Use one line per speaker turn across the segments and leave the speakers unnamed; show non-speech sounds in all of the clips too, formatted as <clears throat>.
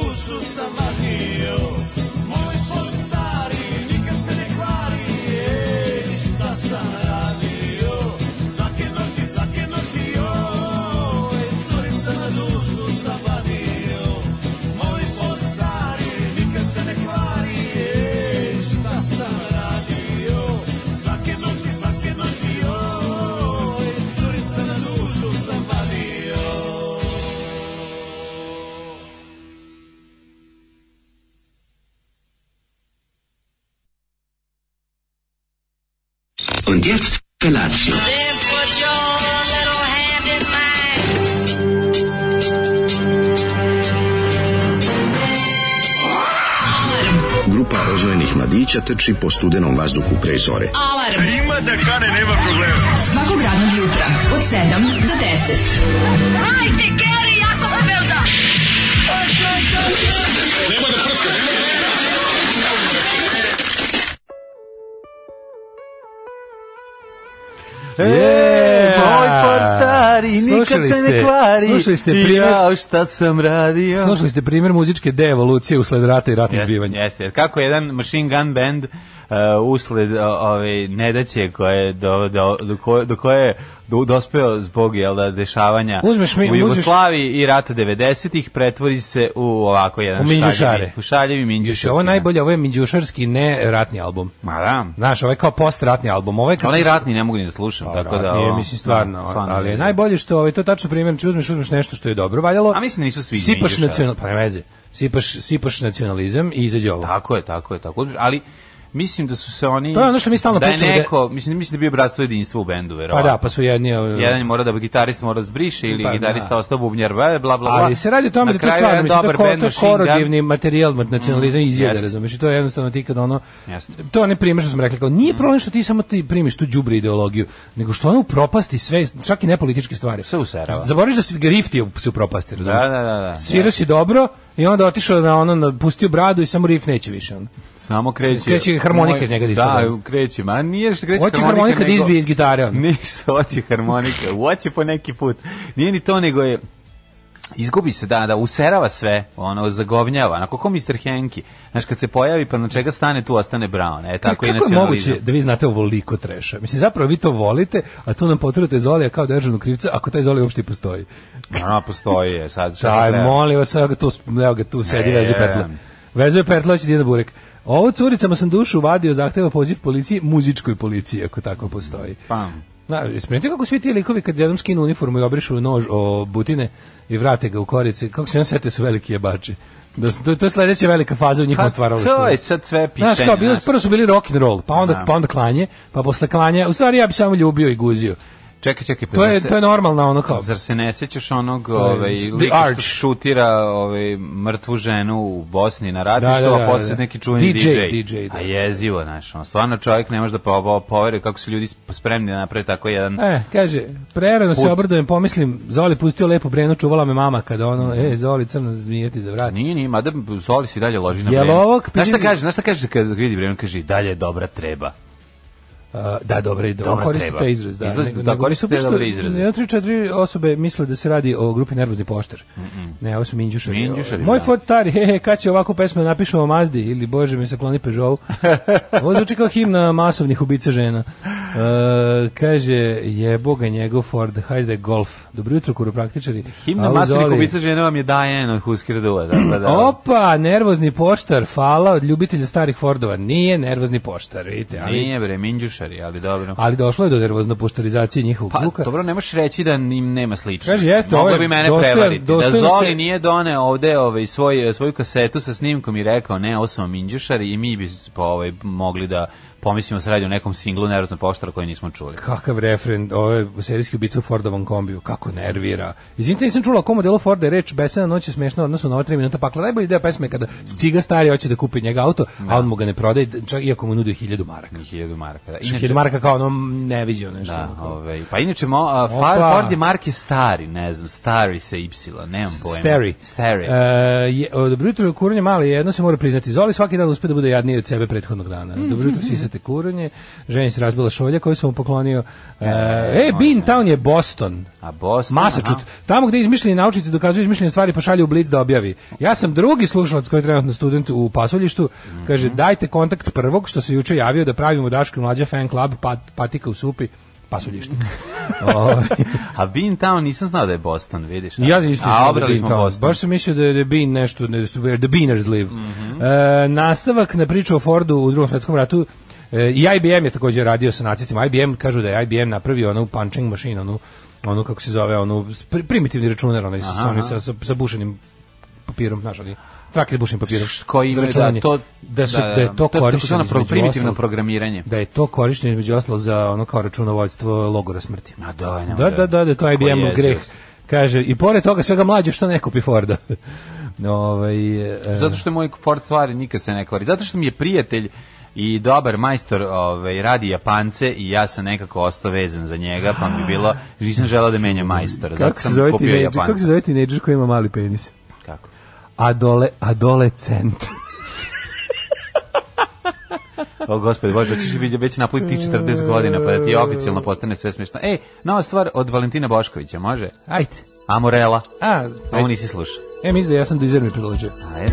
nisam vadio Moj folk stari nikad se ne kvari Ej, šta sam radio Svake noći, svake noći, joj Curica na dušu sam vadio Moj folk stari nikad se ne kvari Ej, šta sam radio Svake noći, svake noći, joj Curica na dušu sam vadio
Und jetzt Felatio.
Then put your little hand in mine.
Grupa oznojenih mladića teči po studenom vazduhu pre zore.
Alarm. Ima da kane, nema problema. Svakog radnog jutra, od 7 do 10. Hajde, Geri, jako se velda.
E,
moj for stari, nikad
Slušali
se ne
ste-
kvari.
Slušali ste
I
primjer,
Jao, šta sam radio.
slušali ste primjer muzičke deevolucije usled rata i ratnih
Jeste,
zbivanja.
jeste. Kako jedan Machine Gun Band uh, usled o- ove nedaće koje do, do, do, koje, do koje je do, dospeo zbog jel, da, dešavanja
Uzmeš mi-
u
uzmeš-
Jugoslaviji i rata 90-ih pretvori se u ovako
U
jedan
minđušare.
u šaljevi
Još
minđušarski.
je ovo
da.
najbolje, ovo je minđušarski ne ratni album.
Ma da.
Znaš, ovo je kao postratni album. Ovo je kad
Pa Onaj
su-
ratni ne mogu ni da slušam, tako da...
Nije,
ono,
Pa mislim, stvarno,
stvarno
ali je
ne.
najbolje što, ovaj, to je tačno primjer, znači uzmeš, uzmeš nešto što je dobro valjalo,
A mislim da nisu svi
sipaš,
između, šta?
nacional, pa ne veze, sipaš, sipaš nacionalizam i izađe ovo.
Tako je, tako je, tako. je. Ali mislim da su se oni
To je ono što mi stalno
da je
pričamo da-
neko, mislim mislim da je bio bratstvo i jedinstvo u bendu,
Pa
verovatno.
da, pa su jedni... ovaj,
Jedan je mora da gitarist mora da zbriše ili
Pa
gitarista
da.
ostao bubnjar, bla, bla, bla.
Ali se radi o tome
Na
da to
kraju
stvarno,
jedan
mislim, to, je
dobar
ko,
band
to je
Machine Gun-
korodivni materijal nacionalizam izjede,
jeste.
razumiješ, i to je jednostavno ti kad ono,
Jeste. Mm.
to je onaj primjer što smo rekli, kao, nije problem što ti samo ti primiš tu đubre ideologiju, nego što ono upropasti sve, čak i nepolitičke stvari.
Sve userava.
Zaboraviš da svi grifti se upropasti, razumiješ?
Da, da, da, da.
Svirao si dobro i onda otišao na ono, na, pustio bradu i samo rif neće više. Ono.
Samo kreće.
Kreće harmonika iz njega da
Da,
ispada.
kreće. Ma nije što kreće
Hoće harmonika da
nego-
izbije iz gitare. ono.
<laughs> Ništa, hoće harmonika. Hoće po neki put. Nije ni to, nego je izgubi se, da, da, userava sve, ono, zagovnjava, onako ko Mr. Henki. Znaš, kad se pojavi, pa na čega stane, tu ostane Brown. E, tako
kako
i
je
nacionalizam.
moguće da vi znate ovoliko treša? Mislim, zapravo vi to volite, a tu nam potrudite Zolija kao državnog krivca, ako taj Zolija uopšte i postoji.
A, ono, postoji je, sad šta
Daj,
sad treba? E.
molim vas, evo ga tu, evo ga tu sedi,
Ne.
vezuje petla. Vezuje petla, hoće ti jedan burek. Ovo curicama sam dušu vadio, zahteva poziv policiji, muzičkoj policiji, ako tako postoji.
Pam.
Na, smenite kako svi ti likovi kad jednom skinu uniformu i obrišu nož o butine i vrate ga u korice, kako se on sete su veliki jebači. Da, su- to, to je sledeća velika faza u
Pa,
njihovom stvaralaštvu.
To je sad sve pitanje.
Znaš, kao, bilo,
znaš.
prvo su bili rock and roll, pa onda,
Da.
pa onda klanje, pa posle klanja, u stvari ja bi samo ljubio i guzio.
Čekaj, čekaj, pa
To je,
zar se-
to je normalno ono kao.
Zar se ne sećaš onog
je
ovaj,
The
lika što
Arch.
šutira ovaj, mrtvu ženu u Bosni na ratištu,
Da, da, da,
a posle
da.
neki čuveni
DJ,
DJ.
DJ, da.
A jezivo, znaš. ono, stvarno čovjek ne može da po- poveruje kako su ljudi spremni da naprave tako jedan...
E, kaže, prerano
Put.
se obradujem, pomislim, Zoli pustio lepo brenu, čuvala me mama kada ono, e, Zoli crno zmijeti za vrat.
Mhm. Nije, nije, mada Zoli si dalje loži na
Jel
vreme.
ovog
Znaš šta
pitanja-
kaže, znaš šta kaže kad vidi vreme, kaže dalje je dobra treba.
A, da, dobro, i
Dobro
dobro, koriste
treba.
taj izraz. Da,
Izlazi- da, koriste
super što
dobre izraze.
Jedna, tri, četiri osobe misle da se radi o grupi Nervozni poštar. Ne, ovo su Minđušari.
Minđušari,
Moj
Mhm. da.
fot stari, <laughs> he, he, kad će ovako pesme napišu o Mazdi ili Bože mi se kloni
<laughs>
Peugeot. ovo zvuči kao himna masovnih ubica žena. E, kaže, jebo ga njegov Ford, hajde golf. Dobro jutro, kuropraktičari.
Himna
Ali
masovnih
Zoli-
ubica žena vam je Diane od Husker Dua. Tako da,
Opa, nervozni poštar, fala od ljubitelja starih Fordova. Nije nervozni poštar, vidite. Ali,
Nije bre, minđušari, ali dobro.
ali došlo je do nervozno poštarizacije njihovog
Pa,
luka.
dobro, ne možeš reći da im nema slično.
Kaže, jeste,
Moglo
ovaj
bi mene
dostojan-
prevariti. da
dostojan
Zoli
se-
nije doneo ovde ovaj, svoj, svoju kasetu sa snimkom i rekao, ne, ovo su vam Minđušari i mi bi pa, ovaj, mogli da pomislimo se radi o nekom singlu nervozno poštara koji nismo čuli.
Kakav refren, ovo je serijski ubica u Fordovom kombiju, kako nervira. Izvinite, nisam čula o kom modelu Forda je reč, besena noć je smešna u odnosu na ova tri minuta pakla. Najbolji deo pesme je kada ciga stari hoće da kupi njega auto, a on mu ga ne prodaje, čak iako mu nudi hiljadu maraka.
1000 marka. Da.
Hiljadu maraka kao ono neviđeno nešto.
Da,
Ono,
ovaj, pa inače, mo, a, Far,
Opa.
Ford je marke stari, ne znam, stari sa Y, nemam pojma.
Stary.
Stari.
E, Mhm. je, o, dobro jutro, kuranje mali, jedno se mora priznati. Zoli svaki dan uspe da bude jadniji od sebe prethodnog dana. Dobro jutro, Sisac počete kuranje, ženi se razbila šolja koju sam mu poklonio. E, e Bean Town je Boston.
A Boston,
Massachusetts.
aha.
Tamo gde izmišljeni naučnici dokazuju izmišljene stvari pa šalju u Blitz da objavi. Ja sam drugi slušalac koji je trenutno student u pasuljištu. Kaže, dajte kontakt prvog što se juče javio da pravimo Daško i Mlađa fan club pat, patika u supi <laughs> pasuljište. Ovaj,
<laughs> A Bean Town nisam znao da je Boston, vidiš.
ja isto
A
sam da
obrali
Bean
smo
Town.
Boston.
Baš sam mislio da je da je Bean nešto, ne, where the Beaners live.
Mhm.
E, nastavak na priču o Fordu u drugom svetskom ratu e, i IBM je takođe radio sa nacistima. IBM, kažu da je IBM napravio onu punching machine, onu, onu kako se zove, onu pri- primitivni računar, onaj, sa, onim sa, sa, sa bušenim papirom, znaš, onaj, trakli bušenim papirom.
Koji
za
ime da
računanje.
to
da, su, da, je to,
to
korišćeno
takozvano pro-
između
primitivno
ostalog-
programiranje.
da je to korišćeno između ostalog za ono kao računovodstvo logora smrti.
Ma da, nemoj
da, da, da, da, to
kako
je IBM
jezivo.
greh. Kaže, i pored toga svega mlađe što ne kupi Forda. <laughs> ovaj, e,
Zato što je moj Ford stvari nikad se ne kvari. Zato što mi je prijatelj i dobar majstor ovaj, radi Japance i ja sam nekako ostao vezan za njega, pa mi bilo, nisam želao da menjam majstora. Zato
kako, se
sam
zove
kupio
tinejdžer-
Japanca.
kako se zove tinejdžer koji ima mali penis?
Kako?
Adole, adolescent. <laughs>
O, gospod Bože, hoćeš biti već napoj ti 40 godina, pa da ti oficijalno postane sve smiješno. Ej, nova stvar od Valentina Boškovića, može?
Ajde.
Amorela.
A,
A ovo nisi slušao.
E, mislim da ja sam dizer mi priložio.
Ajde.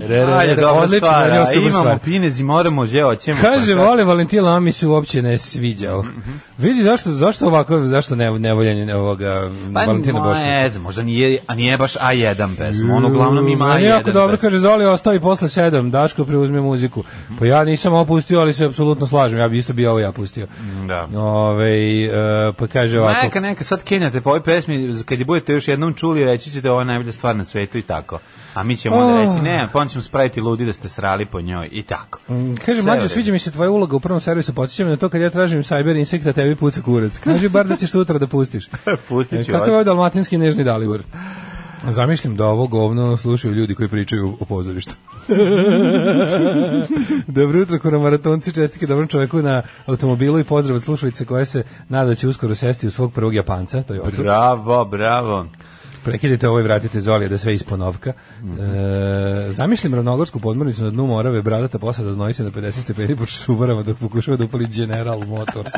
Re, re, re, re, odlično,
stvar,
njoj
a
super
imamo
stvar.
pinez i moramo že, pa oćemo.
<laughs> Kaže, vole Valentina, a mi se uopće ne sviđao.
Mhm.
Vidi, zašto, zašto ovako, zašto ne, nevoljenje ovoga
Pa,
Valentina Boškovića?
Ne znam, možda nije, a nije baš A1 pesma, on ono, uglavnom ima A1
Meni je jako dobro,
pesmu.
kaže, Zoli ostavi posle sedam, Daško preuzme muziku. Pa ja nisam ovo pustio, ali se apsolutno slažem, ja bi isto bio ovo ja pustio.
Da.
Ove, pa kaže ovako,
Neka, neka, sad kenjate po ovoj pesmi, kad je budete još jednom čuli, reći ćete ovo je najbolja stvar na svetu i tako. A mi ćemo onda
Oh.
reći, ne, pa onda ćemo spraviti ludi da ste srali po njoj i tako.
Mm, Kaže,
Sve u
mlađo,
redu.
sviđa mi se tvoja uloga u prvom servisu, podsjeća me na to kad ja tražim cyber insekta, tebi puca kurac. Kaži bar da ćeš sutra da pustiš.
<laughs> Pustit ću
Kako
vas.
E, je ovo dalmatinski nežni Dalibor? Zamišljam da ovo govno slušaju ljudi koji pričaju o
<laughs>
pozorištu. dobro jutro, koramaratonci, čestike dobrom čoveku na automobilu i pozdrav od slušalice koja se nada da će uskoro sesti u svog prvog Japanca, to je odgovor.
Bravo, bravo.
Prekidite ovo i vratite Zolije da sve isponovka.
Mhm.
e, zamišljam ravnogorsku podmornicu na dnu morave, bradata posada znoji se na 50 stepeni pod šubarama dok pokušava da upali General
<laughs>
Motors.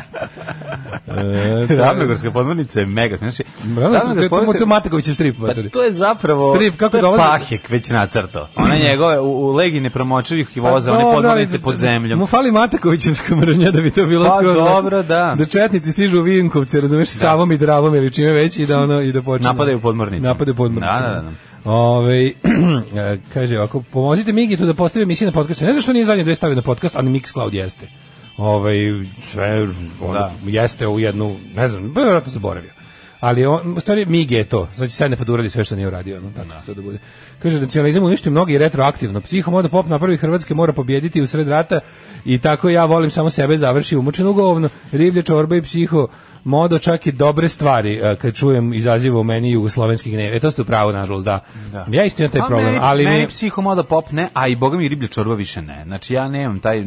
E,
Ravnogorska podmornica je mega. Znači,
Ravnogorska, to je- to je
podmornica-
Matakovićev strip,
Pa
matori.
to je zapravo
Strip, kako
to je
dolazi-
Pahek već nacrtao. Ona njegove u, u legi nepromočivih i voza, one
Pa dobro,
podmornice
ali-
pod zemljom.
Mu fali Matakovićevska mržnja da bi to bilo
Pa
skroz.
dobro, da.
Da četnici stižu u Vinkovce, razumeš, Savom i Dravom ili čime već i da ono i da počne.
Napadaju podmornice.
Napadaju podmornice.
Da, da, da.
Ovaj, <clears throat> e, kaže ovako, pomozite Migi tu da postavi emisiju na podcast. Ne znam što nije zadnje dve stavio na podcast, ali Mixcloud jeste. Ovaj, sve, ono,
Da.
jeste u jednu, ne znam, pa vjerojatno zaboravio. Ali on, u stvari, Migi je to. Znači, sad ne poduradi sve što nije uradio. No, tako sad da bude. Kaže, nacionalizam uništio mnogi retroaktivno. Psiho moda pop na prvi Hrvatske mora pobjediti u sred rata i tako ja volim samo sebe završi umučen u govno. Riblje, čorba i psiho modo čak i dobre stvari e, kad čujem izaziva u meni jugoslovenski gnev. E to ste u pravu, nažalost, da. Ja isto imam taj
A
problem,
Pa meni,
ali
meni
mi,
psihomoda pop ne, a i boga mi riblja čorba više ne. Znači ja nemam taj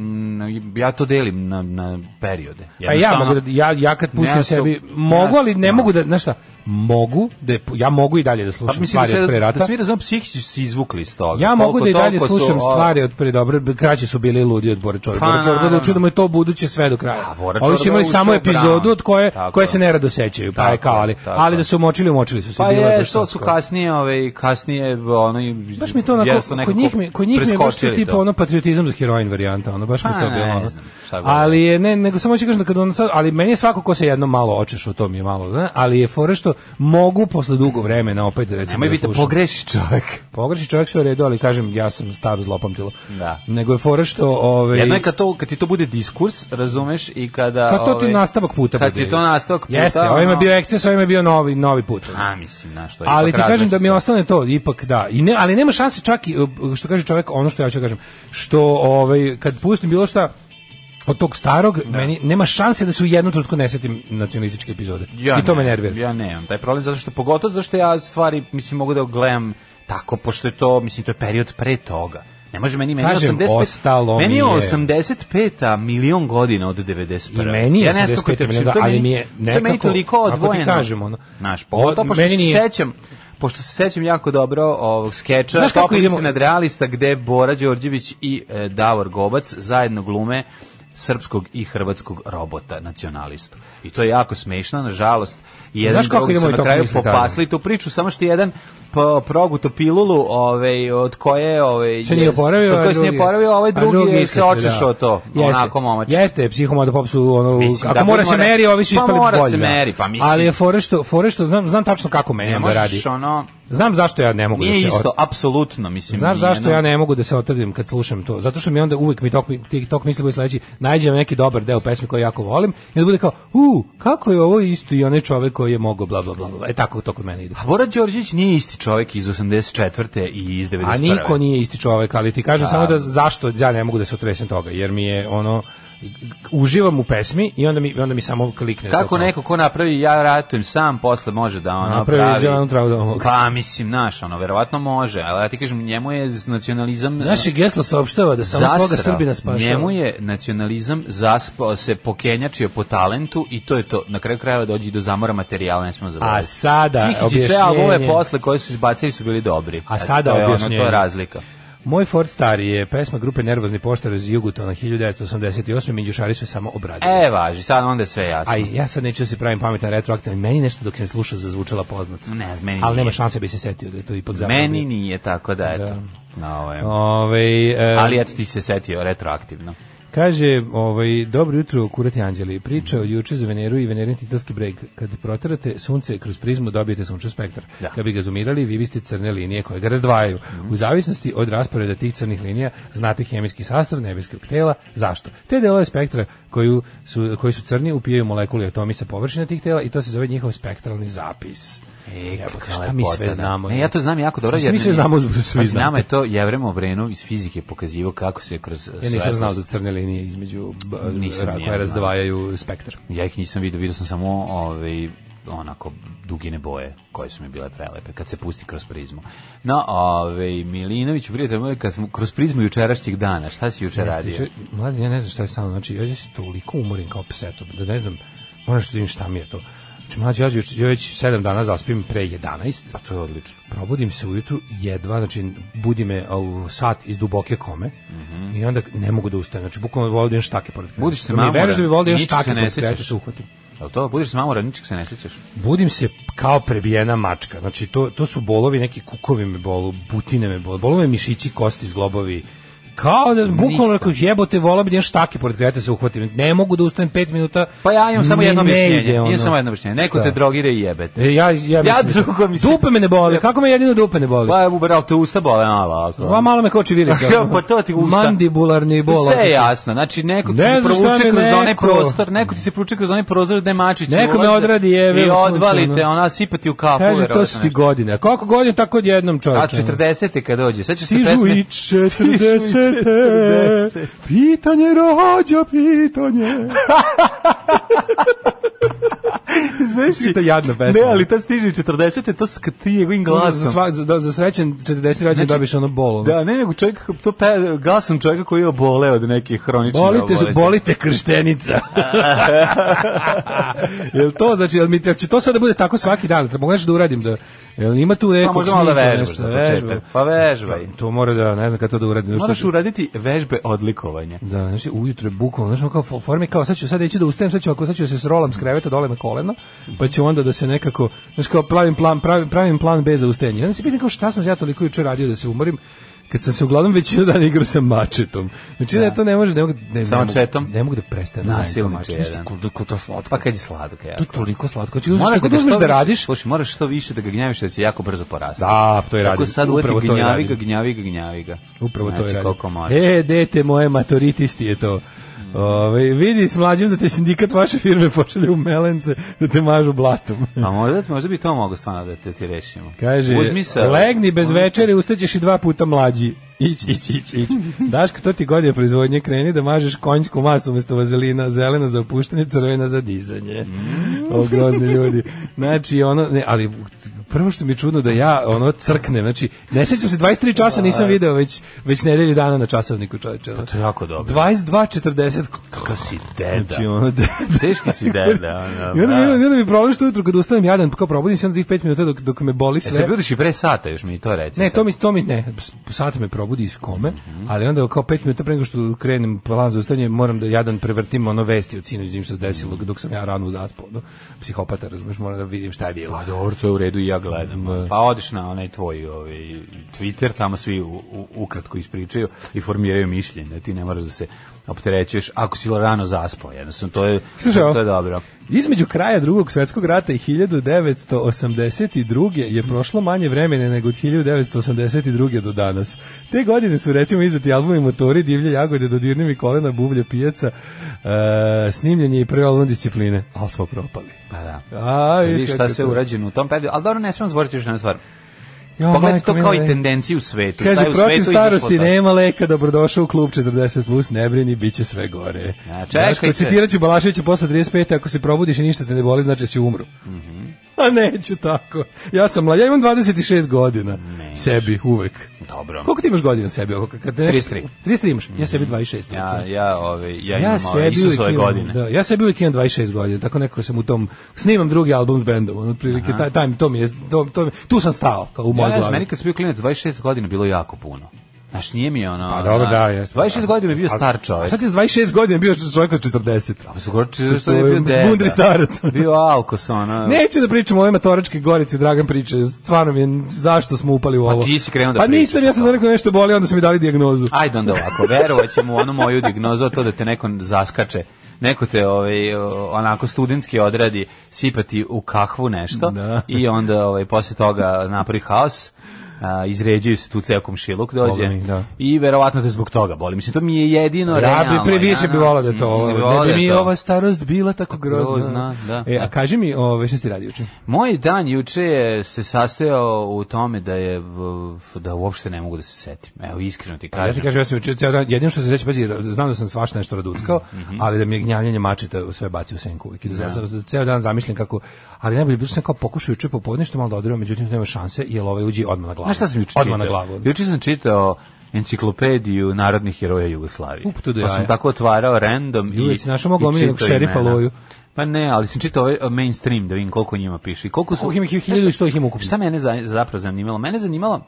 nem, ja to delim na, na periode.
pa ja
Jednostavno-
mogu da, ja ja kad pustim
Ja sam-
sebi
ja
mogu, ali ne
sam-
mogu da, znaš šta, mogu da je- ja mogu i dalje da slušam
pa mislim da
stvari
se,
od pre rata.
da se mi razumemo, psihički su se izvukli iz toga.
Ja mogu
Koliko
da i dalje
toliko su,
slušam
o,
stvari od pre dobro, kraće su bili ludi od Bora Čorba.
Pa,
Bora Čorba
naravno.
odlučio da mu je to buduće sve do kraja.
A, Bora
Ovi su
Čorba
imali
je
samo
ušao u
epizodu
Brown.
od koje,
Tako
koje
je.
se nerado sećaju, pa je
Tako
kao,
je,
ali,
tako
ali
je.
da su umočili, umočili su se.
Pa
bilo
je,
baš
što su
tako.
kasnije, ovaj, kasnije, ono,
Baš mi to onako,
jesu nekako
kod njih mi, kod njih mi je baš to
preskočili
tipa
to.
ono patriotizam za heroin varijanta, ono baš mi
Pa,
to
ne
bilo. ono.
znam, šta god.
ali je ne, nego samo hoću kažem da kad on sad, ali meni je svako ko se jednom malo očeš u tom je malo, zna, ali je fore što mogu posle dugo vremena opet recimo.
Nemoj
da
biti,
slušam.
pogreši čovjek.
Pogreši čovjek sve u redu, ali kažem ja sam staro zlopamtilo.
Da.
Nego je fora što ovaj
Jedno je kad, to, kad ti to bude diskurs, razumeš, i kada...
Kad to ti
ovaj,
nastavak puta
Kad
bude.
ti to nastavak puta...
Jeste, ovo ima
ono-
bio eksces, ovo ima bio novi, novi put.
A, mislim, na što je.
Ali
Pa ipak
ti kažem da mi
različito.
ostane to, ipak da. I ne, ali nema šanse čak i, uh, što kaže čovjek, ono što ja ću kažem, što ovaj, kad pustim bilo šta od tog starog, meni nema šanse da se u jednom trenutku ne setim nacionalističke epizode. I to me
nemam,
nervira.
Ja nemam taj problem, zato što pogotovo zato što ja stvari, mislim, mogu da gledam tako, pošto je to, mislim, to je period pre toga. Ne može meni, meni je
Kažem,
85,
ostalo
meni je
mi je.
85 a milion godina od 91.
I meni je
ne znam kako je
85
tebi,
milion,
to
ali mi je
to je meni
nekako,
toliko
kako ti
odvojeno.
kažem, ono,
Znaš,
od-
pogotovo pošto
meni
se
nije-
sećam, pošto se sećam jako dobro ovog skeča
Znaš kako
Topolisti
idemo?
nad realista gde Bora Đorđević i e, Davor Gobac zajedno glume srpskog i hrvatskog robota nacionalistu. I to je jako smešno, nažalost. i Jedan
Znaš kako
drugi su
idemo i
na
tog
kraju
smisla tamo?
popasli tu priču, samo što jedan po, proguto pilulu ovaj, od koje ovaj,
se nije
je-
oporavio,
od koje
a
se nije
drugi-
oporavio, a ovaj
a
drugi, je se
iskrsne, da.
očešao to. Onako momač.
Jeste, psihomoda pop su ono,
Mislim,
ako
da bi
mora se
mora-
meri, ovi su
pa
ispali
mora
bolji,
se
da.
meri, pa mislim.
Ali je fore što, fore što znam, znam tačno kako meni
Ne
da radi.
možeš ono...
Znam zašto ja ne mogu da
Nije
se od-
isto, apsolutno, mislim.
Znaš
nije, ono-
zašto
no.
ja ne mogu da se otrdim kad slušam to? Zato što mi onda uvek mi tok, ti- tok misli bude sledeći, nađem neki dobar deo pesme koji jako volim i onda bude kao, u, kako je ovo isto i onaj čovek koji je mogao bla bla bla. bla. E tako to kod mene ide.
A Bora Pa Đorđević nije isti čovjek iz 84. i iz 91.
A niko nije isti čovek, ali ti kažem samo da zašto ja ne mogu da se otresem toga, jer mi je ono uživam u pesmi i onda mi onda mi samo klikne. to
Kako
kao.
neko ko napravi, ja ratujem sam, posle može da ono
Napravi
pravi.
zelenu travu da ovoga.
Pa, mislim, naš, ono, verovatno može, ali ja ti kažem, njemu je z- nacionalizam...
Naše geslo saopštava da samo
zasrao.
svoga Srbina spašava.
Njemu je nacionalizam zaspao, se pokenjačio po talentu i to je to. Na kraju krajeva dođi do zamora materijala, ne smo zaboraviti.
A sada
Čikići sve albome
objašnjenje.
posle koje su izbacili su bili dobri.
A sada
to je ono, to
objašnjenje.
je razlika.
Moj Ford stari je pesma grupe Nervozni poštar iz Jugotona 1988. Minđušari su je samo obradili.
E, važi, sad onda je sve jasno.
Aj, ja sad neću da se pravim pametan retroaktivan. Meni nešto dok sam slušao zazvučala poznato.
Ne znam, meni
Ali nema
nije.
šanse da bi se setio da je to ipak zapravo.
Meni
bio.
nije tako da, eto. Na ovo je.
Ovaj, e,
Ali eto ti se setio retroaktivno.
Kaže, ovaj, dobro jutro, kurati anđeli. Priča o juče za Veneru i Venerin titanski breg. Kad proterate sunce kroz prizmu, dobijete sunčev spektar.
Da. Mhm.
Kad bi ga zumirali, vi biste crne linije koje ga razdvajaju. U zavisnosti od rasporeda tih crnih linija, znate hemijski sastav nebeskog tela. Zašto? Te delove spektra koju su, koji su crni upijaju molekuli atomi sa površine tih tela i to se zove njihov spektralni zapis.
E,
Jebote,
kakva
E, pa šta mi
lepota,
sve
da.
znamo?
Ne, E, ja to znam jako dobro.
Mislim,
jer
mi sve
nam je-
znamo, svi
Pazi, Nama
znate.
je to Jevrem Obrenu iz fizike pokazivo kako se kroz
Ja nisam znao
da...
za crne linije između b-
Nisam ni ja znao.
koje razdvajaju spektar.
Ja ih nisam vidio, vidio sam samo ovaj, onako dugine boje koje su mi bile prelepe kad se pusti krović prizmu. No, ovaj, Milinović, prijatelj moj, kad smo kroz prizmu jučerašnjeg dana, šta si jučer
Jeste,
radio?
čuj, Mladen, ja ne znam šta je sa mnom, znači, ja se toliko umorim kao pseto, da ne znam, moram što da vidim šta mi je to. Znači, mlađe, ja, ću- ja već 7 dana zaspim pre 11,
Pa to je odlično.
probudim se ujutru jedva, znači, budi me a, u sat iz duboke kome, i onda ne mogu da ustanem, znači, bukvalno volim da imam štake pored kreveta.
Mhm. Budiš
Da
se
mi
mamoran,
veruješ da bi volio da imam
ničeg
štake
se ne
pored kreveta,
sećaš.
se uhvatim.
Jel to? Budiš s mamoran, ničeg se ne sjećaš?
Budim se kao prebijena mačka. Znači to to su bolovi, neki kukovi me bolu, butine me bolu, bolove mišići, kosti, zglobovi. Kao da bukvalno rekao jebote, vola bi da imam štake pored kreveta se uhvatim. Ne mogu da ustanem 5 minuta.
Pa ja imam samo
Ne-
jedno
ne
objašnjenje.
ide ono.
Imam samo jedno objašnjenje. Neko
Šta?
te drogira i jebete.
E, ja, ja,
Ja
mislim-
drugo mislim.
Dupe me ne boli, kako me jedino dupe ne boli?
Pa je uberao te usta bole, malo. ali to-
Va malo me koči
<laughs>
vilica.
pa to ti usta.
Mandibularni bol.
ono. Sve je
osjećaj.
jasno, znači neko ti
Ne
se
znam šta
provuče
mi
kroz onaj
neko-
prostor, neko ti se provuče kroz onaj prozor gde mačići
Neko me
ulaze
odradi, jebe,
i
u sunce,
odvalite,
ono.
ona sipati u kafu.
Kaže, to
verovatno
su ti
nešto.
godine. A Koliko godina tako odjednom
A
čovječe? ono?
40. kad dođe, sećaš se
Stižu
<laughs> pesme?
i četrdesete, pitanje rođa, pitanje.
Znaš si-
Ta jadna pesma.
Ne, ali ta stiže i 40. to s- kad ti je ovim
Za,
glasom.
sva, za, za srećen 40 rođen dobiš ono bolo.
Znači, Da, ne, nego čovjek, to pe, glasom čovjeka koji je oboleo od nekih hroničnih
Znači, Bolite,
bolesti.
bolite krštenica. <laughs> jel to znači, jel mi, jel će to sad da bude tako svaki dan? Treba mogu nešto da uradim? Da, jel ima tu nekog
Pa možda malo da
smisla,
vežbaš
nešto?
za početak.
Vežba.
Pa vežbaj.
To mora da, ne znam kada to da uradim. Što
Moraš
ću-
uraditi vežbe odlikovanja.
Da, znači ujutro je bukvalno, znači ono kao fo- formi kao sad ću sad ići da ustanem, sad ću ako sad ću da se srolam s kreveta dole na koleno, pa ću onda da se nekako, znači kao pravim plan, pravim, pravim plan bez za ustajanje. Onda se pitam kao šta sam ja toliko juče radio da se umorim, kad sam se uglavnom većinu dana igrao sa mačetom. Znači da, to ne može, ne mogu, ne,
Sa
ne mogu-
mačetom?
ne mogu da prestanem.
Nasilno
Mačet,
je
znaš ti
jedan.
koliko to slatko.
Pa kad je sladko, ja.
to je toliko slatko. Znači, moraš da, da, da
više-
radiš,
Slušaj, moraš što više da ga gnjaviš, da će jako brzo porasti.
Da, to je
Tako
radim.
sad uvati
Upravo to je
gnjavi ga,
radim.
gnjavi ga, gnjavi ga.
Upravo to
Znači,
je radim.
koliko može.
E, dete moje, matoritisti je to. Ove, vidi s mlađim da te sindikat vaše firme pošalje u melence da te mažu blatom. <laughs>
A Pa možda, možda bi to mogo stvarno da te ti rešimo.
Kaže,
Uzmi sa-
legni bez večere, ustaćeš i dva puta mlađi. Ić, ić, ić,
<laughs>
ić. Daško, to ti godine proizvodnje kreni da mažeš konjsku masu umesto vazelina, zelena za
Mm.
opuštanje, crvena za dizanje. O, grozni ljudi. Znači, ono, ne, ali prvo što mi je čudno da ja ono crknem, znači ne sećam se 23 časa nisam video već već nedelju dana na časovniku čoveče. Pa
to je jako dobro.
22:40 kako si <laughs> deda.
Znači, ono, de- Teški si deda.
<laughs> I
Ono,
onda, mi, i
bravo.
onda mi je problem što ujutru kad ustanem jadan, pa kao probudim se onda tih 5 minuta dok, dok me boli
E, se
sve.
budiš i pre sata, još mi i to reći.
Ne, to mi, to mi, ne, s- sat me probudi iz kome,
Mhm.
ali onda kao 5 minuta pre nego što krenem plan za ustaanje, moram da jadan prevrtim ono vesti od sinoć njim što se desilo, dok sam ja rano zaspao, no, psihopata, razumeš, moram da vidim šta je bilo.
Pa dobro, to je u redu i ja gledam. Pa odiš na onaj tvoj ovaj, Twitter, tamo svi u, u- ukratko ispričaju i formiraju mišljenje. Ti ne moraš da se opterećuješ ako si rano zaspao. Jednostavno, to je,
Slušaj, ovo.
to je dobro.
Između kraja drugog svetskog rata i 1982. je prošlo manje vremena nego od 1982. do danas. Te godine su recimo izdati albumi Motori, Divlje jagode, Dodirni mi kolena, Bublje pijaca, e, snimljen je i prvi album discipline, ali smo propali.
Pa da.
A,
Vidiš
vidiš
šta
kako
sve
to.
urađeno u tom periodu. Ali dobro, ne smemo zboriti još jednu stvar.
Jo,
Pogledaj
majko
to kao
mila, e.
i
ej.
tendenciju u svetu.
Kaže,
Šta je u
protiv
svetu izašlo
starosti
to?
nema leka, dobrodošao u klub 40+, plus, ne brini, bit će sve gore.
A, čekaj
Daško,
se.
citirat ću Balaševića posle 35. Ako se probudiš i ništa te ne boli, znači da si umru.
Mhm.
A neću tako. Ja sam mlad, ja imam 26 godina. Sebi, uvek.
Dobro.
Koliko ti imaš godina sebi? Ako- Kad te
33.
33 imaš? Ja sebi 26.
Mhm. Ja,
tako.
ja, ove,
ja
ja, imam ove,
sebi
Isusove
uvek imam,
godine.
Da, ja sebi uvijek imam 26 godina, tako nekako sam u tom, snimam drugi album s bendom, ono, otprilike, taj, taj, to mi je, to, to mi- tu sam stao, kao u mojoj
Ja ne znam,
glavi.
meni kad sam bio klinac 26 godina bilo jako puno. Znaš, nije mi ono...
Pa dobro,
znaš,
da, jeste.
26 godina je bio
A-
star
A
čovjek.
sad je s 26 godina bio čovjek od 40.
Pa su gorči, što
To
je
je
bio deda.
mudri starac.
Bio alkos, ono.
Neću da pričam o ovoj matoračkoj gorici, Dragan priče, stvarno mi je, zašto smo upali u ovo.
ti si krenuo da
Pa nisam,
pričaš,
ja sam za neko nešto bolio, onda su mi dali dijagnozu.
Ajde onda ovako, verovat ćemo u onu moju dignozu, a to da te neko zaskače. Neko te ovaj, o, onako studentski odradi sipati u kahvu nešto
Da.
i onda ovaj, posle toga napravi haos. A, izređuju se tu ceo komšiluk dođe
Boga mi, da.
i verovatno te zbog toga boli. Mislim, to mi je jedino
Ja
realno.
bi pre više bi volao da je to
Mm,
ovo.
volao
Ne bi
da je
mi
to.
ova starost bila tako grozna.
Grozna, da.
E, a kaži mi, ove, šta ste radi juče?
Moj dan juče je se sastojao u tome da je v- da uopšte ne mogu da se setim. Evo iskreno ti
Pa Ja ti
kažem.
kažem, ja sam juče ceo dan, jedino što se sećam, pazi, znam da sam svašta nešto raduckao, ali da mi je gnjavljanje mačeta sve baci u senku uvijek. I da sam- sam za ceo dan zamišljen kako, ali najbolje bilo što sam kao pokušao juče popodne što malo da odrema, međutim nema šanse, jer ovaj uđe odmah na glavu.
Znaš šta sam juče
Odmah na
čitao?
glavu.
Juče sam čitao enciklopediju narodnih heroja Jugoslavije.
Up to the
Pa sam
jaja.
tako otvarao random i
Ju, jesi našao mog
i
omiljenog
čitao
šerifa
imena.
Loju?
Pa ne, ali sam čitao ovaj e, mainstream da vidim koliko njima piše. I koliko su
Koliko ima ih? 1100 ih ima ukupno.
Šta mene za, zapravo zanimalo? Mene zanimalo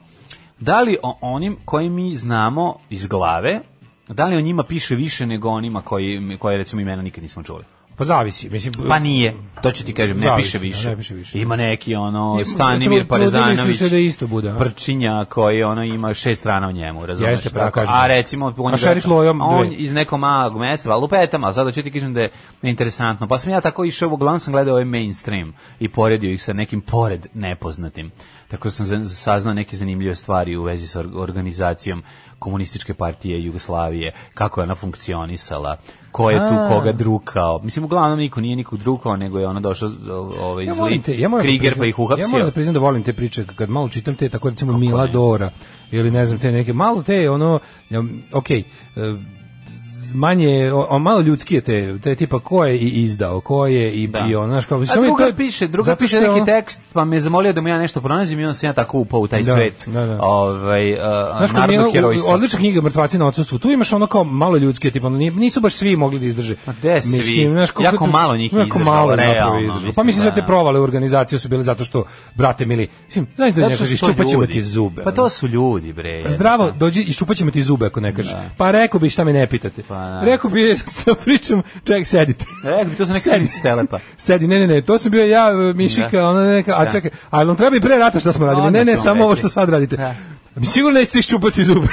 da li o onim koji mi znamo iz glave, da li o njima piše više nego onima koji koje recimo imena nikad nismo čuli.
Pa zavisi, mislim...
Pa nije, to ću ti kažem, ne
Zavisi,
piše više.
da, ne piše više.
Ima neki ono
Je,
Stanimir
trudili su se
Parezanović.
da isto bude, a?
Prčinja koji ono ima šest strana u njemu, razumeš?
Jeste, pa da
Tako.
kažem.
A recimo on
A Šerif Lojo,
on
dve.
iz nekog malog mesta, pa lupetama, a sad ću ti kažem da je interesantno. Pa sam ja tako išao, uglavnom sam gledao ovaj mainstream i poredio ih sa nekim pored nepoznatim. Tako da sam za- saznao neke zanimljive stvari u vezi sa or- organizacijom komunističke partije Jugoslavije, kako je ona funkcionisala, ko je tu koga drukao. Mislim, uglavnom niko nije nikog drukao, nego je ono došao o- ovaj,
Ja
zli
volim te, ja moram da
Krieger pa
priznam-
ih uhapsio.
Ja moram da priznam da volim te priče kad malo čitam te tako recimo Mila Dora ili ne znam te neke malo te ono ja, okej e, manje o, o, malo ljudskije te te tipa ko je i izdao ko je i
Da.
i ono znaš kao
A
to je-
druga piše, druga
zato
piše
što je
neki
ono-
tekst, pa me je zamolio da mu ja nešto pronađem i onda sam ja tako upao u taj
Da,
svet.
da, da.
Ovaj,
Znaš
uh,
kao
narodnog
Milo,
herojstva.
odlična knjiga Mrtvaci na odsustvu. Tu imaš ono kao malo ljudske, tipa ono, nije- nisu baš svi mogli da izdrže.
Ma gde svi?
koliko
Jako
tu-
malo njih je
jako
izdržalo,
malo je zapravo
realno,
izdržalo. Pa
mislim,
mislim
da,
sve te
da.
provale u organizaciju su bile zato što brate mili, mislim, znaš da
Zato
ne
što
kažeš
su to
ćemo
ljudi.
ti zube.
Pa
ono.
to su ljudi, bre.
Zdravo, dođi i ćemo ti zube ako ne kažeš. Pa rekao bi šta me ne pitate.
Pa, da.
Rekao bi što pričam, ček sedite.
Rekao E, bi, to su neke sedice telepa.
Sedi, ne, ne, ne, to sam bio ja, e, Mišika,
Da.
ona neka, a
Da.
čekaj, a vam treba i pre rata šta smo radili?
Odmah
Ne, ne,
ćemo
samo ovo
reći.
što sad radite.
Da.
Mi sigurno nećete iščupati
<laughs>
zube.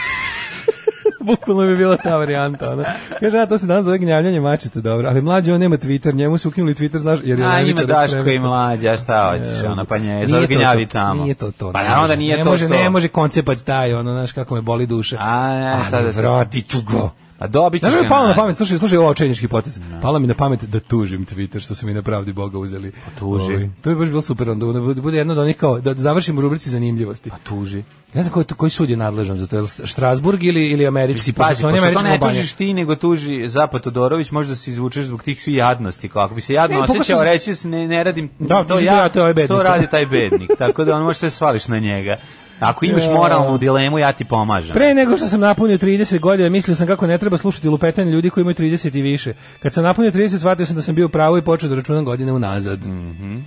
Bukvalno bi bila ta varijanta. Ona. Kaže, a to se danas zove gnjavljanje mačete, dobro. Ali mlađe, on nema Twitter, njemu su ukinuli Twitter, znaš, jer je
A ima
levičar
Daško i
ekstremista.
mlađa, šta hoćeš, ona pa nje,
E, Nije
sad
to
gnjavi
to,
tamo.
Nije to to.
Pa
ne
naravno
može,
da nije
ne
to
može,
to.
Ne može koncepat taj, ono, znaš kako me boli duša.
A, ne, šta
Ali
da se-
vratit ću go.
A Pa dobit ćeš
Znaš mi je
ga
palo na
nazad.
pamet, slušaj, slušaj ovo očajnički potez. Palo mi na pamet da tužim Twitter što su mi na pravdi Boga uzeli.
tuži.
Ovaj, to bi baš bilo super, onda da bude- bude jedno od onih kao, da završimo u rubrici zanimljivosti.
A tuži.
Ne znam koji, koji sud je nadležan za to, je li Štrasburg ili, ili američki?
Si pazi,
Pošto su oni
pošto to
američka
ne
kompanija.
tužiš ti, nego tuži Zapad Todorović, možda se izvučeš zbog tih svi jadnosti. Kako bi se jadno
Ne, pokušaj
osjećao,
se-
reći se ne, ne radim
Da,
to,
mislim
ja,
da ja, to je ovaj bednik.
to radi taj
<laughs>
bednik. Tako da on može sve svališ na njega. Ako imaš
Ja.
moralnu dilemu, ja ti pomažem.
Pre nego što sam napunio 30 godina, mislio sam kako ne treba slušati lupetanje ljudi koji imaju 30 i više. Kad sam napunio 30, shvatio sam da sam bio u pravu i počeo da računam godine unazad.
Mhm.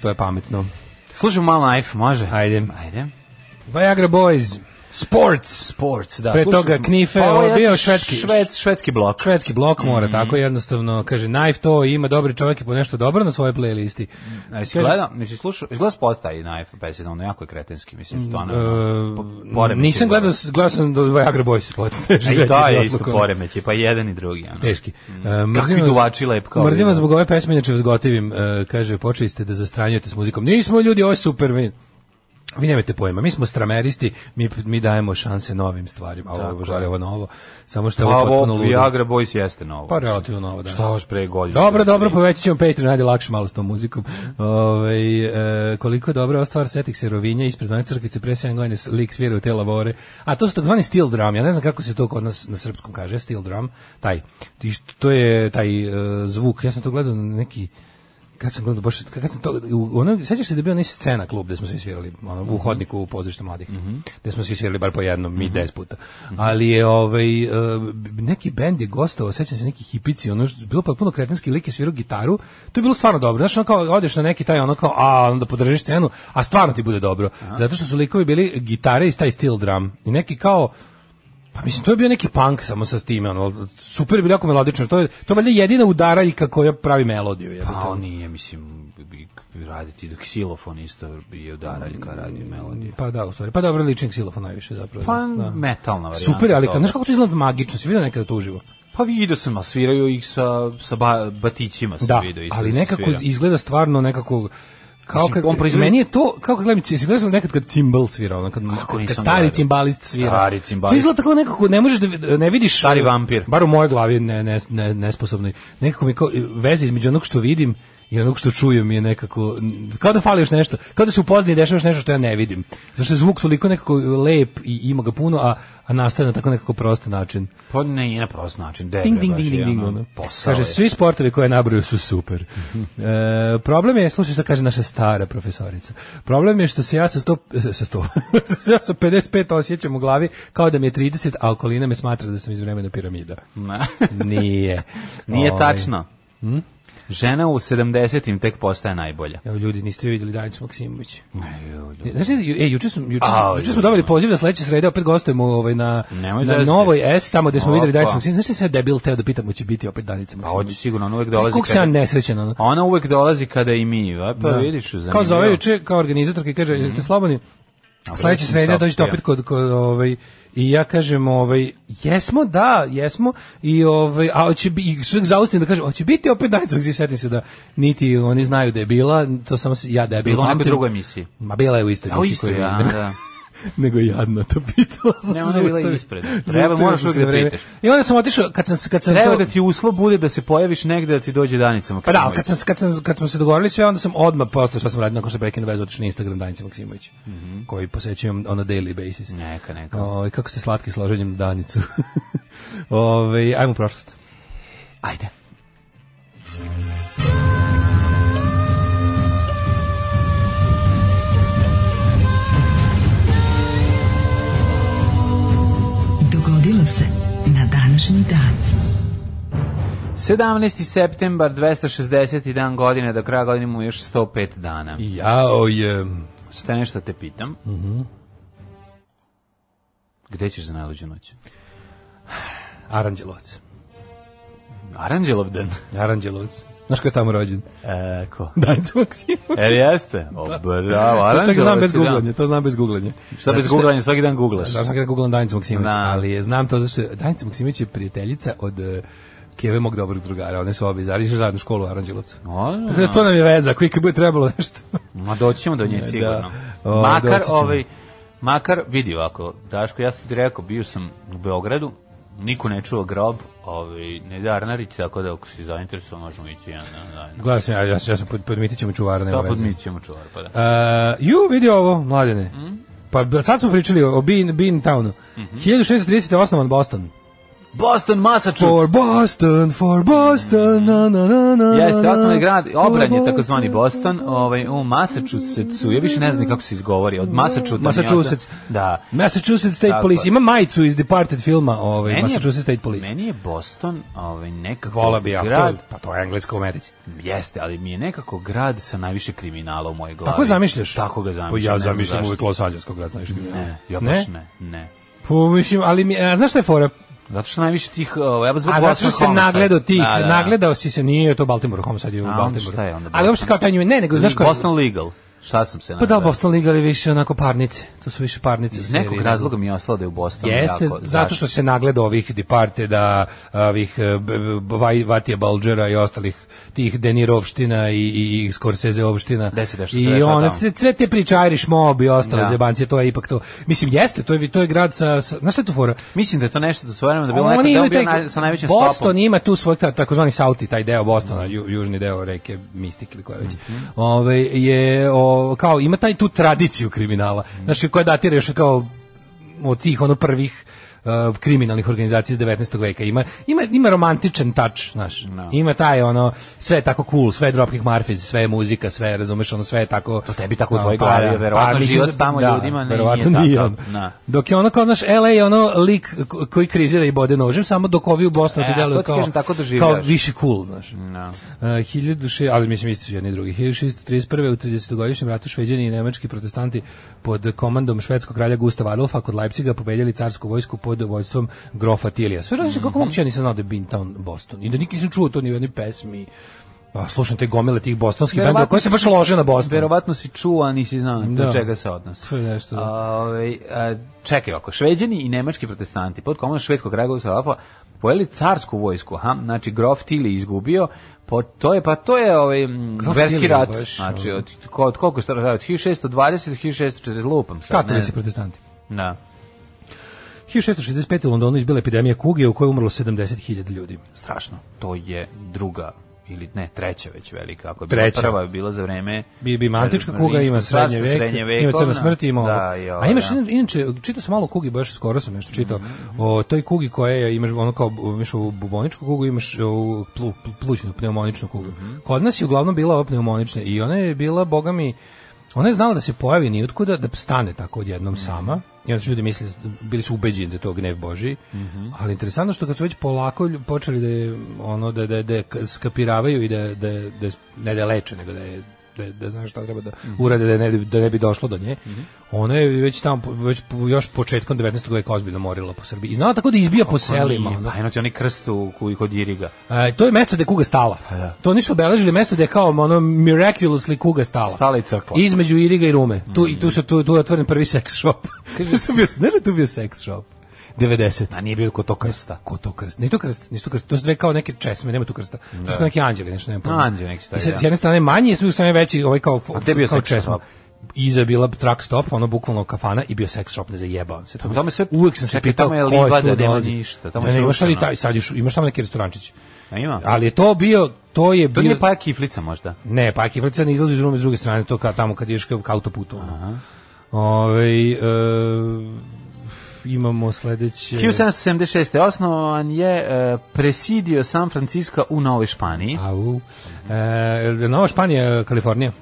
To je pametno.
Slušaj malo Knife, može?
Ajde.
Ajde.
Viagra Boys, Sports,
Sports, da.
Pre
slušaj-
toga Knife,
Pa, ovo
ovo
jeste
bio švedski-
Šved, švedski blok.
švedski blok
Mhm.
mora, tako jednostavno, kaže, Knife to ima dobri čovjek i po nešto dobro na svojoj playlisti.
A jesi
Kaže,
gledao, nisi slušao, izgleda spot taj Knife, pa ono jako je kretenski, mislim, stvarno.
e,
po- poremeti
nisam
gleda.
gledao, gledao sam do Viagra Boys
<laughs>
spot. <laughs>
A
Reći
E, i to je
mi
isto
odlukom.
poremeće, pa jedan i drugi. Ono.
Teški. E,
Kakvi
vas-
duvači lep kao
Mrzim vas
ovi, da.
zbog ove pesme, inače vas gotivim. E, kaže, počeli ste da zastranjujete s muzikom. Nismo ljudi, ovo je super. Mi, vi nemate pojma, mi smo strameristi, mi, mi dajemo šanse novim stvarima. A Ovo je obožavaju, ovo novo, samo što je
Pa
ovo potpuno
ovo
ludo.
Viagra Boys jeste novo.
Pa relativno novo, da.
Šta još pre godinu?
Dobro,
Pre
dobro, pa-
tri.
povećat ćemo Patreon, ajde lakše malo s tom muzikom. Ove, e, koliko je dobra ova stvar, setih se rovinja ispred one crkvice, pre 7 godine s- lik svira u te lavore. A to su takzvani steel drum, ja ne znam kako se to kod nas na srpskom kaže, steel drum, taj, ti što- to je taj e, zvuk, ja sam to gledao na neki, kad sam gledao baš, kad sam to, u, ono, sećaš se da je bio onaj scena klub gde smo svi svirali, ono, u hodniku u pozorištu mladih,
Mhm.
gde smo svi svirali bar po jednom, mi deset puta. Ali je, ovaj, e, b- neki bend je gostovao, sećam se neki hipici, ono, što- bilo potpuno kretenski lik je svirao gitaru, to je bilo stvarno dobro, znaš, ono kao, odeš na neki taj, ono kao, a, onda podržiš scenu, a stvarno ti bude dobro, zato što su likovi bili gitare iz taj steel drum, i neki kao, pa mislim, to je bio neki punk samo sa time, ono, super je bilo jako melodično, to je, to je valjda jedina udaraljka koja pravi melodiju. jebote,
Pa
ono.
on nije, mislim, bi- bi raditi do ksilofon isto je udaraljka radi melodiju.
Pa da, u stvari. Pa dobro, lični ksilofon najviše zapravo.
Pa
da. Da.
metalna varijanta.
Super, ali
toga.
kad, znaš kako to izgleda magično, si vidio nekada to uživo?
Pa vidio sam, a sviraju ih sa, sa ba, batićima sam
Da,
vidio. isto
ali
da se
nekako
svira.
izgleda stvarno nekako kao
Mislim,
kad,
on proizvodi-
meni je to kao kad gledam ci- si gledao sam nekad kad cimbal svira ono kad, kad,
nisam
stari
gledao?
cimbalist svira
Stari cimbalist.
to izgleda tako nekako ne možeš da vi- ne vidiš
Stari
e,
vampir.
bar u mojoj glavi ne, ne, ne, nesposobno nekako mi kao e, veze između onog što vidim i onog što čujem je nekako n- kao da fali još nešto, kao da se upoznaje i dešava još nešto što ja ne vidim, zašto je zvuk toliko nekako lep i ima ga puno a, a nastaje na tako nekako prost način
Pa ne, je na prost način. Debra,
Ding, ding, ding, ding, ding, ono.
Posao
Kaže,
je.
svi sportovi koje nabroju su super.
<laughs>
E, problem je, slušaj šta kaže naša stara profesorica. Problem je što se ja sa 100, sa 100, ja <laughs> sa 55 osjećam u glavi kao da mi je 30, a okolina me smatra da sam iz vremena piramida. <laughs>
Ma.
Nije.
<laughs> Nije
Ovaj,
tačno. Žena u 70-im tek postaje najbolja.
<laughs> Evo ljudi, niste vidjeli Danicu Maksimović.
Ejo, ljudi.
Znači, ju- e, juče smo, juče,
Au,
juče
ljudi.
smo dobili poziv da sledeće srede opet gostujemo ovaj, na,
Nemoj
na
zezati.
Novoj S, tamo gde smo
Opa.
videli Danicu Maksimović. Znaš šta se ja debil teo da pitam, hoće biti opet Danica
Pa
Maksimović?
hoće sigurno, ona uvek dolazi.
Koliko
kada-
sam nesrećen, ono.
Ona uvek dolazi kada i mi, a pa
Da.
vidiš, zanimljivo. Mhm.
Kao zove juče, kao organizator, i kaže, jeste slobodni? Sledeće
sam
srede dođete
saopštio.
opet kod, kod ovaj, i ja kažem, ovaj, jesmo, da, jesmo, i ovaj, a hoće bi, i sve zaustim da kažem, hoće biti opet danica, gdje setim se da niti oni znaju da je bila, to samo se- ja da je bila.
Bilo u nekoj drugoj emisiji.
Ma bila je u istoj
A u
emisiji
isto
koju
je, a,
idem.
da.
<laughs> Nego jadno to pitala. sam
Ne,
se
ona je bila
zaustavio.
ispred. Treba,
Zaustavio
moraš
sam se
uvijek da
na vreme.
pitaš.
I onda sam otišao, kad sam, kad sam
Treba
to-
<laughs> da ti uslov bude da se pojaviš negde da ti dođe Danica
Pa
Maksimović.
da, ali kad, sam, kad, sam, kad smo se dogovorili sve, onda sam odmah postao šta sam radio nakon što prekinu vezu otišao na Instagram Danice Maksimović, koji posećujem on a daily basis.
Mhm. Neka, neka.
Ovaj, kako ste slatki s loženjem na Danicu. <laughs> Ovaj, ajmo u prošlost.
Ajde.
Dogodilo se na današnji dan.
17. septembar, 260. dan godine, do kraja godine mu je još 105 dana.
Jao je...
Sada nešto te pitam. Gde ćeš za najluđu noć?
Aranđelovac.
Aranđelov dan.
Aranđelovac. Znaš ko je tamo rođen?
E, <laughs> ko?
Danica Maksimović.
Er jeste? O, bravo,
To čak
Aranđelov
znam bez googlanja, to znam bez googlanja.
Šta bez googlanja, svaki dan googlaš.
Znam kada googlam Danicu Maksimović,
Da.
ali je- znam to zašto je Danica Maksimović je prijateljica od eh, Keve mog dobrog drugara, one su obi završili zajedno školu u Aranđelovcu.
O,
Tako da to nam je veza, koji kad bude trebalo nešto.
Ma doći ćemo do nje sigurno.
E, O,
makar
doći ćemo.
ovaj makar vidi ovako, Daško, ja sam ti rekao, bio sam u Beogradu niko ne čuva grob, ovaj, ne darnarić, tako da ako si zainteresovan možemo ići jedan dan zajedno.
<laughs> Gledaj ovaj sam, ja, ja, sam- ja sam pod, podmitit ćemo čuvara, nema
To
veze.
podmićemo ćemo čuvar, pa da.
Uh, ju, vidi ovo, mladene.
Mm.
Pa b- sad smo pričali o, o Bean, Bean Townu.
Mhm.
1638. on Boston.
Boston,
For
Massachusetts.
Boston, for Boston, na na na na.
Jeste,
na,
osnovni grad,
for
obran je
Boston.
takozvani Boston, ovaj, u Massachusettsu, ja više ne znam ni kako se izgovori, od Massachusetts.
Massachusetts.
Da.
Massachusetts State
Tako
Police.
je.
Ima majicu iz Departed filma, ovaj,
Meni je-
Massachusetts State Police.
Meni je Boston ovaj, nekako
Vola bi ja. to-
grad,
Pa to je engleska u Americi.
jeste, ali mi je nekako grad sa najviše kriminala u mojoj glavi.
Tako zamišljaš?
Tako ga zamišljam.
Pa
ne
ja
znam
zamišljam
zašto.
uvijek Los Angeles kao grad, znaš.
Ne, ja baš ne, ne.
Pa, mislim, ali mi, a, znaš šta je fora?
Zato što najviše tih... ovaj, ja bih zbog
A zato što
Boston
se
Homicide.
nagledao ti,
Da, da, da.
nagledao si se, nije to Baltimore, Homicide je u
A, onda šta je
Baltimoru.
onda
Ali uopšte
Boston?
kao taj nju, ne, nego znaš ko je?
Boston Legal. Šta sam se
Pa da,
nagledao?
Boston Liga je više onako parnice. To su više parnice.
Iz
serije,
nekog
ne.
razloga mi je ostalo da je u Bostonu
Jeste,
jako.
zato što se nagleda ovih Departe, da ovih eh, b- b- Vaj- Vatija Balđera i ostalih tih Denirovština i, i, i Scorsese-ovština.
Da se nešto se
I
dešava
ona,
tamo.
sve, sve te priče Irish Mob i ostale
Da.
zebancije, to je ipak to. Mislim, jeste, to je, to je grad sa... sa znaš šta je tu fora?
Mislim da je to nešto da su vremena da je bilo
Oni
neko da je on
imaju
bio
taj-
naj- sa najvećim
Boston
stopom.
ima tu svoj ta- takozvani Salti, taj deo Bostona, ju- južni deo reke Mistik ili koja već.
Mhm.
Ovaj, je o, kao ima taj tu tradiciju kriminala.
Mhm.
Znači koja datira još kao od tih ono prvih e, kriminalnih organizacija iz 19. veka ima ima ima romantičan touch, znaš. Ima taj ono sve je tako cool, sve je Dropkick Murphys, sve je muzika, sve je, razumeš, ono sve je tako
To tebi tako u tvojoj
Pa,
glavi,
da.
verovatno
mislim,
život tamo
da,
ljudima ne-
verovatno
nije
nije
takav.
on.
Da.
Dok je ono kao, znaš, LA je ono lik ko- koji krizira i bode nožem, samo dok ovi u Bosnu
E,
ti
a
deluju
to ti
kao,
kažem, tako doživljavaš.
kao više cool, znaš.
No.
Uh, 1006, ali mislim isti su jedni i drugi. 1631. u 30-godišnjem ratu šveđani i nemački protestanti pod komandom švedskog kralja Gustava Adolfa kod Leipciga pobedjeli carsku vojsku pod vojstvom grofa Tilija. Sve različno kako moguće ja nisam znao da je Bintown Boston i da nikad nisam čuo to ni u jednoj pesmi. Pa slušam te gomile tih bostonskih bendova koje se baš lože na Boston.
Verovatno si čuo, a nisi znao
Da.
do čega se odnosi.
Sve nešto, da.
A, ovaj, a, čekaj ovako, šveđani i nemački protestanti pod komandom švedskog kraljevog Savafa pojeli carsku vojsku, aha, znači grof Tili izgubio, po, to je, pa to je ovaj, m,
Grof
verski
Tilly,
rat,
baš,
znači
ono.
od, ko- od koliko što od 1620 do 1640, lupam sad.
Katolici
ne-
i protestanti.
Da.
1665. u Londonu izbila epidemija kuge u kojoj je umrlo 70.000 ljudi.
strašno. To je druga ili ne, treća već velika. Ako je
Treća.
Bila prva je bila za vreme
Bi, bi ima antička kuga, ima
Rimskog
srednje
carstva,
vek, ima crna
vekovna.
smrt, ima ovo.
Da, i ovaj, ovo,
A imaš,
da. Mhm,
in- inače, čitao sam malo o kugi, baš skoro sam nešto čitao, o toj kugi koja je, imaš ono kao, imaš ovu buboničku kugu, imaš ovu plu, plu- plućnu, pneumoničnu kugu.
Mhm.
Kod nas je uglavnom bila ova pneumonična i ona je bila, boga mi, ona je znala da se pojavi nijutkuda, da stane tako odjednom
Mhm.
sama, i onda su ljudi mislili, bili su ubeđeni da je to gnev Božiji,
Mhm.
ali interesantno što kad su već polako lju- počeli da je, ono, da, da, da je k- skapiravaju i da, da, da, ne da je leče, nego da je da, da znaš šta treba da
Mhm.
urade da ne, bi- da ne bi došlo do nje. Ona je već tamo, već po- još početkom 19. veka ozbiljno morila po Srbiji. I znala tako da izbija po selima. ono.
Pa eno ti oni krst u koji kod Iriga.
E, to je mesto gde je kuga stala.
Pa
To nisu obeležili mesto gde je kao ono miraculously kuga stala.
Stala i crkla. Mhm.
Između Iriga i Rume. Tu, I tu, su, tu, tu je otvoren prvi sex shop. Kaže, <laughs> tu bio, znaš da je tu bio sex shop? 90.
A nije bilo kod to krsta.
Ko to krst? Nije to krst, nisu to krst. To su dve kao neke česme, nema tu krsta. To su neki anđeli, nešto nema pojma.
Anđeli neki stari,
I sad,
da.
S jedne strane manji, s druge strane veći, ovaj kao,
A gde je bio
kao
sex
česma.
shop?
Iza je bila truck stop, ono bukvalno kafana i bio sex shop, ne zajebavam se. Tamo,
tamo je sve-
Uvijek sam se
čekaj,
pitao
tamo je
ko je
livada,
tu
nema
dolazi.
ništa, tamo
Ne,
je
ne, imaš, ali
srušeno.
taj, sad još, imaš tamo neki restorančić.
A ima?
Ali je to bio, to je
to
bio...
nije pa kiflica možda.
Ne, pa kiflica ne izlazi iz rume s druge strane, to ka, tamo kad ješ ka, ka autoputu. ono. Ovaj, e, imamo sledeće...
1776. osnovan je e, Presidio San Francisco u Novoj Španiji.
Au. E, Nova Španija, Kalifornija.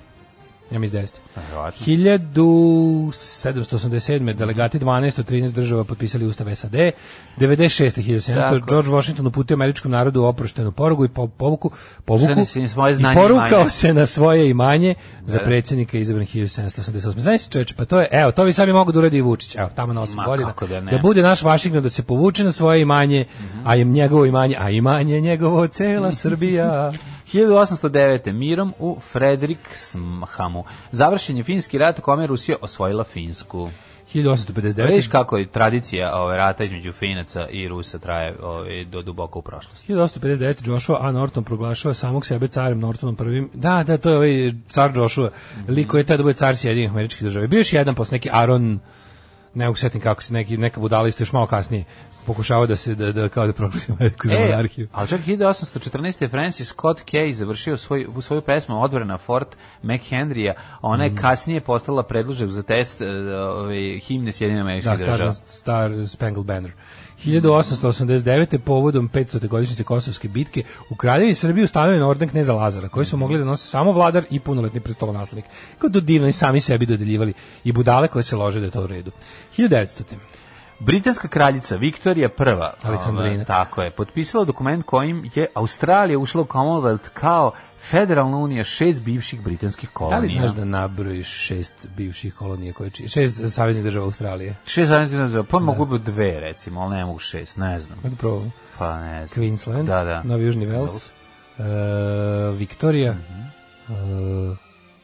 Ja mi izdesite.
Pa, Verovatno.
1787. delegati 12 od 13 država potpisali Ustav SAD. 96. 1700.
Tako.
George Washington uputio američkom narodu oproštenu porugu i po, povuku, povuku
Ženi se na svoje
i
znanje i
porukao
imanje.
se na svoje imanje za
Da.
predsjednika izabran 1788. Znaš se čoveče, pa to je, evo, to bi sami mogu da uradi i Vučić, evo, tamo na 8
Ma,
godina.
kako da ne.
da bude naš Vašington da se povuče na svoje imanje, a im njegovo imanje, a imanje njegovo cela
<laughs>
Srbija.
1809. mirom u Fredrikshamu. Završen je finski rat u kome je Rusija osvojila Finsku.
1859.
Vidiš kako je tradicija ove rata između Finaca i Rusa traje ove, do duboko u prošlosti.
1859. Joshua A. Norton proglašava samog sebe carem Nortonom prvim. Da, da, to je ovaj car Joshua, lik koji je tada bio car Sjedinih američkih država. Bio je još jedan posle neki Aron ne mogu setim kako se neki, neka budala isto još malo kasnije pokušava da se da, da kao da proglasi Ameriku za monarhiju.
E, ali čak 1814. je Francis Scott Key završio svoj, u svoju pesmu Odbrana Fort McHenrya, a ona
Mhm.
je kasnije postala predložak za test e, ove, himne Sjedinjene
Da,
američke
Star,
države.
Star Spangled Banner. 1889. povodom 500. godišnjice Kosovske bitke u Kraljevi Srbiji ustanovljen orden kneza Lazara, koji su mogli da nose samo vladar i punoletni prestolonaslednik. Kao to divno i sami sebi dodeljivali i budale koje se lože da je to u redu. 1900.
Britanska kraljica Viktorija I,
Aleksandrina.
ove, tako je, potpisala dokument kojim je Australija ušla u Commonwealth kao federalna unija šest bivših britanskih
Da
kolonija.
li znaš da nabrojiš šest bivših kolonija koje čini? Šest saveznih država Australije.
Šest zajednice za pa mogu bi dve recimo, ali ne mogu šest, ne znam.
Ajde probamo.
Pa ne znam.
Queensland,
Da, da.
Novi Južni Vels, uh, Victoria,
Mhm.
uh,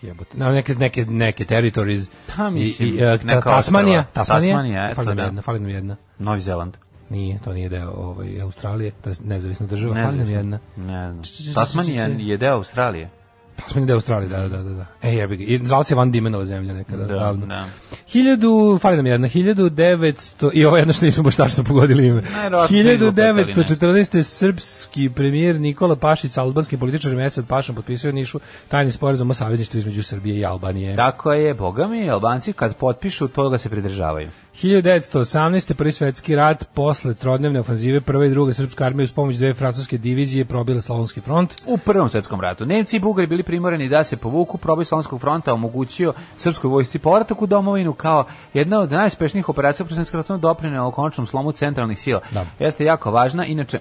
jebote, na, neke, neke, neke territories,
Pa, mislim,
i, i, uh, ta,
neka
Tasmanija,
ostrva.
Tasmanija,
Tasmanija, eto,
fali nam
da.
jedna, fali nam jedna,
Novi Zeland.
nije, to nije deo ovaj, Australije, to je nezavisna država, fali nam
znam.
jedna,
Ne znam.
č, č, č,
Tasmanija
č, č.
je deo Australije.
Tasmanija deo Australije, da, da, da, da, e jebi ga, i zvala se Van Dimenova zemlja nekada,
Da,
davno.
da.
Hiljadu, fali nam jedna, 1900, i ovo jedno što nismo baš tačno pogodili ime.
Najverovatnije izlupetali, ne.
1914. srpski premijer Nikola Pašić sa albanskim političarima Esad Pašom potpisao je u Nišu tajni sporazum o savezništvu između Srbije i Albanije.
Tako je, boga mi, Albanci kad potpišu, toga se pridržavaju.
1918. prvi svetski rat posle trodnevne ofanzive prva i druga srpska armija uz pomoć dve francuske divizije probila Slavonski front.
U Prvom svetskom ratu Nemci i Bugari bili primorani da se povuku, proboj Slavonskog fronta omogućio srpskoj vojsci povratak u domovinu kao jedna od najuspešnijih operacija u Prvom svetskom ratu doprinela u konačnom slomu centralnih sila.
Da.
Jeste jako važna, inače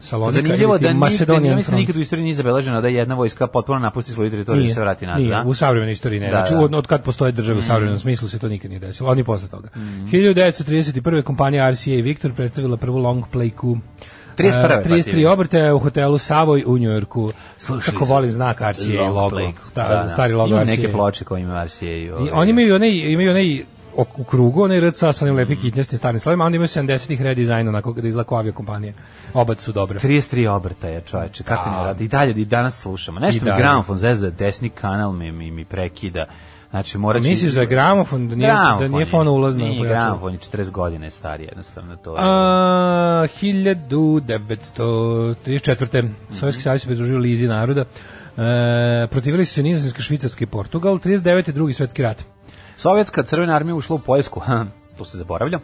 Salonika,
Zanimljivo
ili ti
da nikad, da
Macedonian
ja mislim da
front.
nikad u istoriji nije zabeleženo da jedna vojska potpuno napusti svoju teritoriju i se vrati nazad.
nije,
da?
u savremenoj istoriji ne.
Da,
znači,
da. Mm.
Od, od kad postoje države u savremenom smislu se to nikad nije desilo, ali ni posle toga. 1931. kompanija RCA Victor predstavila prvu long playku
31., pa ti vidi.
33 obrte u hotelu Savoy u Njujorku.
Slušali
Kako
smo.
volim znak RCA
Long
logo.
Plague.
Sta-
Da, da.
Stari logo
Imaju
RCA.
neke ploče koje ima RCA. I, ovaj,
I oni imaju onaj, imaju onaj ok- u krugu, onaj RCA sa onim lepim
Mm.
kitnjastim starim slovima, a onda imaju 70-ih redizajn, onako kada izlako avio kompanije. Obad su dobre.
33 obrtaja, čoveče, kako
Da.
ne radi. I dalje, i danas slušamo.
I
Nešto mi
dalje.
gramofon zezda, desni kanal mi, mi, mi prekida. Znači, morat ću...
Misliš da je gramofon, da nije, da
Gramofon
nije
je.
fona ulazna?
Nije,
pojačala?
gramofon je 40 godina je star, jednostavno to je.
A, 1934.
Mhm.
Sovjetski savez se pridružio Lizi naroda. E, protivili su se Nizozemska, Švicarska i Portugal. 39. drugi svetski rat.
Sovjetska crvena armija ušla u Poljsku, to se zaboravlja,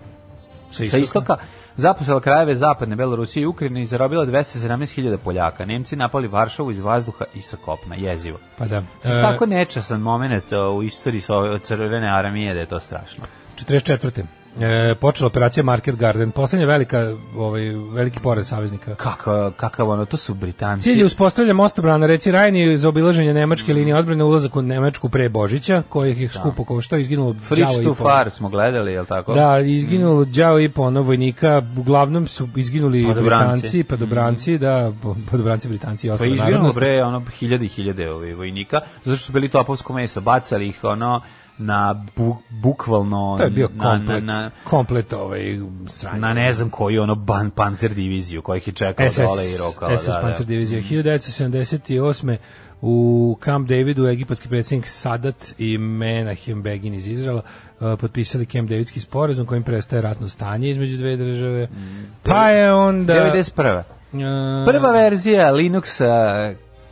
Sa
sa istoka, zaposela krajeve zapadne Belorusije i Ukrajine i zarobila 217.000 Poljaka. Nemci napali Varšavu iz vazduha i sa kopna, jezivo.
Pa da. E,
Tako nečasan moment o, u istoriji Sove- crvene armije da je to strašno.
44. E, počela operacija Market Garden. Poslednja velika, ovaj, veliki poraz saveznika.
Kakav, kakav ono, to su Britanci.
Cilj je uspostavlja mostobran na reci Rajni za obilaženje nemačke
Mhm.
linije odbrane ulazak u Nemačku pre Božića, kojih je skupo koštao, izginulo đavo
Fridge
i
to
pola.
Far smo gledali, je tako?
Da,
Mm.
izginulo đavo i po ono vojnika, uglavnom su izginuli
Padobranci.
Britanci, padobranci, da, po- padobranci, Britanci i
Pa Mm. Pa
ostale
izginulo
narodnosti.
bre ono hiljade i hiljade ovih vojnika zato što su bili topovsko meso, bacali ih ono na bu, bukvalno
To je bio
na, na,
komplet,
na,
komplet ovaj sranje.
na ne znam koju ono ban, panzer diviziju kojih je čekao dole i rokala.
SS
da, Mm. da.
Panzer divizija. 1978. u Camp Davidu egipatski predsjednik Sadat i Menahem Begin iz Izraela uh, potpisali Camp Davidski sporazum kojim prestaje ratno stanje između dve države.
Mm.
Pa je onda...
91.
uh,
Prva verzija Linuxa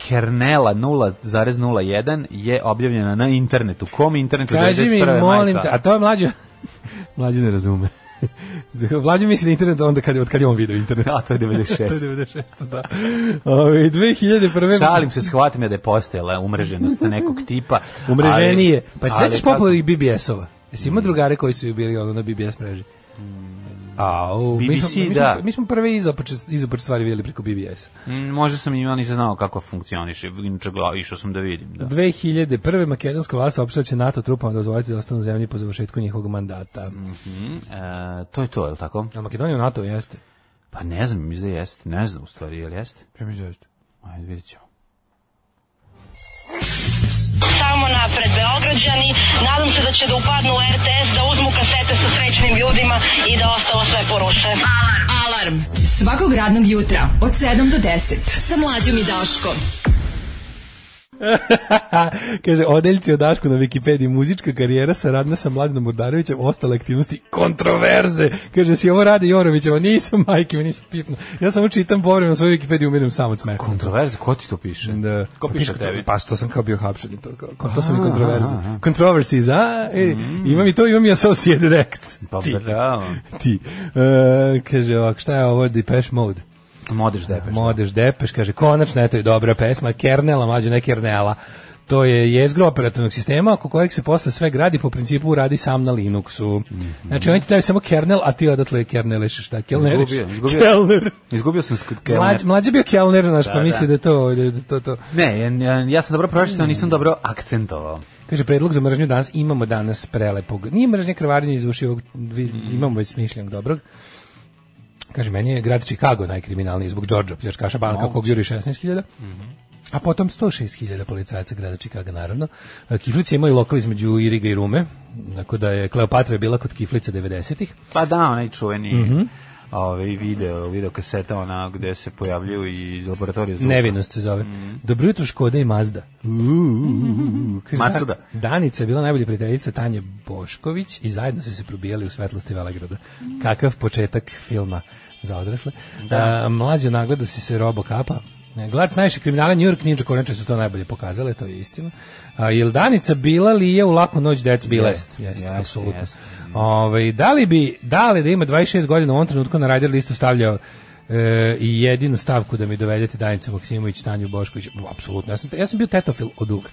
kernela 0.01 je objavljena na internetu. Kom internetu?
Kaži mi,
91.
molim
majka?
te, a to je mlađo... <laughs> mlađo ne razume. <laughs> mlađo misli na internet onda kad, je- od kad je on video
<laughs>
internet.
A, to je 96.
<laughs> to je 96, da. Ove, 2001.
Šalim se, shvatim ja da je postojala umreženost nekog tipa.
<laughs> Umreženije.
ali-
Pa se
ali
sećaš
kako- Mm.
popularnih BBS-ova? Jesi imao drugare koji su bili ono na BBS mreži? Au, mi smo,
BBC,
mi smo,
da.
mi smo prve izopače, izopače stvari vidjeli preko BBS-a.
Mm, Možda sam imao, nisam znao kako funkcioniše, inače gla- išao sam da vidim. Da.
2001. makedonska vlast saopštila da će NATO trupama dozvoliti da ostanu u zemlji po završetku njihovog mandata.
Mm, e, to je to, je li tako?
A Makedonija u NATO jeste?
Pa ne znam, mislim da jeste, ne znam u stvari, je li jeste? Ajde, vidjet ćemo.
Samo napred, Beograđani. Nadam se da će da upadnu u RTS, da uzmu kasete sa srećnim ljudima i da ostalo sve poruše.
Alarm. Svakog radnog jutra od 7 do 10. Sa mlađom i Daškom.
Kaže, odeljci o Dašku na Wikipediji, muzička karijera saradna sa Mladinom Urdarevićem, ostale aktivnosti, kontroverze. Kaže, si ovo radi Jorović, ovo nisam, majke, mi nisam pipno. Ja samo čitam povremeno svoju Wikipediju, umirim sam od smeha.
Kontroverze, ko ti to piše?
Da.
Ko piše tebi?
Pa što sam kao bio hapšen i to. Kao, kao- to su mi kontroverze. Controversies, a? E, Imam i to, imam i Associated Act.
Mm. Pa
Ti.
bravo.
Ti. E, kaže ovako, šta je ovo Depeche Mode?
Modeš depeš.
Modeš Depeš, kaže, konačno, eto je dobra pesma, Kernela, mlađe ne Kernela. To je jezgro operativnog sistema oko kojeg se posle sve gradi po principu radi sam na Linuxu.
Mhm.
Znači, oni ti daju samo kernel, a ti odatle je kerneliš šta? Kelneriš?
Izgubio, izgubio.
Kelner.
Izgubio sam skut
Mlađ, mlađe bio kelner, znaš, pa
da.
misli da je to, da je to, to.
Ne, ja, ja sam dobro pročitao,
Hmm.
nisam dobro akcentovao.
Kaže, predlog za mržnju danas, imamo danas prelepog. Nije mržnje krvarenje iz ušiju, imamo već smišljenog dobrog. Kaže, meni je grad Chicago najkriminalniji zbog Đorđa Pljačkaša banka, kog juri 16.000. A potom 106.000 policajaca grada Čikaga, naravno. E, Kiflice imaju lokal između Iriga i Rume, tako da je Kleopatra bila kod Kiflice 90-ih.
Pa da, onaj čuveni
Mhm.
ovaj video, video kaseta ona gde se pojavljuju i iz laboratorija zvuka.
Nevinost se zove. Dobro jutro Škoda i Mazda. Uuu, kaže,
Macuda.
Dan- Danica je bila najbolja prijateljica Tanje Bošković i zajedno su se probijali u svetlosti Velegrada. Kakav početak filma za odrasle. Da. mlađe nagodu si se robo kapa. E, Glac najviše kriminala, New York Ninja konačno su to najbolje pokazale, to je istina. A, jel Danica bila li je u laku noć dec? Bila je.
Jest,
Jeste,
jest,
apsolutno.
jest.
Ovaj, da li bi, da li da ima 26 godina u ovom trenutku na rider listu stavljao e, i jedinu stavku da mi dovedete Danicu Maksimović, Tanju Bošković, apsolutno. Ja sam, ja sam bio tetofil od uvek.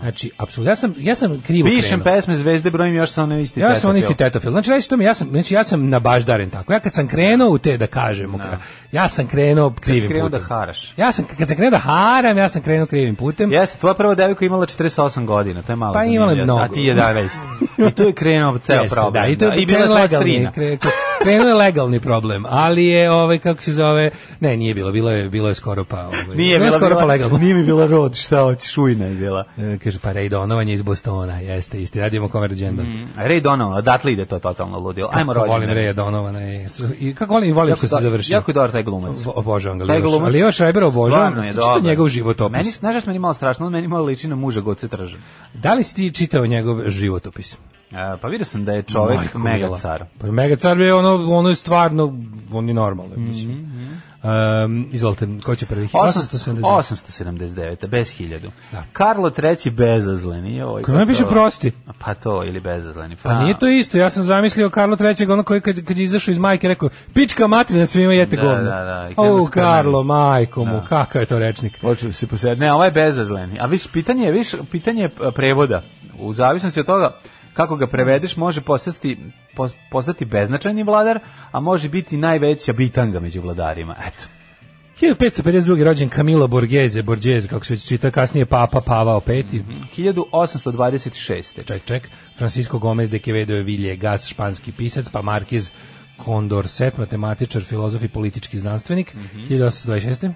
Znači, apsolutno. Ja sam, ja sam krivo
Pišem
krenuo.
pesme Zvezde, brojim još sam onaj isti
Ja sam on
tetofil.
isti tetofil. Znači, reći to mi, ja sam, znači, ja sam nabaždaren tako. Ja kad sam krenuo u te, da kažem, ja sam krenuo krivim
krenuo
putem.
da haraš.
Ja sam, kad sam krenuo da haram, ja sam krenuo krivim putem.
Jeste, tvoja prva devojka imala 48 godina, to je malo
Pa imala je
zanimljivo,
mnogo.
A ti 11. I tu je
<laughs>
krenuo ceo
Jeste,
problem.
Da, i to je
bila
krenuo
tvoja
legalni,
strina.
kre- kre- krenuo je legalni problem, ali je ovaj kako se zove, ne, nije bilo, bilo je bilo je skoro pa ovaj.
Nije
bilo je
bila,
skoro pa legalno.
bila, nije mi bila rod, šta hoćeš, ujna je bila.
E, Kaže pa Rejdonovanje iz Bostona, jeste, isti radimo Cover Agenda.
Ray Donovan, odatle ide to totalno ludilo. Mm. Ajmo rođene.
volim Reja Donovana i, i kako volim, volim što se
do-
završio.
Jako je dobar taj glumac.
Vo- obožavam ga,
Taj
Leo-
glumac
Leo Schreiber obožavam,
stvarno je
čito
dobar.
njegov životopis.
Meni, znaš da se meni malo strašno, on meni malo liči na muža Goce Tržan.
Da li si ti čitao njegov životopis?
E, Pa vidio sam da je čovek
Majko
mega
mila.
car.
Pa mega car je ono, ono je stvarno, on je normalno, mislim. Um, izvolite, ko će prvi? 879.
879, bez hiljadu.
Da.
Karlo III bezazleni. Ovaj,
Kako ne piše
to-
prosti?
Pa to, ili bezazleni.
Pa nije to isto, ja sam zamislio Karlo III, ono koji kad, kad je izašao iz majke, rekao, pička matrina svima jete
Da,
govno.
da, da, i krenuo
O,
s
Karlo,
krmenom.
majko mu, kakav je to rečnik.
Počeo se posebno. Ne, ovaj je bezazleni. A viš, pitanje je, viš, pitanje je e, prevoda. U zavisnosti od toga kako ga prevedeš, može postati, pos- postati beznačajni vladar, a može biti najveća bitanga među vladarima. Eto.
1552. rođen Camilo Borghese, Borghese, kako se već čita, kasnije Papa Pavao V.
1826.
Ček, ček, Francisco Gomez de Quevedo je Villegas, španski pisac, pa Markiz Condorcet, matematičar, filozof i politički znanstvenik,
Mhm.
1826.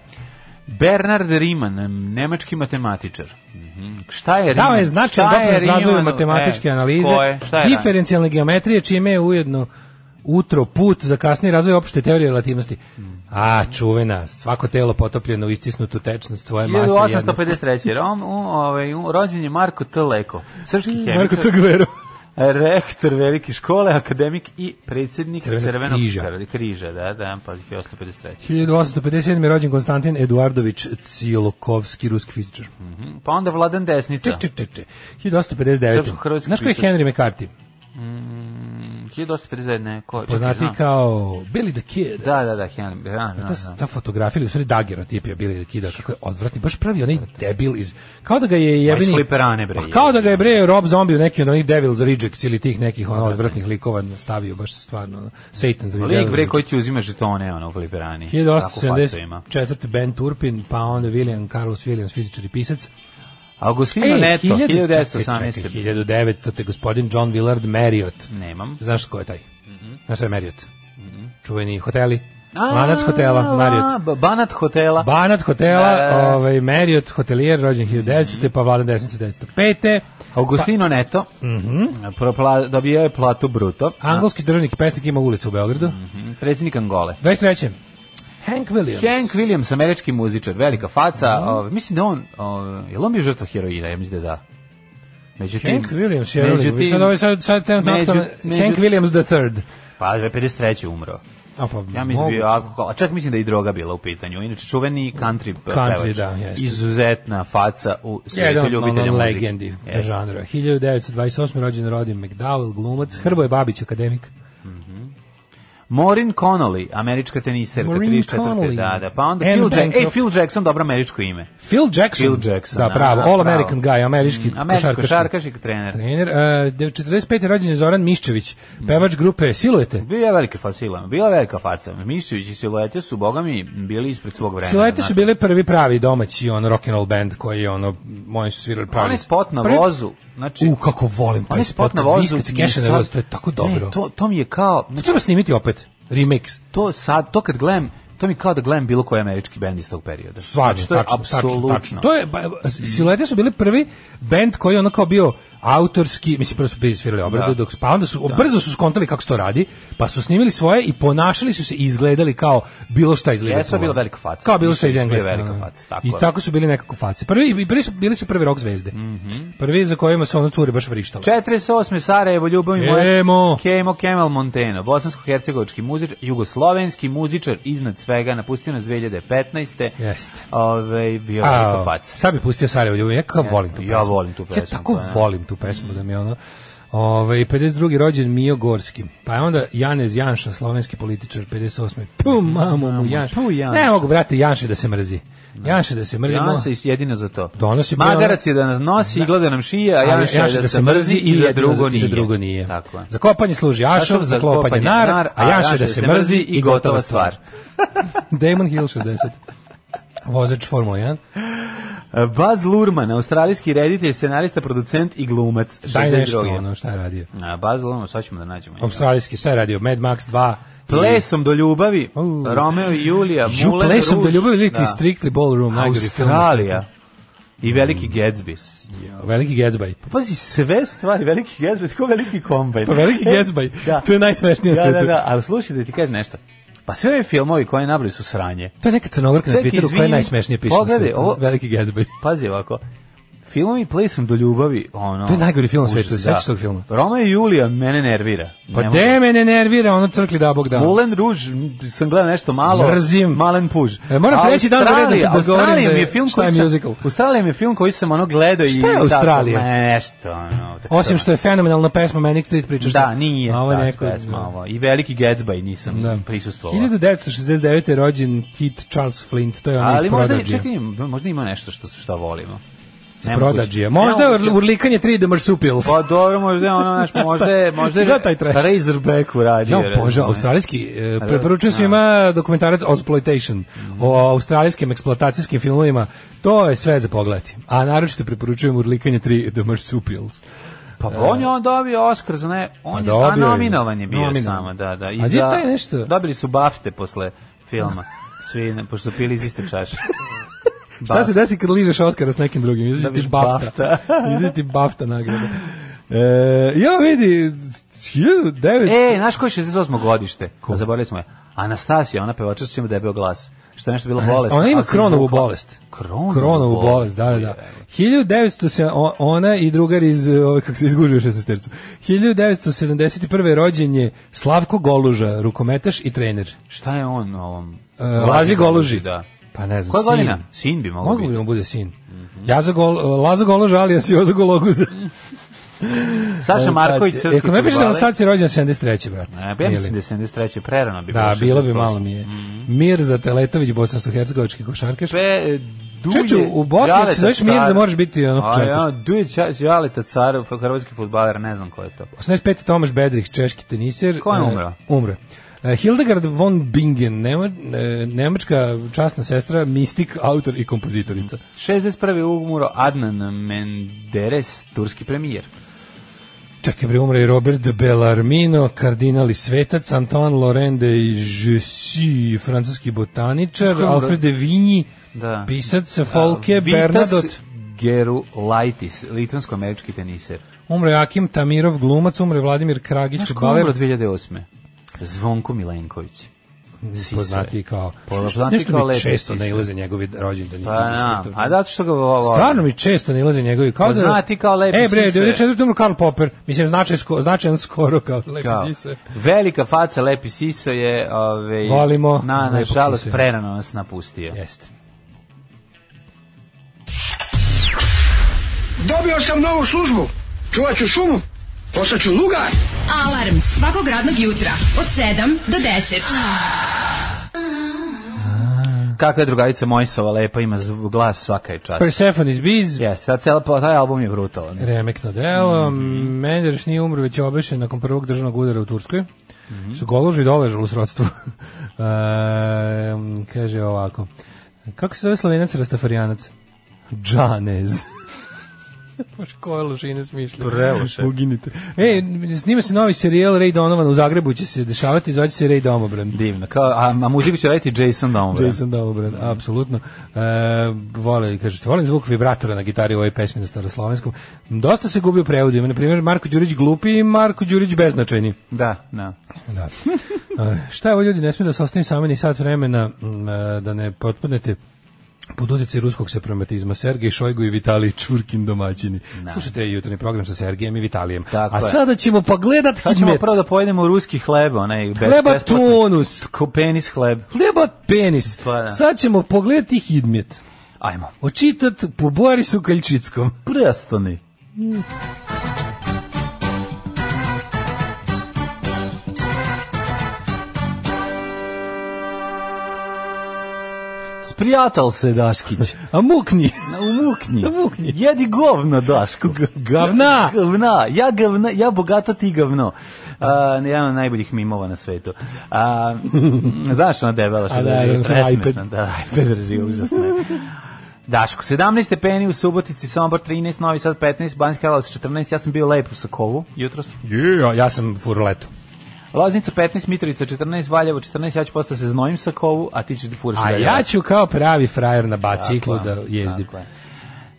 Bernard Riemann, nemački matematičar. Mhm. Šta je Riemann?
Dao je značajan
Šta je
doprinos razvoju
Riemann?
matematičke
E,
analize,
ko je? Šta je radio?
diferencijalne geometrije, čime je ujedno utro put za kasni razvoj opšte teorije relativnosti.
Hmm.
A, čuvena, svako telo potopljeno u istisnutu tečnost svoje mase. jedne.
1853. Rom, u, ovaj, u, rođen je Marko T. Leko, srpski hemičar,
Marko Tugvero.
rektor velike škole, akademik i predsjednik
Crvenog
Crvenog,
križa.
križa. da, da, pa 1853.
1857. je rođen Konstantin Eduardović Cilokovski, ruski fizičar.
Mhm. Pa onda Vladan Desnica,
Če, če, če. 1859.
Srpsko-hrvatski
Znaš ko je
pisac.
Henry McCarthy?
Mhm, 1851. Ne, ko, čekaj,
Poznati
znam.
kao Billy the Kid.
Da, da, da, Henry, da, da,
Ta,
ja. da.
ta fotografija, ili u stvari dagerotip je Billy the Kid, kako je odvratni, baš pravi onaj debil iz... Kao da ga je jebeni...
fliperane, bre,
Pa kao da ga je bre Rob Zombie u neki od onih Devil's Rejects ili tih nekih ono, odvratnih likova stavio, baš stvarno, ono, Satan's
Lik bre
Rejects.
koji ti uzima žetone ono u Fliperani. Tako facu ima.
1874. Ben Turpin, pa onda William Carlos Williams, fizičar i pisac.
Augustino
E,
Neto,
1900, čekaj,
1918.
1900. te gospodin John Willard Marriott.
Nemam.
Znaš ko je taj? Znaš šta je Marriott? Čuveni hoteli.
Mhm. A,
Lanac hotela, Marriott.
la, ba- Banat hotela.
Banat hotela,
Da, da, Mhm. da.
ovaj Marriott hotelier rođen 1900, pa Vladan Desnica 1905. pa-
Augustino Neto.
Mhm.
propla- dobio je platu bruto.
Angolski državnik i pesnik ima ulicu u Beogradu.
Mhm, Predsjednik Angole.
23. Hank Williams.
Hank Williams, američki muzičar, velika faca.
Mhm.
ovaj, mislim da on, ovaj, je li on bio žrtva heroina? Ja mislim da da. Međutim,
Hank Williams, je međutim, sad, ovaj, sad, sad trenutno
među-
aktualan-
među-
Hank Williams the third.
Pa, 53. umro.
A pa,
Ja mislim da
moguće.
bio alkohol, a čak mislim da je i droga bila u pitanju. Inače, čuveni country, eh,
Country,
pevač.
da, jeste.
Izuzetna faca u svijetu
Jedan od
ljubitelja
ono
muzike.
legendi
Jeste.
žanra. 1928. rođen Rodin McDowell, glumac.
Mhm.
Hrvoje Babić, akademik.
Maureen Connolly, američka teniserka,
Maureen
34.
Connolly.
Da, da. Pa onda
Anne
Phil, Jack, ej,
Bancroft.
Phil Jackson, dobro američko ime.
Phil Jackson.
Phil Jackson.
Da,
a,
pravo.
a,
All American guy, američki
Mm, Američki
košarkaški.
košarkaš i trener.
Trener, uh, 45. rođen je Zoran Miščević,
Mm.
pevač grupe Silujete.
Bila je velika faca, Ilona, bila je velika faca. Mišćević i Silojete su, boga mi, bili ispred svog vremena. znači,
Silujete su
znaš.
bile prvi pravi domaći on rock and roll band koji je ono moji su svirali pravi.
Onaj spot na
Prvi-
vozu, znači...
U kako volim taj
Onaj spot na vozu...
Viskac Keša na
mi sad-
vozu, to je tako dobro.
Ne,
to,
to, to mi je kao... znači,
treba snimiti opet remix.
to sad, to kad gledam, to mi kao da gledam bilo koji američki bend iz tog perioda.
Stvarno,
Znači, to je
tačno, tačno, tačno.
apsolutno.
To je, ba- ba- Silhouette su bili prvi band koji je ono kao bio autorski, mislim prvo su bili svirali obradu,
Da.
dok, su- pa onda su, brzo su skontali kako se to radi, pa su snimili svoje i ponašali su se i izgledali kao bilo šta iz Liverpoola.
Jesu, bila velika faca.
Kao bilo šta iz
Mislim, bila
Engleska.
velika
ono.
faca, tako
I
je.
tako su bili nekako face. Prvi, i prvi su, bili su prvi rock zvezde.
Mhm.
Prvi za kojima su ono cure baš vrištale.
48. Sarajevo, Ljubav i moja...
Kemo.
Kemo Kemal Monteno, bosansko-hercegovički muzičar, jugoslovenski muzičar, iznad svega, napustio nas 2015.
Jeste.
Ove, Ovaj, bio
A,
velika faca.
Sad bi pustio Sarajevo ljubav, ja kako volim tu
ja
pesmu.
volim tu
Ja
pesmu,
tako
pa ja.
volim tu pesmu da mi je ono... Ove, 52. rođen Mio Gorski, pa je onda Janez Janša, slovenski političar, 58. Tu mamo mu Janša.
Mhm. tu Janša.
Ne mogu, brate, Janše da se mrzi. Janše da se mrzi.
Ja
mo-
se is- jedino za to.
Donosi bre,
Magarac je da nas nosi i gleda nam šije, a
Ali
Janša je da, se mrzi i za
jedino
drugo
i
nije.
za drugo nije.
Tako je.
Za kopanje služi Ašov, za klopanje nar, a Janša da se mrzi i gotova stvar. Damon Hill 60. Vozač Formula 1.
E, Baz Lurman, australijski reditelj, scenarista, producent i glumac.
Daj nešto
62.
ono šta je radio.
A, Baz Lurman, sad ćemo da nađemo. njega.
Australijski, šta je radio? Mad Max 2.
Plesom do ljubavi,
Uh.
Romeo i Julija,
Ju
Mulan
plesom
Rouge.
da ljubav ili ti
Da.
Strictly Ballroom. najgori Mm. film na
Australija. I Veliki Gatsby.
svijetu. Veliki Gatsby.
Pazi, sve stvari, Veliki Gatsby, tako Veliki kombajn. E,
Pa veliki <laughs> Gatsby.
Da.
To je najsmešnije na
Da, da,
svijetu.
da, ali slušaj da ti kažem nešto. Pa sve ovi filmovi koje nabrali su sranje.
To je neka crnogorka na
Čekaj,
Twitteru koja je
izvini.
najsmešnije piše na
Pogledaj,
svijetu.
ovo-
Veliki Gatsby.
Pazi ovako. Filmovi Plesom do ljubavi, ono...
To je najgori film na
užas,
svetu, sećaš se tog filma?
Roma i Julija mene nervira.
Pa
Ne mogu.
de me ne nervira, ono crkli da bog da.
Moulin Rouge, m, sam gledao nešto malo.
Mrzim.
Malen Puž.
E, moram treći dan za redom da govorim
Australija
da
mi
je-
je film
šta
koji
je
sam...
musical?
Australija mi je film koji sam ono gledao i...
Šta je
tako,
Australija?
Nešto, ono... tako
Osim
da.
što je fenomenalna pesma Manic Street Preachers.
Da, nije.
A Ovo
Ovo
je
da,
neko...
pesma, ovo. I veliki Gatsby nisam
Da.
prisustvovao.
1969. je rođen Kit Charles Flint, to je onaj
Ali
iz
možda,
Prodadžija.
čekaj, možda ima nešto što, što volimo.
Iz
Nemoguće.
Prodadžija. Možda je
Nemoguće.
url- urlikanje 3D Marsupials.
Pa dobro, možda je ono, znaš, možda je,
<laughs>
možda
Šta
je
taj trash?
Razorback uradio.
Ja, bože,
razumeš.
australijski, e,
ovaj, Da,
preporučujem
da.
svima dokumentarac Exploitation o australijskim eksploatacijskim filmovima. To je sve za pogledati. A naročito preporučujem urlikanje 3 The Marsupials.
Pa on je on dobio Oscar za ne,
Pa
on je,
dobio
a
je.
nominovan je bio
Nominovan.
samo, da, da. I
A gdje taj nešto?
Dobili su bafte posle
<laughs>
filma. Svi, ne, pošto su pili iz iste čaše.
Šta se desi kad ližeš Oscara s nekim drugim? Izviti
Dobiješ
bafta.
BAFTA.
Izviti bafta
<laughs>
nagrada. E, ja vidi, 1900...
E, znaš koji je 68. godište? Ko? Zaboravili smo je. Anastasija, ona pevača su čemu debeo glas. Što je nešto bilo bolest.
Ona Ono ima kronovu bolest.
Kronovu,
Kronovu bolest, da, da, da. 1900 se o- ona i drugar iz o, kako se izgužio šestercu. 1971. rođen je Slavko Goluža, rukometaš i trener.
Šta je on ovom?
E, Lazi Goluži.
Da.
Pa ne znam.
Koja
sin.
godina? Sin bi mogao
Mogu Mhm. bi
biti.
mu bude sin. Ja za gol, Laza Goluža, ali ja si Joza Gologuza.
Saša Marković,
Anastacija. E,
srpski
Ako me piše da
fudbaler.
Anastacija je rođena 73. brate.
E, pa Ja mislim da
Ili-
je 73. prerano bi
Da,
prošao
bilo bi
kroz
malo
prošlo.
mi je. Mirza Teletović, bosansko-hercegovički košarkaš.
Pe, Duje,
Čeču, u Bosni ako se zoveš Mirza, moraš biti ono
A
košarkaš.
ja, Duje Ča- Đaleta Carov, hrvatski futbaler, ne znam ko je to.
85. Tomaš Bedrih, češki teniser.
Ko je
E,
umro?
umro. je. E, Hildegard von Bingen, nema, e, nemačka časna sestra, mistik, autor i kompozitorica.
61. umro Adnan Menderes, turski premijer.
Čekaj, bre, umro je Robert de Bellarmino, kardinali svetac, Antoine Laurent de Jessy, francuski botaničar,
Znaš ko je umro?
Alfred de Vigny,
Da.
pisac Folke,
Vitas
Bernadotte.
Geru Laitis, litvansko-američki teniser.
Umro je Akim
Znači,
Tamirov, glumac, umro je Vladimir Kragić,
Znaš ko je
baler.
umro 2008. Zvonko Milenković. Sise.
poznati kao
Poznatiji
nešto
kao
mi
lepe
često
sise.
nailaze njegovi rođendani.
Pa, na, a zato što ga volim.
Stvarno mi često nailaze njegovi kao da
Poznati kao lepe
E bre,
sise.
94. umro Karl Popper. Mislim značaj sko, značajan skoro kao lepe
Kao,
sise.
Velika faca, lepi siso je, ovaj,
Volimo
na, na
lepog
žalost,
Sise.
prerano nas napustio.
Jeste.
Dobio sam novu službu. Čuvat ću šumu. Postaću lugar.
Alarm svakog radnog jutra od 7 do 10.
Kakva je drugarica Mojsova, lepa, ima zv- glas svaka je čast.
Persephone iz Biz.
Jeste, sad cela, pa taj album je brutalan.
Remekno delo, mm Menderš nije umro, već je obešen nakon prvog državnog udara u Turskoj. Mm Su goložu i doležali u srodstvu. <laughs> Ehm, kaže ovako. Kako se zove slovenac rastafarijanac? Džanez. <laughs> Bože, koje lošine smišlja.
Preloše.
Uginite. E, snima se novi serijel Ray Donovan u Zagrebu će se dešavati, zvaće se Ray Domobran.
Divno. Kao, a, a muziku će raditi Jason Donovan.
Jason Domobran, apsolutno. E, vole, kažete, volim zvuk vibratora na gitari u ovoj pesmi na staroslovenskom. Dosta se gubi u prevodu. Ima, na primjer, Marko Đurić glupi i Marko Đurić beznačajni.
Da, da.
Da. E, šta je ovo ljudi, ne smije da se ostavim sami ni sat vremena m, e, da ne potpadnete pod utjecaj ruskog separatizma Sergej Šojgu i Vitalij Čurkin domaćini. Slušajte jutarnji program sa Sergejem i Vitalijem.
Tako
A
je.
sada ćemo pogledat
Sad ćemo
Hidmet.
prvo da pojedemo u ruski hleb, onaj bez,
Hleba
besplatni.
tonus,
Ko penis hleb.
hleba penis.
Pa da.
Sad ćemo pogledati Hidmet.
Ajmo.
Očitat po Borisu Kaljčickom.
Prestani. Sprijatal se Daškić.
A mukni.
Umukni.
<laughs> Umukni.
Jedi govno, Daško.
gavna.
Gavna. Ja gavna, ja bogata, ti gavno. A, jedan od najboljih mimova na svetu. A, <laughs> znaš ona debela što
A da,
je
da, sa
presmešna.
iPad.
Da, iPad drži, užasno je. Daško, 17 stepeni u Subotici, Sombor 13, Novi Sad 15, Banjska Karlovac 14, ja sam bio lep u Sokovu jutros.
Yeah, ja sam furletu.
Loznica 15, Mitrovica 14, Valjevo 14, ja ću posle se znojim Sokovu, a ti ćeš da furaš.
A
dalje.
ja ću kao pravi frajer na baciklu
Tako
da
je,
jezdim.
tako je.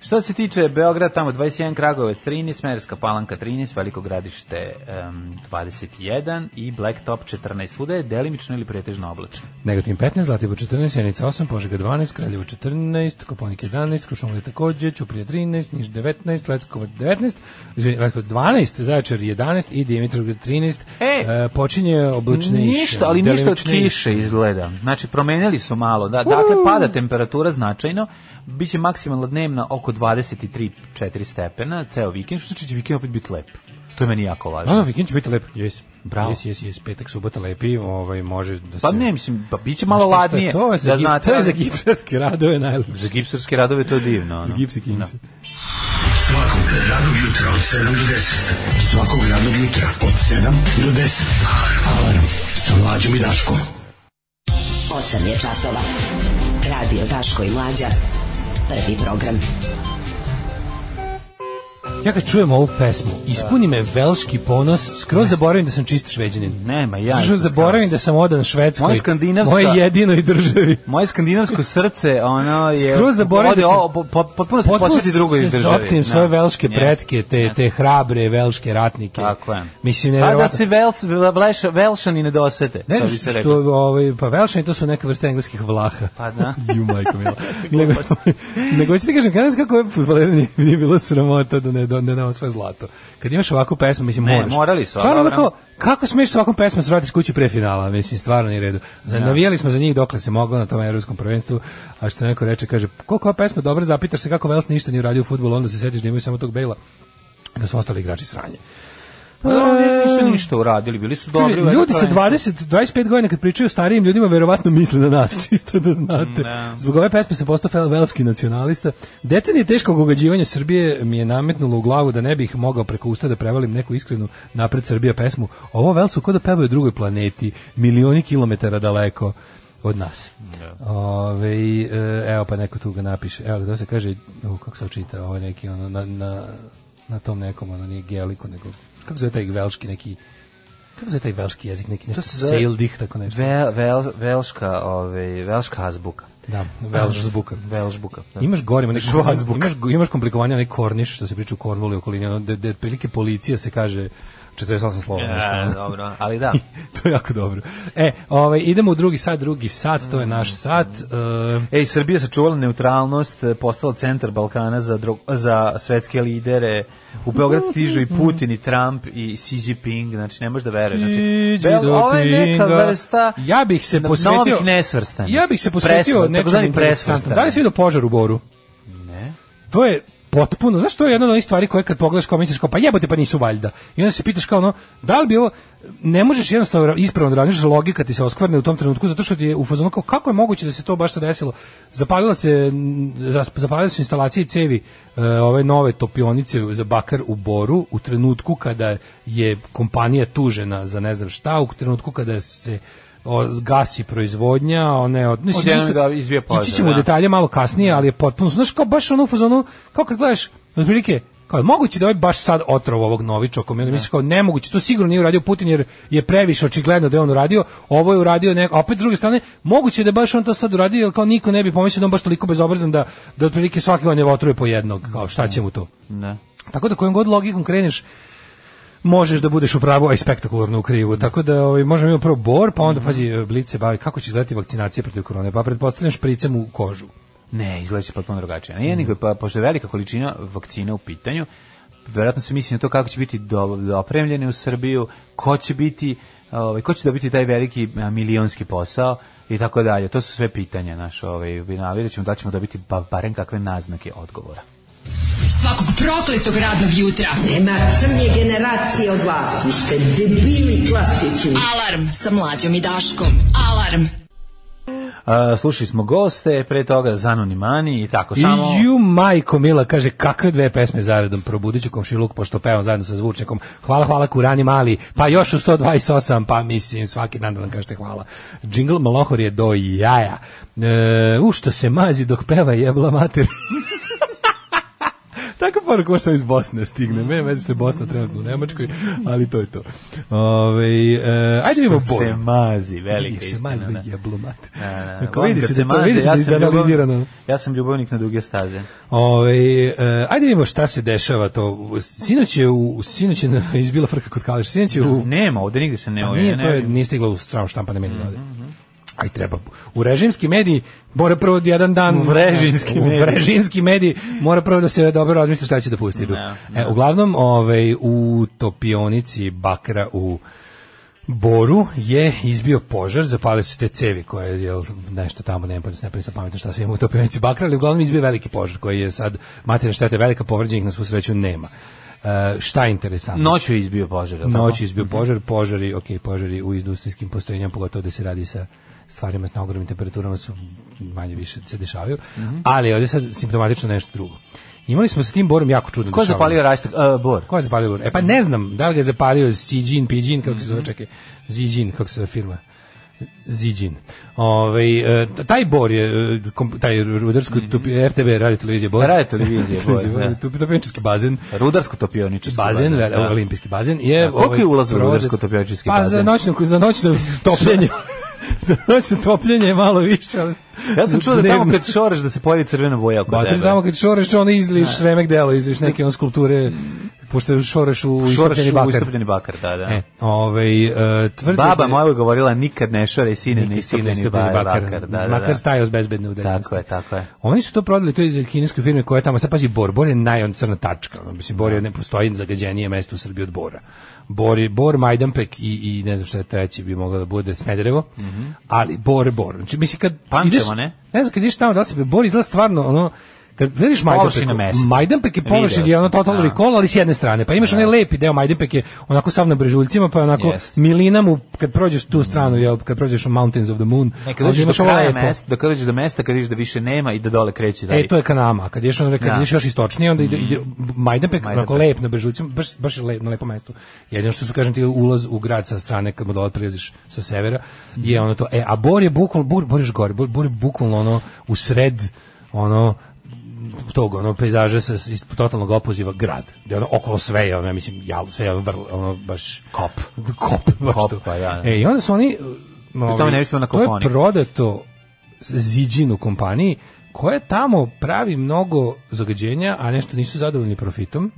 Što se tiče Beograd, tamo 21, Kragovec 13, Smerska palanka 13, Veliko gradište em, 21 i Blacktop 14. Svuda je delimično ili pretežno oblačno.
Negotin 15, Zlatibor 14, Janica 8, Požega 12, Kraljevo 14, Koponik 11, Krušumlje takođe, Ćuprije 13, Niš 19, Leskovac 19, izvini, Leskovac 12, Zaječar 11 i Dimitrovgrad 13.
E!
E, počinje oblačne
Ništa, ali ništa od kiše izgleda. Znači, promenili su malo. Da, dakle, pada temperatura značajno. Biće maksimalna dnevna oko 23-4 stepena, ceo vikend, što znači da će vikend opet biti lep. To je meni jako
No,
važno.
no, vikend će biti lep. Jes.
Bravo.
Jes, jes, jes, petak, subota lepi, ovaj, može da se...
Pa ne, mislim, pa bit će malo
Šta, šta,
ladnije.
To je za,
da
gip-
znate,
to je za
ali-
gipsarske radove najlepše.
Za gipsarske radove to je divno. ono.
Gipsi
Da.
kinse.
Svakog radnog jutra od 7 do 10. Svakog radnog jutra od 7 do 10. Alarm sa mlađom i Daškom.
8 je časova. Radio Daško i Mlađa. Prvi program.
Ja kad čujem ovu pesmu, ispuni me velški ponos, skroz zaboravim da sam čist šveđanin.
Nema, ja.
Skroz zaboravim da sam odan Švedskoj.
Moja skandinavska-
Moje jedinoj državi.
Moje skandinavsko srce, ono je...
Skroz zaboravim
ode
da sam-
o- po- po- potpuno se posveti drugoj
se
državi.
otkrijem
Da.
svoje velške
Jeste,
pretke, te,
jeste.
te hrabre velške ratnike.
Tako je.
Mislim,
Pa da
nevjerovatno.
se Vels, Vels, Velšani ne dosete,
Ne,
to bi
što,
se reklo.
ovaj, pa velšani to su neka vrsta engleskih vlaha.
Pa da.
<laughs> Ju, majko
<laughs>
mila. nego, <laughs> nego ću ti kažem, kada kako je futbolera nije, nije bilo sramota da ne, da ne damo svoje zlato. Kad imaš ovakvu pesmu, mislim,
Ne,
moraš.
morali su,
Stvarno,
ali
ono kao,
dobro.
kako smiješ s ovakvom pesmom svratiš kući pre finala, mislim, stvarno nije redu. Za, Navijali smo za njih dokle se moglo na tom evropskom prvenstvu, a što neko reče, kaže, koliko je ova pesma dobra, zapitaš se kako Vels ništa nije uradio u futbolu, onda se setiš da imaju samo tog Bejla, da su ostali igrači sranje. E,
Pa da, oni nisu ništa uradili, bili su dobri.
Kaže,
u
ljudi sa
Evropi.
20 25 godina kad pričaju o starijim ljudima verovatno misle na nas, <laughs> čisto da znate.
Mm, da.
Zbog ove pesme sam postao fel- velski nacionalista. Decenije teškog ogađivanja Srbije mi je nametnulo u glavu da ne bih mogao preko usta da prevalim neku iskrenu napred Srbija pesmu. Ovo Velsu kod da pevaju drugoj planeti, milioni kilometara daleko od nas. Ove, i, e, evo pa neko tu ga napiše. Evo da se kaže, u, kako se čita, ovo je neki ono, na, na, na tom nekom, ono nije geliku, nego kako se zove taj velški neki kako se zove taj velški jezik, neki nešto
se zove-
saildih, tako nešto.
Vel, vel, velška, ovaj, velška azbuka.
Da, Welsh zbuka.
Welsh buka. Da.
Imaš gore, imaš,
Žvazbuk.
imaš, imaš komplikovanje onaj korniš, što se priča u Cornwallu i okolini, ono, da, da otprilike policija se kaže 48 slova.
E,
nešto.
dobro, ali da.
<laughs> to je jako dobro. E, ovaj, idemo u drugi sat, drugi sat, to je naš sat.
Mm.
e,
Ej, Srbija sačuvala neutralnost, eh, postala centar Balkana za, dro- za svetske lidere. U Beograd stižu
Mhm.
i Putin, i Trump, i Xi Jinping, znači ne možeš da veruješ. Znači,
Siđe
Bel-
do
ovo je neka
pinga.
vrsta
ja bih se
no-
posvetio
novih nesvrstanih.
ja bih se
Presvrstanih,
posvetio nečemu
takozvani
interesantnom
presvrstanih.
da li si vidio požar u Boru
Ne.
to je potpuno znaš to je jedna od onih stvari koje kad pogledaš kao misliš kao pa jebote pa nisu valjda i onda se pitaš kao ono da li bi ovo ne možeš jednostavno ra- ispravno da razmišljaš logika ti se oskvarne u tom trenutku zato što ti je u fazonu kao kako je moguće da se to baš sad desilo zapalila se m, zas- zapalile su instalacije i cevi e, ove nove topionice za bakar u Boru u trenutku kada je kompanija tužena za ne znam šta u trenutku kada se o, gasi proizvodnja, one od... mislim,
Odjednom
isto-
ga izbije požar,
Ići ćemo u
da.
detalje malo kasnije, ali je potpuno, znaš, kao baš ono u fazonu, kao kad gledaš, otprilike, kao je moguće da ovaj baš sad otrov ovog novičokom, ja misliš kao nemoguće, to sigurno nije uradio Putin jer je previše očigledno da je on uradio, ovo je uradio neko, a opet s druge strane, moguće je da je baš on to sad uradio, jer kao niko ne bi pomislio da je on baš toliko bezobrazan da, da otprilike svaki on je otruje po jednog, kao šta će mu to.
Ne.
Tako da kojom god logikom kreneš, možeš da budeš u pravu, a i spektakularno u krivu. Tako da ovaj, možemo imati prvo bor, pa onda, pazi, Blic se bavi kako će izgledati vakcinacija protiv korone, pa pretpostavljam špricem u kožu.
Ne, izgleda će potpuno drugačije. Nije nikog, pa, pošto je velika količina vakcina u pitanju, verovatno se misli na to kako će biti do, dopremljene u Srbiju, ko će biti, ovaj, ko će dobiti taj veliki a, milionski posao i tako dalje. To su sve pitanja naše, ovaj, ali vidjet ćemo da li ćemo dobiti ba, barem kakve naznake odgovora.
Svakog prokletog radnog jutra.
Nema crnje generacije od vas. Vi ste debili klasični.
Alarm sa mlađom i Daškom. Alarm.
A, slušali smo goste, pre toga Zanoni Mani i tako Pa samo...
I ju majko mila, kaže, kakve dve pesme zaredom, probudit ću komšiluk, pošto pevam zajedno sa zvučnikom, hvala, hvala, kurani mali, pa još u 128, pa mislim, svaki dan da nam kažete hvala. Džingl Malohor je do jaja. E, u što se mazi dok peva jebla mater. <laughs> Tako poruka možda samo iz Bosne stigne. Me veze što je Bosna trenutno u Nemačkoj, ali to je to. Ove, e, ajde vidimo
Što
bolje.
se mazi, velika
Vidi se
istina.
mazi
da.
jeblo mater.
Da, da,
Ako
volim
vidi
kad
se da to- vidi se
ja
da je
sam ljubav-
izanalizirano.
Ja sam ljubavnik na duge staze.
Ove, e, ajde vidimo šta se dešava to. Sinoć je, u, sinoć je <laughs> na- izbila frka kod Kališa. Sinoć je u...
Nema, ovde nigde se ne
Pa
oje. Mhm,
nije,
ne,
to je, nije stiglo u stranu štampane medije mm Aj treba. U režimski mediji mora prvo jedan dan...
U
<laughs>
režimski
u
mediji.
režimski mediji mora prvo da se dobro razmisli šta će da pusti.
Da,
E, uglavnom, ovaj, u topionici bakra u Boru je izbio požar, zapale su te cevi koje je jel, nešto tamo, ne znam, ne sam pametan šta sve ima u topionici bakra, ali uglavnom izbio veliki požar koji je sad materina šteta je velika, povređenih na svu sreću nema. E, šta je interesantno?
Noću je izbio požar. je li
Noć
tako?
izbio požar, požari, ok, požari u industrijskim postrojenjama, pogotovo da se radi sa stvarima s na ogromnim temperaturama su manje više se dešavaju, ali ovdje sad simptomatično nešto drugo. Imali smo sa tim borom jako čudno
Ko je zapalio rajstak? Uh, bor.
Ko je zapalio bor? E pa ne znam, da li ga je zapalio Xi Jin, Pijin, kako se zove, čekaj, Xi Jin, kako se zove firma? Ziđin. Ovaj e, taj Bor je e, kom- taj rudarsko RTB radio televizija Bor.
Radio
<laughs>
televizija Bor, da.
Tu topenički bazen.
Rudarsko topioničarski
Bazen, e,
bazen,
da. olimpijski bazen je... ovaj
Da, koliko je ulaz u
provode-
rudarsko-topioničarski
pa,
bazen?
za noćno, za
<laughs>
noćno topljenje. <laughs> za noćno topljenje je malo više, ali...
Ja sam čuo da
Dnevno.
tamo kad šoreš da se pojavi crvena boja oko
Bater
tebe.
tamo kad šoreš, ono izliš remek delo, izliš neke on skulpture, pošto šoreš u
šoreš
istopljeni
u
bakar.
istopljeni bakar, da, da.
E, ovaj, e, tvrdi da
Baba
je-
moja je govorila nikad ne šore sine
Nikad
ni istopljeni
istopljeni
bakar,
bakar,
bakar, da, da, da.
Makar stajao s bezbedne udaljenosti.
Tako je, tako je.
Oni su to prodali, to je iz kineske firme koja je tamo, sad pazi, Bor, Bor je najon crna tačka, ono, mislim, Bor je, ne postoji zagađenije mesto u Srbiji od Bora. Bor, je, Bor Majdanpek i, i ne znam šta je treći bi moglo da bude Smederevo, ali Bor je Bor. Znači, mislim, kad
Pančevo,
ideš,
Mhm. ne?
znam, kad ideš tamo, da li se Bor izgleda stvarno, ono, kad vidiš Majdanpek,
Površina mesta.
Majdanpek je
Video
površin, je ono
sam,
totalno
da.
recall, ali s jedne strane. Pa imaš onaj lepi deo Majdanpek je onako sav na brežuljcima, pa je onako
Jeste.
milina mu, kad prođeš tu stranu, jel, kad prođeš u Mountains of the Moon,
E, kad
onda
dođeš do
imaš ovo
kraja
lepo.
mesta, dok dođeš do mesta, kad vidiš da više nema i da dole kreće dalje.
E, to je kanama. Kad ješ, on, kad
Znači, Da. Mm.
ideš još istočnije, onda ide, ide Majdanpek,
Majdanpek.
onako lep na Brežuljcima, baš, baš je lep, na lepom mestu. Jedino što su, kažem ti, ulaz u grad sa strane, kad mu dole prilaziš sa severa,
Mm.
je ono to. E, a Bor je bukvalno, Bor, Bor je još gore, Bor, Bor je bukvalno ono, u sred, ono, tog ono pejzaža sa s- iz totalnog opoziva grad gde ono okolo sve je ono ja mislim jal sve je ono, vrlo, ono baš
Kop.
kop baš
Kop,
to.
pa da, da.
e i onda su oni
tome ne mislimo na
to je
Kopaonik.
prodato Ziđin u kompaniji, koja tamo pravi mnogo zagađenja, a nešto nisu zadovoljni profitom.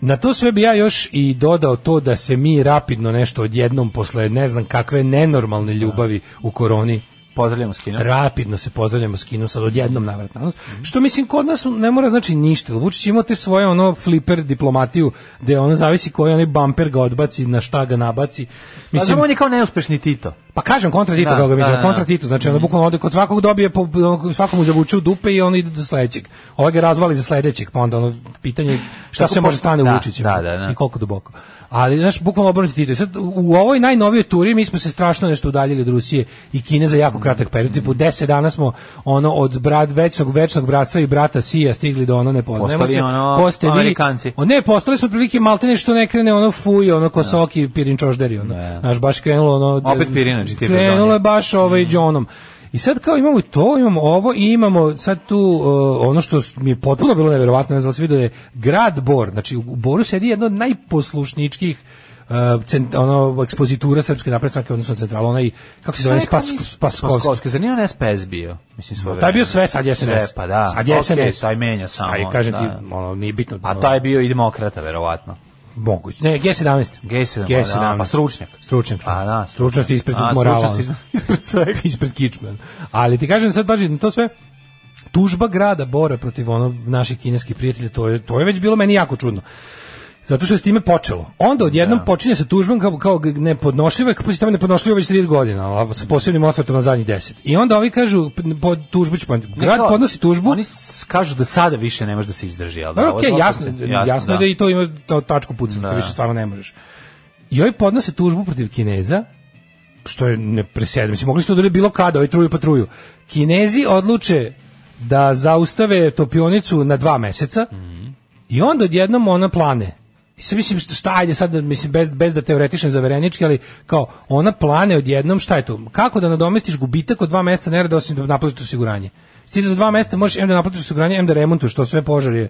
Na to sve bi ja još i dodao to da se mi rapidno nešto odjednom posle ne znam kakve nenormalne ljubavi u koroni
Pozdravljamo s kinom.
Rapidno se pozdravljamo s kinom sad odjednom navrat na nos.
Mhm.
Što mislim kod nas ne mora znači ništa. Vučić ima te svoje ono fliper diplomatiju gde ono zavisi koji onaj bumper ga odbaci, na šta ga nabaci.
Pa
Mislim,
znam, on je kao neuspešni Tito.
pa kažem kontra Tito
Da,
kako ga mi
da,
zove,
da, Mhm.
kontra
da.
Tito, znači ono bukvalno ode kod svakog dobije, po, ono, svakomu zavuče u dupe i on ide do sledećeg. Ovaj ga razvali za sledećeg, pa onda ono pitanje je šta
Tako
se
po-
može stane u
da,
Vučiću
da, da, da.
i koliko duboko. Ali, znaš, bukvalno obrnuti Tito. I Sad, u ovoj najnovijoj turi mi smo se strašno nešto udaljili od Rusije i Kine za jako kratak period. Tipu, deset dana smo ono, od brat, večnog, večnog bratstva i brata Sija stigli do ono ne poznajemo
Postali
se.
ono
Ko ste vi?
Amerikanci.
O, ne, postali smo prilike maltene što ne krene ono fuj, ono kosoki, pirinčožderi. Ono. Znaš, baš krenulo ono
Opet pirinač i ti bez Mm.
Krenulo
onje.
je baš ovaj Johnom. I sad kao imamo to, imamo ovo i imamo sad tu uh, ono što s- mi je potpuno bilo neverovatno, ne znam da li si vidio da je grad Bor, znači u Boru sedi jedno od najposlušničkih uh, cent, ono, ekspozitura Srpske napredne stranke, odnosno centrala, onaj, kako se
pa
zove, Spas, Spaskovski.
Spaskovski. Zar nije on SPS bio? Mislim, svoje
Taj je bio
vreme.
sve, sad je SNS.
Sve, pa da.
Sad je
Ok,
SNS.
taj menja samo.
Taj, kažem
da.
ti, ono, nije bitno.
A taj je bio i demokrata, verovatno.
Moguće. Ne, G17.
G17,
G17.
da, pa stručnjak.
Stručnjak.
Pa da,
stručnost ispred
A,
morala.
stručnost
<laughs> ispred svega. ispred kičmen. Ali ti kažem sad, baš, to sve, tužba grada Bora protiv ono naših kineskih prijatelja, to je, to je već bilo meni jako čudno. Zato što je s time počelo. Onda odjednom počinje sa tužbom kao, kao nepodnošljivo, kao tamo nepodnošljivo već 30 godina, ali sa posebnim osvrtom na zadnjih 10. I onda ovi kažu, p- pod tužbu ću, podneti.
Ne,
grad
kao,
podnosi tužbu,
Oni s- kažu da sada više ne možeš da se izdrži, al da.
da,
ovo
okej,
je
jasno,
dvaput-
jasno, je da i to ima ta- tačku pucanja,
Da.
da. više stvarno ne možeš. I ovi podnose tužbu protiv Kineza, što je ne presedam. Mislim, mogli su to da bilo kada, ovaj truju pa truju. Kinezi odluče da zaustave topionicu na dva meseca i onda odjednom ona plane. I sad mislim, šta ajde sad, mislim, bez, bez da teoretične zaverenički, ali kao, ona plane odjednom, šta je to? Kako da nadomestiš gubitak od dva meseca nerada osim da naplatiš osiguranje? Ti da za dva meseca možeš em da naplatiš osiguranje, em da remontuješ, to sve požar je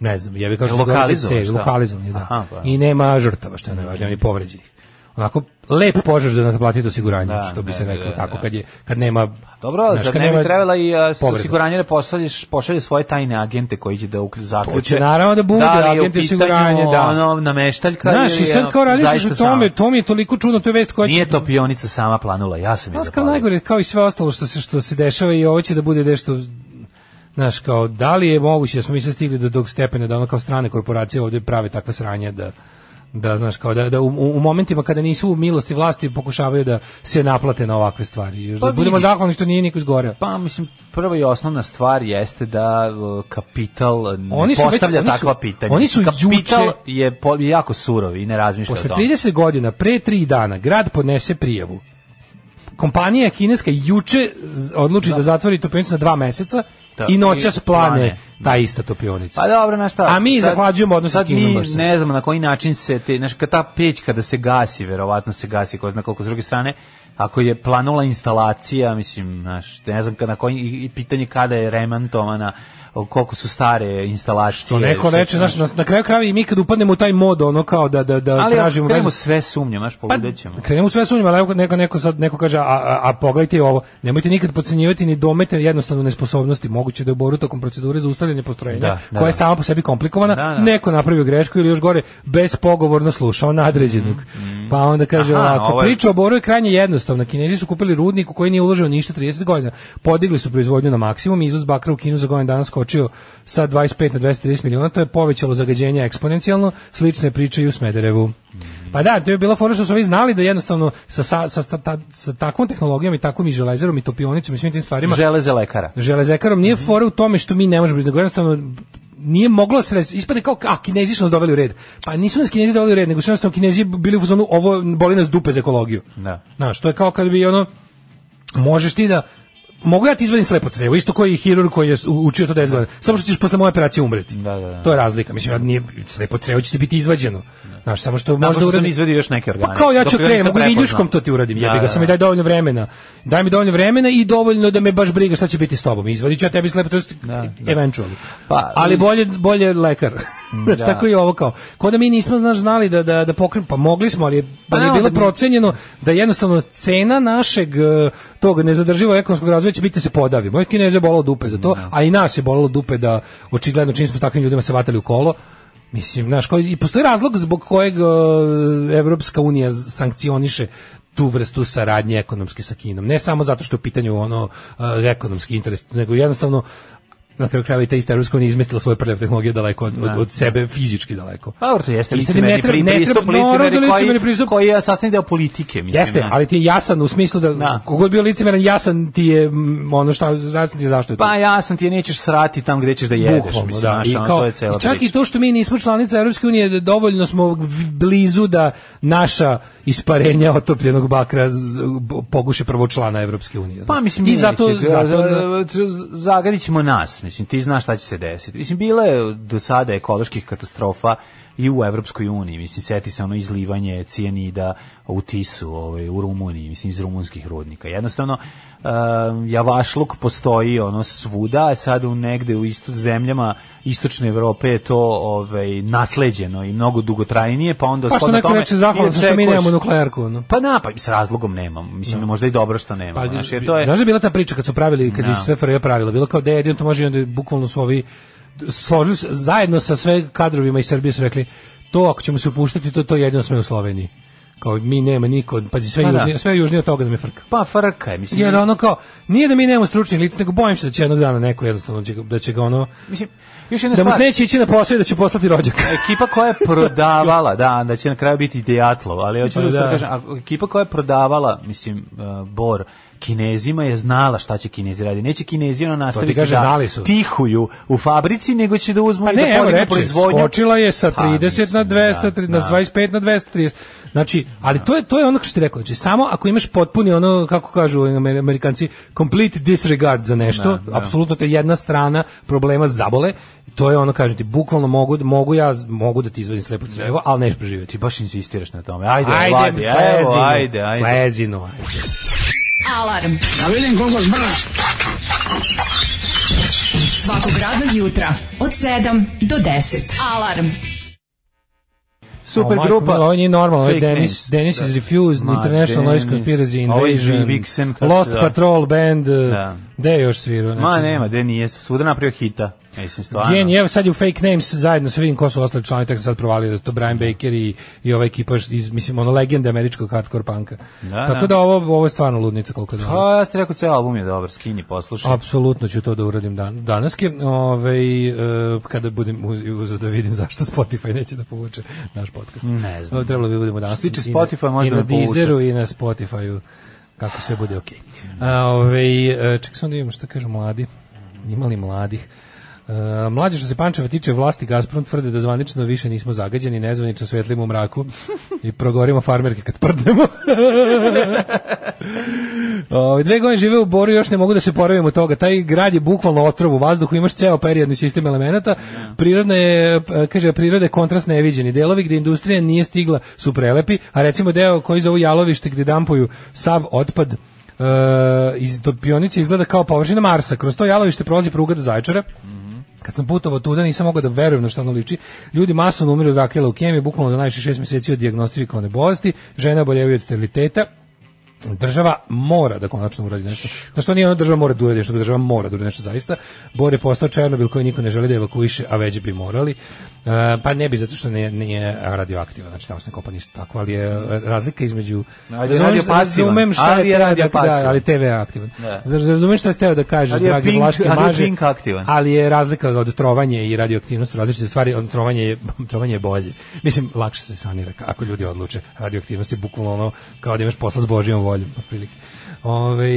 ne znam, ja bih kao što se zove,
Lokalizovan,
cev,
šta?
lokalizovan je, da.
Aha, pa.
I nema žrtava, što je najvažnije, ni povređenih. Onako, lep požar da naplatite osiguranje,
Da,
što bi
ne,
se
ne,
reklo
ne,
tako,
ne.
kad, je, kad nema...
Dobro,
znaš,
zar
kad
ne bi
nema
trebala i e, a, s-
povreda.
osiguranje da pošalješ, pošalje svoje tajne agente koji će da ukl- zaključe.
To će naravno da bude,
li je u
agenti
pitanju
osiguranja, da.
Ono, nameštaljka
Znaš,
ili
i sad
ono,
kao radiš
zaista
u tome,
sama.
to mi je toliko čudno, to je vest koja će...
Nije to pionica sama planula, ja sam je
Znaš, kao
zapalio.
najgore, kao i sve ostalo što se, što se dešava i ovo će da bude nešto Znaš, kao, da li je moguće da smo mi sad stigli do tog stepena da ono kao strane korporacije ovde prave takva sranja da, da znaš, kao da, da u, u momentima kada nisu u milosti vlasti pokušavaju da se naplate na ovakve stvari. Još
Pa
da budemo
vidi.
zahvalni što nije niko izgoreo.
Pa mislim prva i osnovna stvar jeste da e, kapital e, ne
Oni su već-
postavlja
oni su-
takva pitanja.
oni su
kapital
juče-
je po- jako surov i ne razmišlja o
Posle
tome.
30 godina, pre 3 dana, grad podnese prijavu. Kompanija kineska juče z- odluči da, zatvori topionicu na dva meseca
Da,
i noćas
i plane.
plane ta ista topionica.
Pa dobro, na šta?
A mi
sad-
zahlađujemo odnose s
sad
Kinom
mi
baš sad.
Ne znamo na koji način se te, znači kad ta peć kada se gasi, verovatno se gasi, ko zna koliko s druge strane, ako je planula instalacija, mislim, znaš, ne znam kada koji i i pitanje kada je remontovana, o, koliko su stare instalacije.
To neko
što-
reče, znaš, na, na kraju krajeva i mi kad upadnemo u taj mod, ono kao da, da, da
ali
tražimo
tražimo
vezu.
sve sumnje, znaš,
Pa,
poludećemo.
krenemo sve sumnjama, ali evo neko, neko, sad, neko kaže, a, a, a pogledajte ovo, nemojte nikad podcenjivati ni domete jednostavno nesposobnosti, moguće da je u boru tokom procedure za ustavljanje postrojenja,
Da, da,
koja je
da.
sama po sebi komplikovana,
Da, da.
neko napravio grešku ili još gore, bespogovorno slušao nadređenog. Pa onda kaže,
Mm, Aha,
ovako,
ovo je-
priča o boru je krajnje jednostavna, kinezi su kupili rudnik u koji nije uloženo ništa 30 godina, podigli su proizvodnju na maksimum, izvoz bakra u Kinu za godinu dana skočio sa 25 na 230 miliona, to je povećalo zagađenje eksponencijalno, slične priče i u Smederevu. Pa da, to je bila fora što su ovi znali da jednostavno sa, sa, sa, sa, ta- sa takvom tehnologijom i takvom i železerom i topionicom i svim tim stvarima
Žele za lekara.
železekarom nije
Mhm.
fora u tome što mi ne možemo nego jednostavno nije moglo se res- ispade kao a Kinezi su nas doveli u red. Pa nisu nas Kinezi doveli u red, nego su jednostavno Kinezi bili u fazonu ovo boli nas dupe za ekologiju.
Da.
Znaš, to je kao kad bi ono možeš ti da Mogu ja ti izvadim slepo crevo, isto koji hirurg koji je u- učio to 10 godina. Samo što ćeš posle moje operacije umreti.
Da, da, da.
To je razlika. Mislim, ja nije, slepo crevo će ti biti izvađeno. Znaš, samo što
Možda
možda
što sam
uradi...
izvedio još neke organe.
Pa kao ja ću
Dok ga
krenem,
nisam
mogu viljuškom
prepoznao.
to ti uradim,
Da,
jebi ga,
da,
sam mi daj dovoljno vremena. Daj mi dovoljno vremena i dovoljno da me baš briga šta će biti s tobom. Izvadiću ja tebi slepo, to jest
Da, da.
eventually.
Pa,
Ali bolje, bolje lekar. Znaš, <laughs> tako i ovo kao. Ko da mi nismo znaš, znali da, da, da pokren, pa mogli smo, ali je,
Pa
ali je
da,
bilo
da mi-
procenjeno da jednostavno cena našeg eh, tog nezadrživog ekonomskog razvoja će biti da se podavi. Moje kineze je bolelo dupe za to, a i nas je bolelo dupe da očigledno čim smo s takvim ljudima se vatali u kolo, Mislim, znaš, koji, i postoji razlog zbog kojeg eh, Evropska unija sankcioniše tu vrstu saradnje ekonomske sa Kinom. Ne samo zato što je u pitanju ono eh, ekonomski interes, nego jednostavno na kraju krajeva i ta ista Evropska unija izmestila svoje prljave tehnologije daleko od, od, od sebe, fizički daleko.
Pa dobro, to jeste
I sad im ne
licemerni
treba-
pri-
ne
pristup,
treba- naravno da
licemerni
licemerni
koji,
pristup.
koji je sastavni deo politike, mislim.
Jeste,
znaš.
ali ti je jasan u smislu da,
Da.
kogod bio licemeran, jasan ti je mm, ono šta, jasan ti je zašto je to.
Pa jasan ti je, nećeš srati tam gde ćeš da jedeš,
Bukvalno,
mislim,
da.
znaš,
I
ono,
kao-
to je cela
i čak i
priča.
to što mi nismo članica Europske unije, da dovoljno smo v- blizu da naša isparenja otopljenog bakra z- b- poguše prvo člana Europske unije.
Pa
znaš.
mislim
ono. I zato,
neće, ono-
zato
zagadit ćemo nas, mislim ti znaš šta će se desiti. Mislim bila je do sada ekoloških katastrofa i u Evropskoj uniji, mislim seti se ono izlivanje cijanida u Tisu, ovaj u Rumuniji, mislim iz rumunskih rudnika. Jednostavno em, javašluk postoji ono svuda, a sad u negde u isto zemljama istočne Evrope je to ovaj nasleđeno i mnogo dugotrajnije, pa onda
pa što
shodno
neko
tome
reče zahvalno
i
što mi
očekuješ-
nemamo nuklearku. ono.
Pa na, pa s razlogom nemam. Mislim, možda i dobro što nemam.
Pa,
znaš, jer to je...
Znaš da je bila ta priča kad su pravili, kad
Da.
je SFRJ pravila, bilo kao da je jedino to može i onda je bukvalno su ovi složili se, zajedno sa sve kadrovima iz Srbije su rekli, to ako ćemo se upuštati, to, to jedino sme u Sloveniji. Kao mi nema niko, pazi, sve,
Pa da.
južnije, sve južnije od toga da me frka.
Pa frka je, mislim.
Jer ono kao, nije da mi nemamo stručnih lica, nego bojim se da će jednog dana neko jednostavno, će ga- da će ga ono,
mislim, još jedna
da mu
stvar.
neće ići na posao i da će poslati rođak.
Ekipa koja
<laughs>
je prodavala, da, da će na kraju biti Dejatlov, ali hoću
Pa
da,
da.
da. kažem, a- ekipa koja je prodavala, mislim, uh, Bor, Kinezima je znala šta će Kinezi raditi. Neće Kinezi ono nastaviti
kaže,
da
Pa znali su.
tihuju u fabrici, nego će da uzmu
Pa
i da
ne, evo
podignu
reče,
proizvodnju.
skočila je sa
Pa,
30 na
mislim,
200,
da,
na
da.
25 na 230. Znači, ali to je to je ono što ti rekao, znači samo ako imaš potpuni ono kako kažu Amer- Amerikanci complete disregard za nešto,
Da, da.
apsolutno te jedna strana problema zabole, to je ono kažem ti bukvalno mogu mogu ja mogu da ti izvadim slepo crevo, ali nećeš preživjeti. Pa,
Ti baš insistiraš na tome. Ajde,
Ajde,
Vladi, evo,
slezinu,
ajde, ajde.
slezinu, ajde.
Alarm.
Da vidim koliko zbrz.
Svakog radnog jutra od 7 do 10. Alarm.
Super
O, majko
grupa.
mila, Ovo nije normalno, ovo je
Fake
Denis,
news.
Denis is Refused,
Ma,
International Noise
Denis.
Conspiracy
Ovo je
Invasion,
Vixen kad-
Lost
da.
Patrol Band, eh,
Da.
gde je još svirao?
Ma
Znači,
nema, gde nije, svuda napravio hita. Mislim, stvarno.
Gen, evo sad je u Fake Names zajedno sa vidim ko su ostali članovi, tek sam sad provalio da je to Brian Baker i, i ova ekipa, iz, mislim, ono legenda američkog hardcore punka.
Da,
Tako
da.
da ovo, ovo je stvarno ludnica koliko znam.
Pa ja sam rekao, ceo album je dobar, skini, poslušaj.
Apsolutno ću to da uradim dan, danas. Ove, kada budem uz- uzeo da vidim zašto Spotify neće da povuče naš podcast.
Ne znam.
Ovo je trebalo bi da budemo danas.
Što se tiče
I na-
Spotify, možda
I na
me povuče.
Deezeru i na Spotifyu, kako sve bude okej. A, Ove, e, ček sam da vidimo šta kažu mladi. Ima li mladih? E, mlađe što se Pančeva tiče vlasti Gazprom tvrde da zvanično više nismo zagađeni, nezvanično svetlimo u mraku i progorimo farmerke kad prdnemo. <laughs> Ove, dve godine žive u Boru i još ne mogu da se poravim od toga. Taj grad je bukvalno otrov u vazduhu, imaš ceo periodni sistem elemenata. Prirodna je, p- kaže, priroda je kontrast neviđeni. Delovi gde industrija nije stigla su prelepi, a recimo deo koji zovu jalovište gde dampuju sav otpad e, iz do pionice izgleda kao površina Marsa. Kroz to jalovište prolazi pruga do Zaječara. Kad sam putovao tuda nisam mogao da verujem na što ono liči. Ljudi masovno umiru od raka i leukemije, bukvalno za najviše šest mjeseci od dijagnostifikovane bolesti, žene oboljevaju od steriliteta, država mora da konačno uradi nešto. Znaš što nije ono država mora da uradi nešto, država mora da uradi nešto zaista. Bor je postao Černobil koji niko ne želi da evakuiše, a već bi morali. E, pa ne bi zato što nije, nije radioaktivan, znači tamo se ne kopa ništa tako, ali je e, razlika između...
Ali je
Razumeš-
radiopasivan,
razumem šta
ali je
je, teo da,
radiopasivan.
da, ali TV je aktivan.
Da.
Zar- Razumeš šta je teo da kažeš,
Ali je
dragi
Pink-
Vlaški
ali je
maže,
Pink aktivan.
ali je razlika od trovanja i radioaktivnosti različite stvari, od trovanja je, <laughs> trovanje je bolje. Mislim, lakše se sanira ka- ako ljudi odluče. Radioaktivnost je bukvalno ono kao da imaš posla s Božijom voljom, otprilike. Ove,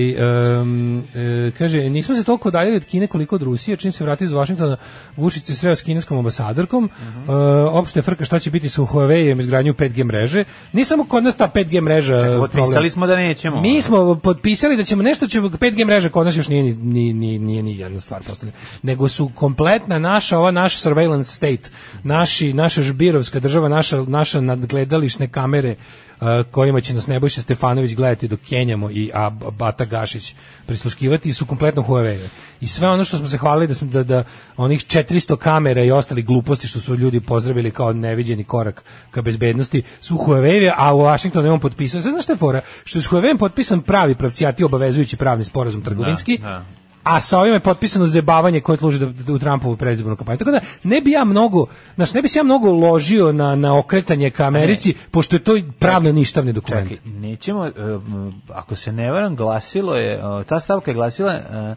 e, kaže, nismo se toliko udaljili od Kine koliko od Rusije, čim se vrati iz Vašingtona, Vučić se sreo s kineskom ambasadorkom, E, opšte je frka šta će biti sa Huawei-em izgradnju 5G mreže. Nije samo kod nas ta 5G mreža e, problem.
Potpisali smo da nećemo.
Mi smo potpisali da ćemo nešto će 5G mreža kod nas još nije ni ni ni nije ni jedna stvar postavljena. Nego su kompletna naša ova naš surveillance state, naši naša žbirovska država, naša naša nadgledališne kamere e, kojima će nas Nebojša Stefanović gledati dok Kenjamo i a, Bata Gašić prisluškivati su kompletno Huawei. I sve ono što smo se hvalili da, smo, da, da onih 400 kamera i ostali gluposti što su ljudi pozdravili kao neviđeni korak ka bezbednosti su Huawei, a u Vašingtonu je on potpisao. Sad znaš šta je fora? Što je s Huawei potpisan pravi pravcijati obavezujući pravni sporazum trgovinski,
Da, da.
a sa ovim je potpisano zebavanje koje služi da, da u Trumpovu predizbornu kampanju. Tako da ne bi ja mnogo, znaš, ne bi se ja mnogo ložio na, na okretanje ka Americi, pošto je to pravno ništavni dokument.
Čekaj, nećemo, e, m, ako se ne varam, glasilo je, e, ta stavka je glasila e,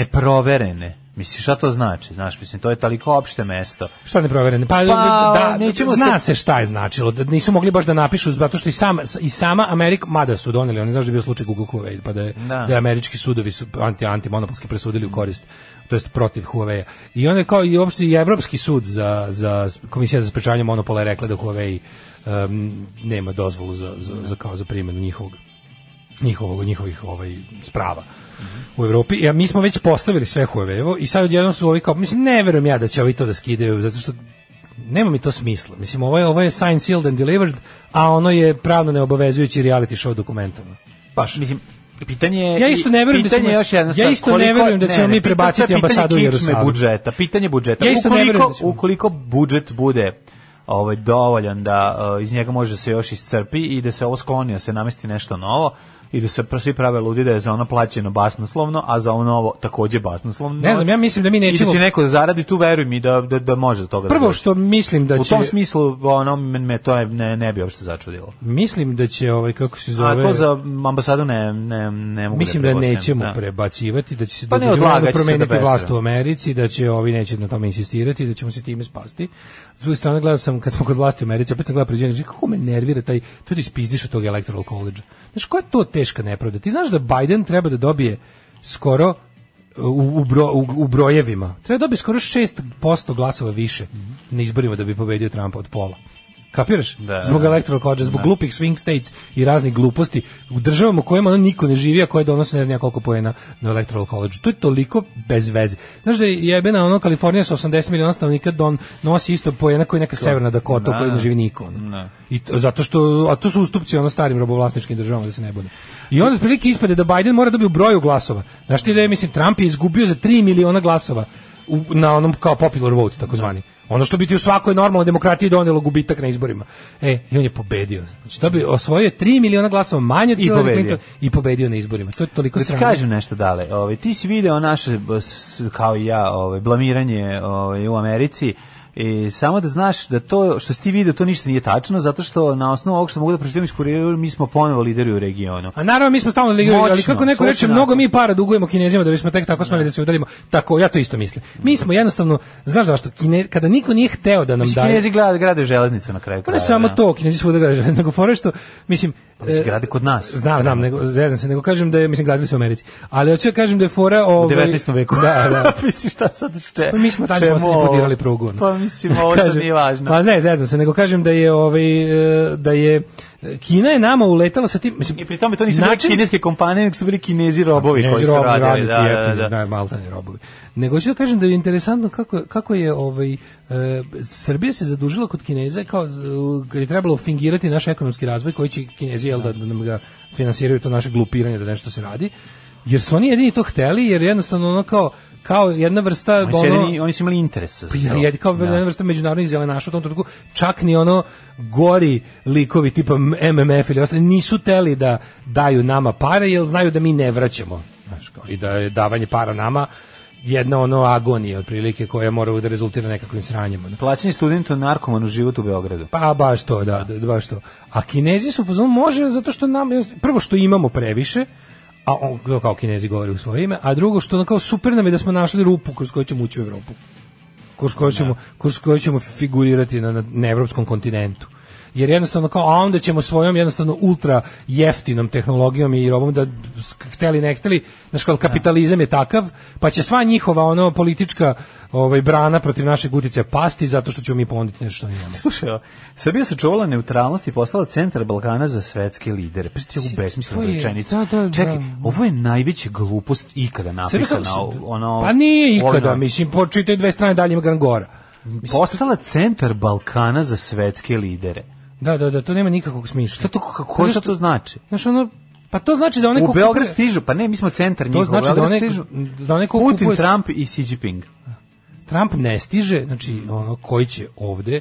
neproverene. Misliš, šta to znači? Znaš, mislim, to je toliko opšte mesto.
Što ne proverene? Pa, da,
nećemo
zna
se-
se šta je značilo. Da nisu mogli baš da napišu zato što i sam i sama Amerika mada su doneli, oni znaš da je bio slučaj Google Huawei, pa da je,
Da.
da je američki sudovi su anti antimonopolski presudili u korist to jest protiv Huawei. I onda je kao i uopšte i evropski sud za za komisija za sprečavanje monopola je rekla da Huawei em, nema dozvolu za, za, za kao za primjenu njihovog njihovog njihovih ovaj sprava u Evropi. Ja, mi smo već postavili sve Huawei-evo i sad odjednom su ovi kao, mislim, ne verujem ja da će ovi to da skidaju, zato što nema mi to smisla. Mislim, ovo je, ovo je signed, sealed and delivered, a ono je pravno neobavezujući reality show dokumentovno.
Baš. Mislim, pitanje je...
Ja isto ne verujem da
pitanje
ćemo-
je još jedno
ja
stvar,
isto ne
koliko-
verujem da
ne,
ćemo
ne,
mi
pitanje-
prebaciti
pitanje
ambasadu u
kičme
Jerusalim.
budžeta, pitanje budžeta.
Ja isto ne
ukoliko,
verujem da ćemo-
Ukoliko budžet bude ovaj dovoljan da eh, iz njega može da se još iscrpi i da se ovo skloni, da se namesti nešto novo, i da se pr- svi prave ludi da je za ono plaćeno basnoslovno, a za ovo novo takođe basnoslovno.
Ne znam, ja mislim da mi
I
nećemo-
da će neko da zaradi, tu veruj mi da, da, da može do toga da
Prvo
dođe.
što mislim da
U
će...
tom smislu, ono, me, me to je- ne, ne bi uopšte začudilo.
Mislim da će, ovaj, kako se
A
zove...
to za ambasadu ne, ne, ne mogu
Mislim da
pretpostavim,
nećemo
da.
prebacivati, da će se
Pa
pa
ne,
da će
odlagat će
onda
se
promeniti
do beskraja.
vlast u Americi, da će ovi neće na tome insistirati, da ćemo se time spasti. S druge strane, gledao sam, kad smo kod vlasti u Americi, opet sam gledao pređenje, znači, kako me nervira taj, to da ispizdiš od tog electoral college. Znaš, koja je to teška nepravda? Ti znaš da Biden treba da dobije skoro uh, u, u, bro, u, u brojevima. Treba da dobije skoro 6% glasova više na izborima da bi pobedio Trumpa od pola. Kapiraš?
Da,
zbog
da.
electoral college, zbog glupih swing states i raznih gluposti u državama u kojima ono niko ne živi, a koje donose ne znam ja koliko poena na electoral college. To je toliko bez veze. Znaš da je jebena ono Kalifornija sa 80 miliona stanovnika don nosi isto poena koji neka severna Dakota u kojoj ne živi niko. ono.
Da.
I to, zato što a to su ustupci ono starim robovlasničkim državama da se ne bude. I onda otprilike ispade da Biden mora dobiti u broju glasova. Znaš ti da je, mislim, Trump je izgubio za 3 miliona glasova u, na onom kao popular vote, takozvani. Ono što bi ti u svakoj normalnoj demokratiji donelo gubitak na izborima. E, i on je pobedio. Znači, to bi osvojio 3 miliona glasova manje od
I
Hillary
pobedio. Znači,
Clinton i pobedio na izborima. To je toliko
Da ti
strano.
kažem nešto dale. Ovaj ti si video naše b- s- kao i ja, ovaj blamiranje ovaj u Americi. I samo da znaš da to što si ti video to ništa nije tačno zato što na osnovu ovog što mogu da pročitam iz kurira mi smo ponovo lideri u regionu.
A naravno mi smo stalno ligi, ali
Moćno,
kako neko reče,
slušaj
mnogo
nas.
mi para dugujemo Kinezima da bismo tek tako smeli da se udarimo. Tako, ja to isto mislim. Mi smo jednostavno, znaš zašto, Kine, kada niko nije hteo da nam
Mislim,
daje...
Kinezi grade, grade železnicu na kraju.
Pa ne
kraja,
samo
da. Pa
to, Kinezi svuda grade, <laughs> nego fora je što, mislim...
mislim,
e,
grade kod nas.
Znam, znam, nego, zezam se, nego kažem da je, mislim, gradili su u Americi. Ali hoću da kažem da je fora...
U
Ovaj,
19. veku.
Da, da.
mislim, šta sad šte?
Pa mi smo tad
čemu
poslednji
ovo?
podirali prugu. ono.
Pa <laughs>
<laughs>
mislim, ovo sad
Kažem,
nije važno.
Pa ne, zezam se, nego kažem da je, ovaj, e, da je Kina je nama uletala sa tim... Mislim,
I pri tome to nisu
način-
bile kineske kompanije, nego su bili kinezi robovi
Ne,
koji su
robovi,
radili.
radnici
Da, da,
jeftini,
da.
da, maltene robovi. Nego ću da kažem da je interesantno kako, kako je ovaj, e, Srbija se zadužila kod Kineza kao, e, kad je trebalo fingirati naš ekonomski razvoj koji će Kinezi jel, da, da nam ga finansiraju to naše glupiranje da nešto se radi. Jer su oni jedini to hteli, jer jednostavno ono kao, kao jedna vrsta...
Oni, su
ono-
jedini- oni su imali interes. za
pa
to.
jedi kao jedna vrsta međunarodnih zelenaša u tom trenutku, čak ni ono gori likovi tipa MMF ili ostali nisu teli da daju nama pare jer znaju da mi ne vraćamo. Znaš, kao, I da je davanje para nama jedna ono agonija otprilike koja mora da rezultira nekakvim sranjima. ono.
Plaćeni student narkoman u životu u Beogradu.
Pa baš to, da, da, da, baš to. A Kinezi su u fazonu može zato što nam prvo što imamo previše, a on to kao Kinezi govori u svoje ime, a drugo što ono kao super nam je da smo našli rupu kroz koju ćemo ući u Evropu. Kroz koju ćemo, kroz koju ćemo figurirati na, na, na evropskom kontinentu. Jer jednostavno kao, a onda ćemo svojom jednostavno ultra jeftinom tehnologijom i robom da sk- hteli ne hteli, znaš kao kapitalizam je takav, pa će sva njihova ono politička ovaj, brana protiv našeg utice pasti zato što ćemo mi ponuditi nešto što imamo.
<laughs> Slušaj, ovo, Srbija se čuvala neutralnost i postala centar Balkana za svetske lidere. Pa ste
Si-
ovu besmislenu
to je-
rečenicu.
da, da,
Čekaj,
da.
ovo je najveća glupost ikada
Srbija-
napisana. Ono,
pa nije ikada,
ono,
mislim, počitaj dve strane dalje ima Gran Gora. Mislim,
Postala centar Balkana za svetske lidere.
Da, da, da, to nema nikakvog smisla.
Šta to, kako, šta to znači?
Znaš, ono, pa to znači da one
U
ko
Beograd
kupuje-
stižu, pa ne, mi smo centar njihov.
To znači da
Beograd
one,
stižu.
da one ko
Putin,
kupuje s-
Trump i Xi Jinping.
Trump ne stiže, znači ono koji će ovde.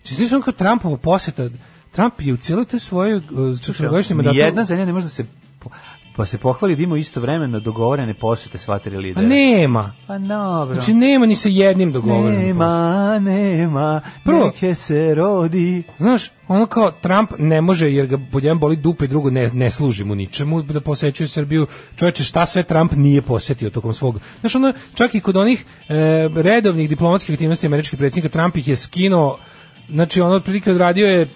Znači slično ono kao Trumpova poseta, Trump je u cijeloj toj svojoj uh, četvrgodišnjem mandatu...
Nijedna zemlja ne može da se po- pa se pohvali da ima istovremeno dogovorene posete sva tri
Pa
lidera.
nema.
Pa dobro.
Znači nema ni sa jednim dogovorenim posetom.
nema, nema,
Prvo-
neće se rodi.
Znaš, ono kao Trump ne može jer ga pod jedan boli dupe i drugo ne, ne služi mu ničemu da posećuje Srbiju. Čovječe, šta sve Trump nije posetio tokom svog... Znaš, ono, čak i kod onih e, redovnih diplomatskih aktivnosti američkih predsjednika, Trump ih je skinuo, znači ono otprilike odradio je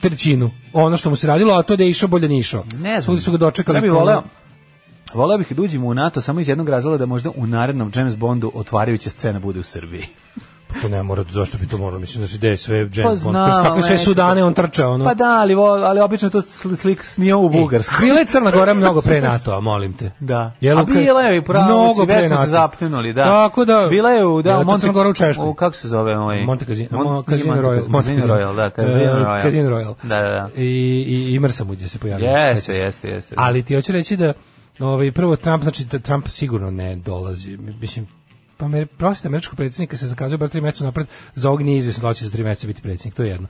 trećinu ono što mu se radilo, a to da je išao bolje nije išao.
Ne znam.
Svugdje su ga dočekali.
Ja bih
kao- ono,
voleo Voleo bih da uđemo u NATO samo iz jednog razloga da možda u narednom James Bondu otvarajuća scena bude u Srbiji.
Pa ne mora, zašto bi to moralo? Mislim da se ideje sve James
Pa
Bond.
znam,
Kroz kakve
ali
sve
nekako.
sudane on trča, ono.
Pa da, ali, vol- ali obično to sli- slik snio
E,
u Bugarskoj.
Bila je Crna Gora mnogo pre NATO-a, molim te.
Da.
Jel,
a bila je, pravo si, već smo se
NATO-a.
zapnuli, da.
Tako da...
Bila je u, da,
Jel, to
Monte,
Crna Gora u Češkoj.
u, kako se zove ovaj?
Monte Casino,
Mon-
Mon, Casino
nije
Royal.
Monte Casino Royal, da, Casino
E,
Royal.
Casino Royal.
Da, da, da.
I, i, i Mrsamu gdje se pojavio.
Jeste,
sećaš se.
jeste, jeste.
Ali ti hoću reći da, ovaj, prvo Trump, znači da Trump sigurno ne dolazi, mislim, pa me prosite američkog predsjednika se zakazuje bar tri mjeseca napred, za ovog nije izvjesno da li će za tri mjeseca biti predsjednik, to je jedno.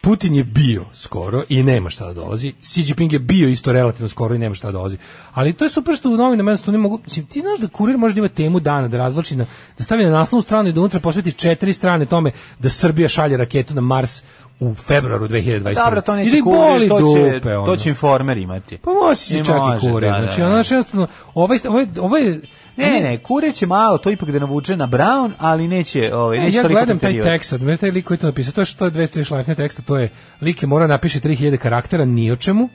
Putin je bio skoro i nema šta da dolazi. Xi Jinping je bio isto relativno skoro i nema šta da dolazi. Ali to je super što u novinama jednostavno ne mogu... Mislim, ti znaš da kurir može da ima temu dana, da razvlači na, da stavi na naslovnu stranu i da unutra posveti četiri strane tome da Srbija šalje raketu na Mars u februaru 2021.
Dobro, to
I da
neće
ih boli
kurir, to će,
dupe, ono.
to će informer imati.
Pa može se
Ne
čak i
može,
kurir.
da, da,
znači,
da.
ono znaš, jednostavno, ovaj, ovaj, ovaj,
Ne, ne, kure će malo, to ipak da navuče na Brown, ali neće, ovaj,
Ne,
neće
ja
toliko
gledam taj
preterivati.
tekst, znaš taj lik koji je to napisao, to je što je 200 šlajfne teksta, to je, lik je morao napiše 3000 karaktera, ni o čemu,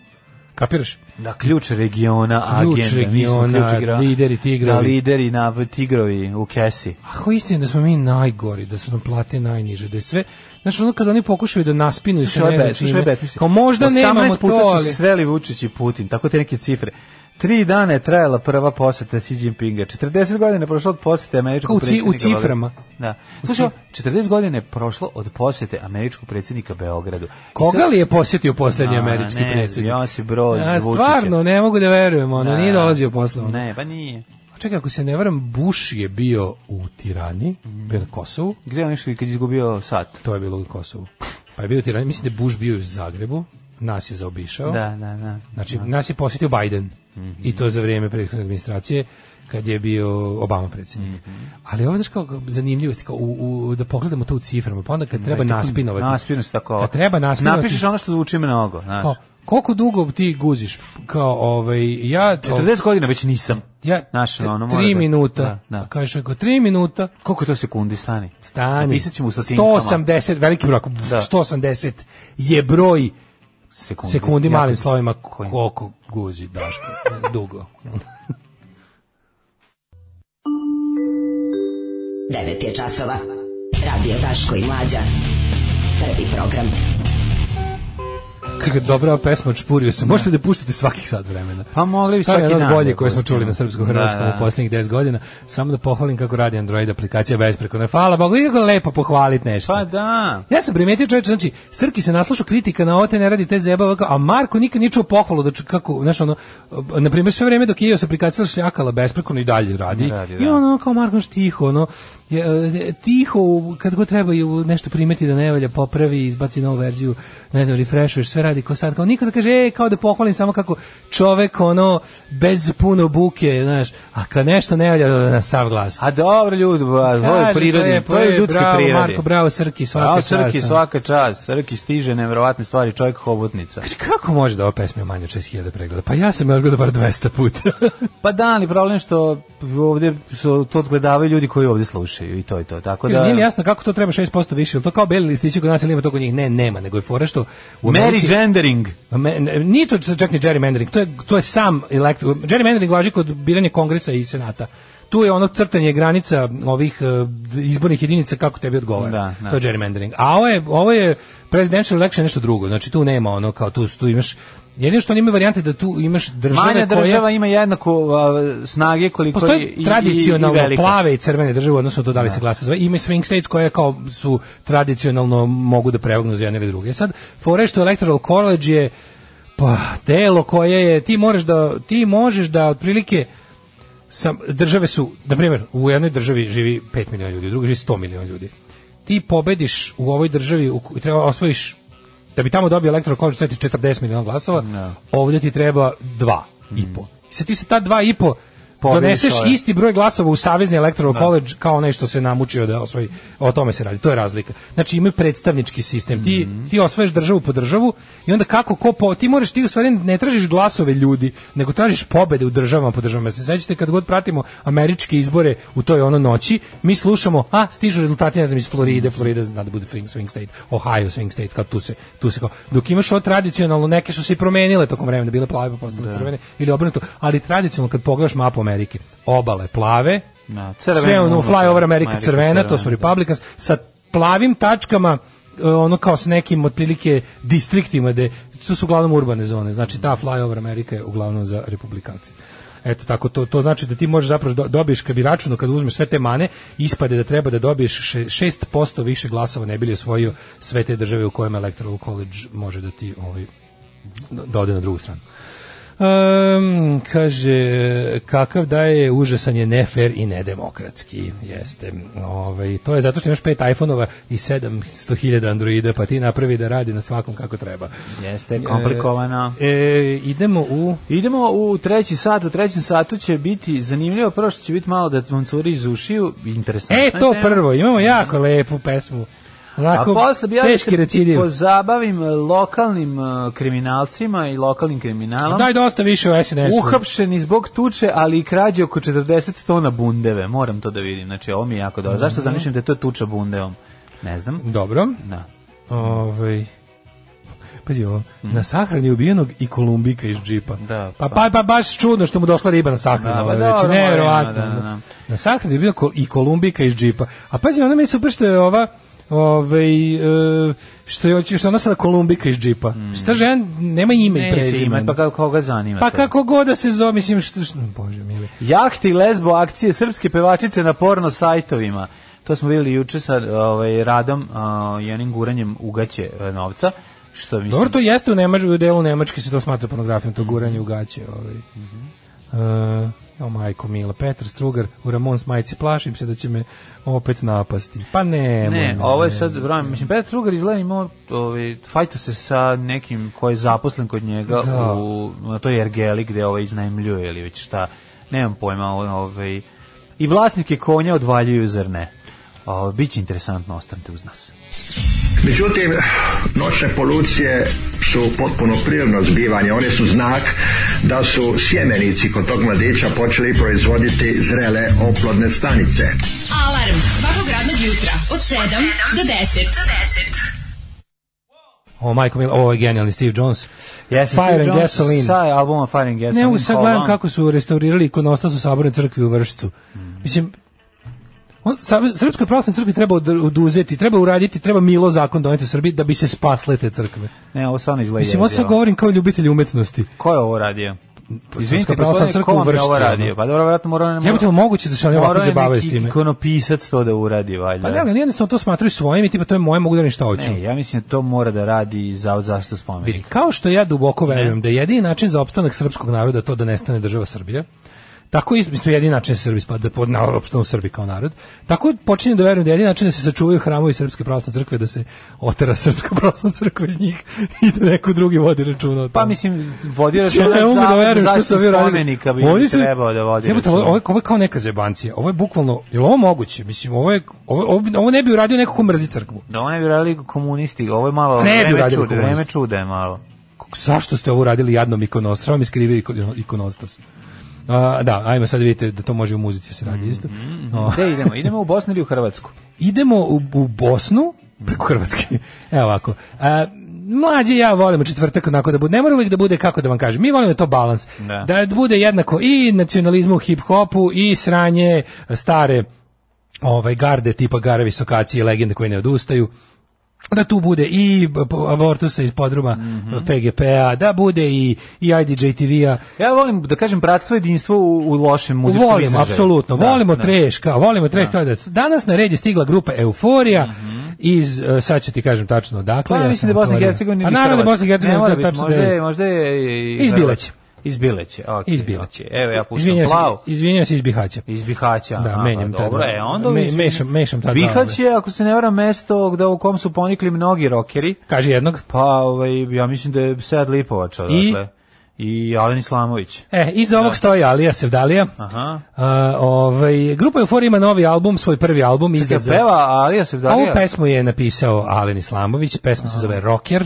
kapiraš?
Na ključ regiona,
Ključ
agenda,
regiona,
mislim, ključ igra-
lideri, tigrovi.
Da, lideri na tigrovi u kesi.
Ako je istina da smo mi najgori, da su nam plate najniže, da je sve, znaš ono kad oni pokušaju da naspinu i se
Slušaj,
ne
ove
znam
bez- slušaj,
čime,
ove besmislice.
kao možda
18
nemamo to,
puta su
ali...
sveli Vučić i Putin, tako te neke cifre. Tri dana je trajala prva poseta Xi Jinpinga. 40 godina je prošlo od posete
Kao u ci- u
američkog predsjednika. Beogradu.
ciframa.
Da. Slušaj, 40 godina je prošlo od posete američkog predsjednika Beogradu. I
Koga
sad-
li je posjetio poslednji
A,
američki
ne znam,
predsjednik?
Josip Broz
A,
Vučića.
stvarno, ne mogu da verujem, ono,
Da.
nije dolazio posle. ono.
Ne, pa nije.
A Čekaj, ako se ne varam, Bush je bio u Tirani, bio na Kosovu,
Gde je on išao kad je izgubio sat?
to je bilo u Kosovu. Pa je bio u Tirani, mislim da je Bush bio u Zagrebu, nas je zaobišao.
Da, da, da. Mhm.
Znači, nas je posjetio Biden. I to za vrijeme prethodne administracije kad je bio Obama predsjednik.
Mhm.
Ali ovo, znaš, kao zanimljivost, kao u, u- da pogledamo to u ciframa, pa onda kad treba naspinovati.
Naspinu se tako.
Kad treba naspinovati.
Napišeš ono što zvuči mnogo, znaš.
kao, koliko dugo ti guziš? Kao, ovaj, ja...
40 godina već nisam.
ja,
Znaš, ono, mora
tri
da-
minuta.
Da, da.
Kažeš, ako tri minuta,
Koliko je to sekundi stani?
Stani.
Napisat ćemo u satinkama.
180, veliki broj, ako-
Da.
180 je broj
sekundi,
sekundi
Ja-
malim slovima
Koji?
koliko guzi Daško dugo.
9 je časova. Radio Daško i Mlađa. Prvi program.
Kako dobra pesma Čpurio se. Možete da puštate svakih sat vremena.
Pa mogli bi
To je
svaki
jedan
dan.
od boljih
da
koje smo
pustimo.
čuli na srpsko-hrvatskom u posljednjih 10 godina. Samo da pohvalim kako radi Android aplikacija besprekorna. Hvala Bogu, i kako lepo pohvaliti nešto.
Pa da.
Ja sam primetio čovječe, znači, Srki se naslušao kritika na ovo te ne radi te zebava, a Marko nikad nije čuo pohvalu da ču- kako, znaš, ono, na primjer, sve vrijeme dok je iOS aplikacija šljakala besprekorno i dalje radi.
Radi, da.
I ono, kao Marko, što tiho, ono, je, e, tiho, u- kad god treba i u nešto primeti da ne valja, popravi, izbaci novu verziju, ne znam, refreshuješ, sve radi ko sad, kao nikad da kaže, e, kao da pohvalim samo kako čovek, ono, bez puno buke, znaš, a kad nešto ne valja, na sav glas.
A dobro ljudi, ba, ovo je
Kažeš
prirodni,
lepo,
to je
e,
ljudski
bravo,
prirodi.
Marko, bravo, Srki, svaka
bravo,
čast,
Srki,
ono.
svaka čast. Srki stiže nevjerovatne stvari, čovjek hobotnica.
Kaže, kako može da ova pesma ima manje od 6000 pregleda? Pa ja sam je odgledao bar 200
<laughs>
puta.
Pa da, ali problem je što ovdje su to odgledavaju ljudi koji ovdje slušaju i to je to. Tako
Kaže,
Pa da...
nije mi jasno kako to treba 6% više, jel to kao beli listići kod nas ili ima to kod njih? Ne, nema, nego je fora što u Americi...
Mary Gendering.
Me- ne- nije to čak ni gerrymandering, to je, to je sam elekt... Gerrymandering važi kod biranja kongresa i senata. Tu je ono crtanje granica ovih eh, izbornih jedinica kako tebi odgovara.
Da, da.
To je gerrymandering. A ovo je, ovo je presidential election je nešto drugo. Znači tu nema ono kao tu, tu imaš Jedino što nema varijante da tu imaš države
Manja
koje...
država ima jednako a, snage koliko
Postoji
i, i, i
tradicionalno
velika.
plave i crvene države, odnosno to da li se glasa za Ima i swing states koje kao su tradicionalno mogu da prevagnu za jedne ili druge. Sad, fore što Electoral College je pa telo koje je, ti, moraš da, ti možeš da otprilike sam, države su, na primjer, u jednoj državi živi 5 miliona ljudi, u drugoj živi 100 miliona ljudi. Ti pobediš u ovoj državi, u, ko- treba osvojiš, da bi tamo dobio elektoral college, treba ti 40 miliona glasova, ovdje ti treba dva i po. I sad ti se ta dva i po
Mm. Pobediš
doneseš
ove.
Dakle, isti broj glasova u Savezni electoral college kao onaj što se namučio da osvoji. O tome se radi, to je razlika. Znači imaju predstavnički sistem. Ti ti osvojiš državu po državu i onda kako ko po, ti moraš ti u stvari ne tražiš glasove ljudi, nego tražiš pobede u državama po državama. Se sećate kad god pratimo američke izbore u toj ono noći, mi slušamo, a stižu rezultati ne znam iz Floride, Florida zna da bude swing, swing state, Ohio swing state, kad tu se tu se kao dok imaš ovo tradicionalno neke su se i promenile tokom vremena, bile plave pa postale crvene ili obrnuto, ali tradicionalno kad pogledaš mapu Amerike, obale plave,
Da, crvene
sve ono
ono,
flyover Amerika
Amerika
crvena, to su
crvena, da.
Republicans, sa plavim tačkama e, ono kao s nekim otprilike distriktima gde to su uglavnom urbane zone, znači ta flyover Amerika je uglavnom za republikanci. Eto tako to to znači da ti možeš zapravo do- dobiješ kad bi računao kad uzmeš sve te mane ispade da treba da dobiješ še- 6% više glasova ne bi li osvojio sve te države u kojima electoral college može da ti ovaj da ode na drugu stranu. Ehm, kaže, kakav da je užasan je nefer i nedemokratski. Jeste. Ovaj, to je zato što imaš pet iPhone-ova i 700.000 Androida, pa ti napravi da radi na svakom kako treba.
Jeste, komplikovano.
E, e, idemo u...
Idemo u treći sat, u trećem satu će biti zanimljivo, prvo što će biti malo da vam curi iz ušiju, interesantno.
E, to prvo, imamo jako lepu pesmu.
A
Onako,
posle bi ja da
teški
se
recidiv.
pozabavim e, lokalnim e, kriminalcima i lokalnim kriminalom.
Daj dosta više o SNS-u.
Uhapšeni zbog tuče, ali i krađe oko 40 tona bundeve. Moram to da vidim. Znači, ovo mi je jako dobro. Zašto zamišljam da je to tuča bundevom? Ne znam.
Dobro.
Da.
Ovaj Pazi ovo, na sahrani ubijenog i Kolumbika iz džipa.
Mhm. Da,
pa,
pa-
pa, pa baš čudno što mu došla riba na sahranu.
Da, pa
ovaj,
dobro,
znači,
moramo,
nevjerovatno.
da, da, da.
Na sahrani je bio Kol- i Kolumbika iz džipa. A pazi, ona mi je super što je ova ovaj, e, što je hoće- što je ona sada Kolumbika iz džipa. Šta žena, nema ime i
Mhm. Neće
prezime.
imati, pa kako koga zanima
Pa
to.
kako god da se zove, mislim, što, što, bože mili.
Jahti i lesbo akcije srpske pevačice na porno sajtovima. To smo vidjeli juče sa ovaj, radom uh, i onim guranjem ugaće e, novca. Što mislim,
Dobro, to jeste u, Nemač, u delu Nemačke se to smatra pornografijom, to guranje u gaće. Ovaj.
Mhm.
E, o majko Mila, Petar Strugar u Ramon majici, plašim se da će me opet napasti. Pa ne,
Ne, ovo je sad, vram, mislim, Petar Trugar izgleda imao, ovaj, fajto se sa nekim koji je zaposlen kod njega
Da.
u, na toj ergeli gde ovaj iznajmljuje ili već šta, nemam pojma, ovaj, i vlasnike konja odvaljuju, zar ne? O, biće interesantno, ostanite uz nas.
Međutim, noćne polucije su potpuno prirodno zbivanje. One su znak da su sjemenici kod tog mladića počeli proizvoditi zrele oplodne stanice.
Alarm svakog radnog jutra od 7 do 10.
O majko Mila, ovo je genijalni Steve Jones.
Jeste,
Fire
Steve
and
Jones
Gasoline.
Sa albuma Fire and Gasoline.
Ne mogu sad
How
gledam
Long.
kako su restaurirali ikonostas u Sabornoj crkvi u Vršcu.
Mhm.
Mislim, on, Sa- Srpskoj pravoslavnoj crkvi treba od- oduzeti, treba uraditi, treba milo zakon doneti u Srbiji da bi se spasle te crkve.
Ne, ovo stvarno izgleda
Mislim, ovo sad
jezivo.
govorim kao ljubitelj umetnosti.
Ko je ovo radio? Izvinite,
Pa pravoslavna
gospodine,
crkva
ko
u
vam je ovo
Vršcu,
radio?
ono.
Pa dobro, vratno morao
Jebote, jel moguće da se oni ovako zabavaju s time?
ikonopisac to da uradi, valjda.
Pa ne, ali oni jednostavno to smatraju svojim i tipa to je moje, mogu da ništa hoću.
Ne, ja mislim da to mora da radi za zašto
Vidi,
spomenik.
kao što ja duboko verujem da je jedini način za opstanak srpskog naroda to da nestane država Srbija, tako i mislim jedini način da se Srbi spada pod na opstanu Srbi kao narod. Tako počinjem da verujem da je jedini način da se sačuvaju hramovi srpske pravoslavne crkve da se otera srpska pravoslavna crkva iz njih <laughs> i da neko drugi vodi računa o tome.
Pa mislim, vodi
Ja
računa
ne mogu da
za
verujem što su
zašto
ovi uradili.
spomenika bi
Oni
Oni
su-
trebao da vodi
Jebote, ovo,
računa.
ovo, je- ovo je kao neka zebancija. Ovo je bukvalno, jel ovo moguće? Mislim, ovo, je, ovo, ovo, bi- ovo ne bi uradio neko ko mrzi crkvu.
Da oni bi radili komunisti, ovo je malo
Ne bi
vreme
radili
čuda, vreme
komunisti.
čuda je malo.
Kako- zašto ste ovo uradili jadnom ikonostas? Samo mi skrivio iko- ikonostas. A, da, ajmo sad vidite da to može u muzici se radi
Mhm.
isto. No.
<laughs> Gde idemo? Idemo u Bosnu ili u Hrvatsku?
Idemo u, u Bosnu, preko Hrvatske. Evo ovako. A, mlađe i ja volimo četvrtak onako da bude. Ne mora uvijek da bude kako da vam kažem. Mi volimo da je to balans.
Da.
da bude jednako i nacionalizmu u hip-hopu i sranje stare ovaj garde tipa Gara Visokacije i legende koje ne odustaju da tu bude i b- b- abortusa iz podruma PGP-a, da bude i, i IDJ TV-a,
Ja volim da kažem bratstvo jedinstvo u, u lošem muzičkom
Volim,
izražaju.
apsolutno.
Da,
volimo
da. Mhm.
treš, kao, volimo treš. Kao da. Danas na red je stigla grupa Euforija iz, eh, sad ću ti kažem tačno odakle.
Pa, ja
ja sam
mislim da je Pa Bosna i
otvorio.
Hercegovina
A
ili
naravno da
Hrvatska.
Bosna i Hercegovina,
Ne mora
to je
biti,
tačno da
možda
je-
je, ono možda je i-
Iz Bileće.
Iz Bileće, ok. znači,
iz Bihaća.
Evo ja puštam
Izvinjam se-
plavu.
izvinjam se iz Bihaća.
Iz Bihaća.
Da,
aha,
menjam ta
dobro,
dva.
e, onda
Me-
mislim-
mešam- mešam ono. ta dva,
Bihać je, ako se ne varam, mesto gde u kom su ponikli mnogi rokeri.
Kaže jednog.
Pa, ovaj, ja mislim da je Sead Lipovač, odatle. I Alen Islamović.
E, iz ovog stoji Alija Sevdalija.
Aha.
A, ovaj, grupa Euforija ima novi album, svoj prvi album.
Kad
izdat za-
peva Alija
Ovu
Sevdarija.
pesmu je napisao Alen Islamović, pesma se zove Rocker,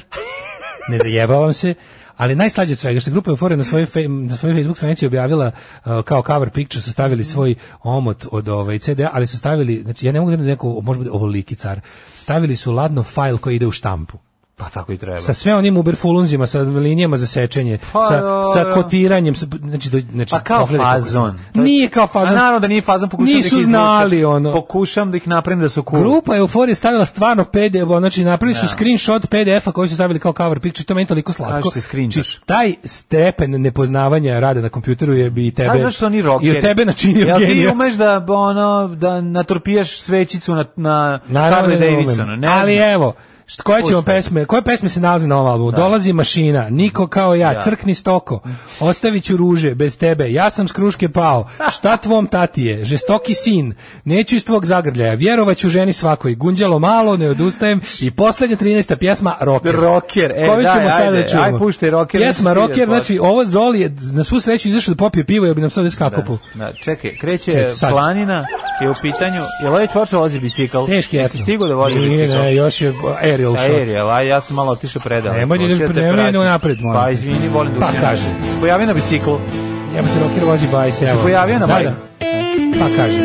ne zajebavam se, ali najslađe od svega što je grupa Euforija na svojoj, fe- na svojoj Facebook stranici objavila uh, kao cover picture, su
Mm.
stavili svoj omot od ovaj CD-a, ali su stavili, znači ja ne mogu da neko, može biti ovoliki car, stavili su ladno fajl koji ide u štampu.
Pa tako i treba.
Sa sve onim uberfulunzima, sa linijama za sečenje,
Pa
sa,
dobro.
sa kotiranjem, sa, znači, do, znači...
Pa kao
pogledaj kako-
fazon.
Nije kao fazon.
A naravno da nije fazon, pokušam
Nisu
da ih izvučem.
znali, ono.
Pokušam da ih napravim da su cool.
Grupa Euforija stavila stvarno PDF, ono, znači napravili su screenshot PDF-a koji su stavili kao cover picture, to meni toliko slatko.
Kaže se screenshot.
Či- taj stepen nepoznavanja rada na kompjuteru je bi i tebe.
A znaš što oni rockeri?
I od tebe načinio
Jel ti
genija.
umeš da, ono, da natorpijaš svećicu na, na
Naravno da
Harley
ne umem.
Davidsonu? Ne
Ali
znam.
evo, št- koje ćemo
Puštaj.
pesme, koje pesme se nalaze na ovom albumu? Dolazi mašina, niko kao ja, crkni stoko, ostavit ću ruže, bez tebe, ja sam s kruške pao, šta tvom tati je, žestoki sin, neću iz tvog zagrljaja, vjerovat ću ženi svakoj, gunđalo malo, ne odustajem i poslednja 13. pjesma, rocker.
Rocker, e,
Koju
daj,
ćemo sada
ajde,
da čujemo?
aj, puštaj Rocker, mi se
Pjesma
sviđa
rocker,
posle.
znači, ovo Zoli je na svu sreću izašao da popije pivo, jer bi nam sad iskakopu.
Da, čekaj, kreće
Kreće sad.
planina, je u pitanju, je li već počeo vozi bicikl?
Teški
je.
je.
Jesi stigo da vozi
Nije,
bicikl? Pa
ne, još je aerial shot.
Aerial, a ja sam malo otišao predaleko.
Nemoj da ideš
Hoću te
pre- nemoj
pratim.
da napred, molim
Pa
te.
izvini, volim da
Pa
učinem.
kaži.
Pojavi na biciklu.
Jebote, rocker vozi bajs, evo.
pojavio na
Da,
bajku?
da. Pa kaže.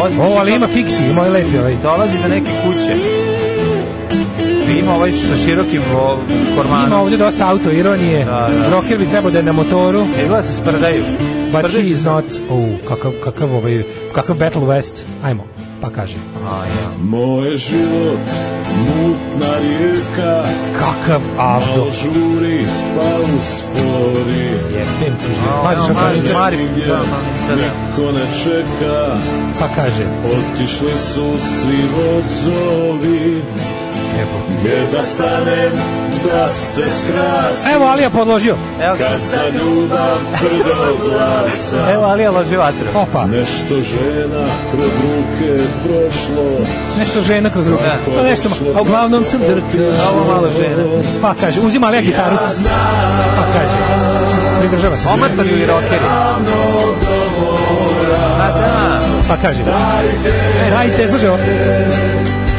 Vozi
O, ali
bicikl.
ima fiksi, ima i lepi ovaj.
Dolazi do neke kuće. I Ima ovaj sa širokim o, kormanom.
Ima ovdje dosta auto ironije.
Da, da.
Rocker bi trebao da je na motoru,
E, gleda se sprdaju.
but
Sprdaju
he
se
is
sprdaju.
not. O, kakav, kakav ovaj, kakav Battle West. Ajmo, pa kaže.
A, ja.
Moj život, mutna rijeka,
Kakav
malo
avdo.
žuri, pa uspori.
Jebem ti
A,
život.
ono,
Pazi što
mazi,
kaže.
Mari,
Nigdje
da, manica, da.
Niko ne čeka,
Pa kaže.
otišli su svi vozovi. Gdje da stanem, da se skrasim,
Evo Alija podložio.
Evo ga.
kad za ljubav brdo glasa.
Evo Alija loži vatru.
Opa,
Nešto žena kroz ruke prošlo,
nešto žena kroz ruku.
Da.
Pa nešto, ma- a uglavnom sam drtio.
A ovo malo žena.
Pa kaže, uzima Alija gitaru. Pa kaže. Pridržava se.
Omatori ili rokeri? A da.
Pa kaže. E, dajte, slušaj ovo.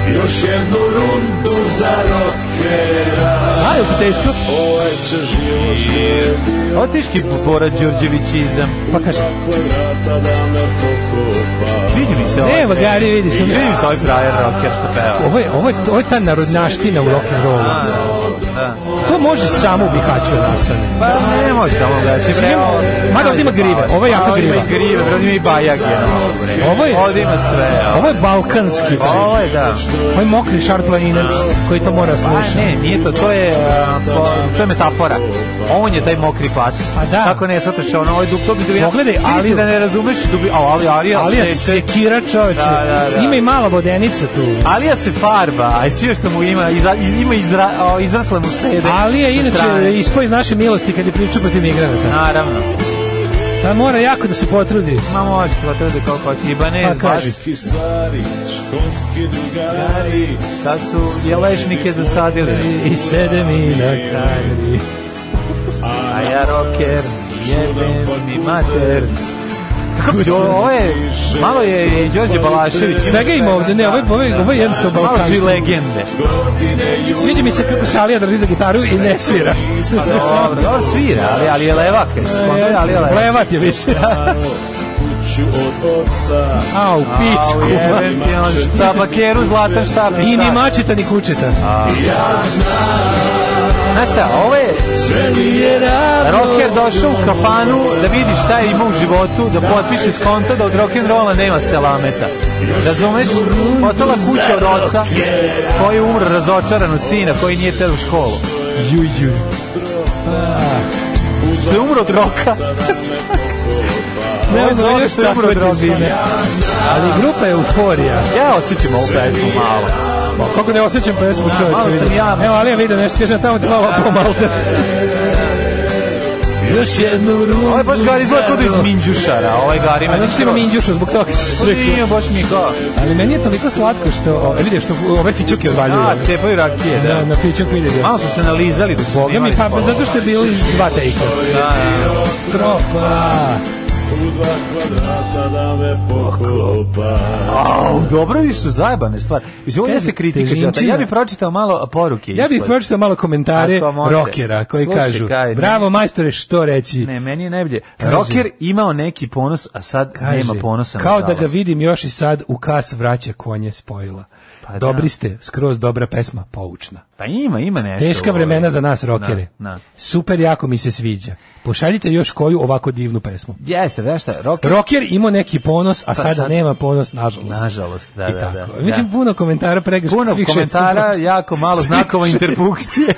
još jednu rundu za rockera.
A, je li ti teško?
Ovaj će život živjeti
Ovo je teški Bora Đorđevićizam.
Pa kaže.
plejata da me pokopa.
Sviđa mi se ovo.
Evo ga, ali vidiš.
Sviđa mi se ovaj frajer roker što peva.
Ovo je, ovo je, ovo je ta narodnjaština u rock'n'rollu.
A, da.
To može samo u Bihaću da nastane.
Pa ne može da mogu da će
Mislim, mada ovdje ima grive, ovo je jako
Ovo
griva.
ima i grive, bre, ovdje ima i bajage.
Ovo je-
Ovdje ima sve. a.
Ovo je balkanski
Ovo
križ.
je da.
Ovo je mokri šarplaninac koji to mora
A
slušati.
ne, nije to, to je, a, po- to je metafora. On je taj mokri pas.
Pa da.
Tako ne shvataš, ono, ovo je dub, to bi dubina.
Pogledaj,
Vidi se
Aliju.
da ne razumeš dubina. A, ali, Alija,
Ali je
se-
sekira čoveče.
Da, da, da.
Ima i mala vodenica tu.
Alija se farba, a i sve što mu ima, iza, ima izra, o, izrasle mu sede.
Ali je
sa
inače
strane.
ispoj iz naše milosti kad je pričao protiv migranata.
Naravno.
Sad mora jako da se potrudi.
Ma može se potruditi koliko hoće. Ibanez,
Pa kaži.
baš.
Školski stari, školski drugari,
Sad su jelešnike zasadili.
I sede mi na kari.
A ja roker, jebem mi mater. Kako bi- Ovo je, malo je i Đorđe Balašević.
Svega ima ovde, ne, ovo je, ovo je, ovo je jednostavno
Malo su i
balkanski.
legende.
Sviđa mi se kako se Alija drži za gitaru i ne svira.
Dobro, dobro svira, ali, ali je levak. Ali, ali je levak.
Levat je više.
kuću od oca.
Au,
Au,
pičku.
jebem ti on štabakeru, zlatan štapica.
I ni mačeta ni kučeta.
Ja znam
Znaš šta, ovo je rocker došao u kafanu da vidi šta je imao u životu, da potpiše skonto da od rock'n'rolla nema selameta. Razumeš? Ostala kuća od oca koji je umro razočaran u sina koji nije teo u školu. Ju, ju. Ah. Što je umro od roka.
Ne znam još šta je drobine. Ali grupa je euforija.
Ja osjećam ovu pesmu malo.
Pa, kako ne osjećam pesmu čovječe.
malo sam
vidi.
ja.
Evo, ali ja vidim nešto, kažem tamo ti glava pomalte.
Još jednu
Ovo je baš gari izgleda kod iz Minđušara, ovaj gari
A
ima
znači ima minđušu zbog toga. sam rekao.
Nije baš mi kao.
Ali meni je toliko slatko što, o, e, vidiš, što ove fičuke odvaljuju. ono.
A, cepaju rakije, da.
Da, na fičuk vidiš.
Malo su se nalizali dok su
Boga mi,
snimali
pa, pa
spolu.
zato što je bilo iz dva tejka.
Da, da, da.
Tropa.
U dva kvadrata da me pokopa
Au, dobro viš su zajebane stvari. Mislim, ovo
Kaži,
jeste kritika.
težinčina.
Đorđe. Ja bih pročitao malo poruke.
Ja bih
ispod.
pročitao malo komentare
Ako može.
rokera koji
Slušaj,
kažu
kaj, ne.
Bravo majstore, što reći?
Ne, meni je najbolje.
Kaže.
Rocker imao neki ponos, a sad nema ponosa.
Kao da
nažalost.
ga vidim još i sad u kas vraća konje spojila.
Pa da.
Dobri ste, skroz dobra pesma, poučna.
Pa ima, ima nešto.
Teška
u ovoj.
vremena za nas rokere.
Na, na.
Super jako mi se sviđa. Pošaljite još koju ovako divnu pesmu.
Jeste, znaš šta, rocker...
Roker imao neki ponos, a sada
Pa sad-
nema ponos, nažalost.
Nažalost, da,
I
da,
tako.
da.
Mislim,
Da.
puno komentara pregršt
Puno
svih
komentara,
600.
jako malo
<laughs>
znakova interpunkcije.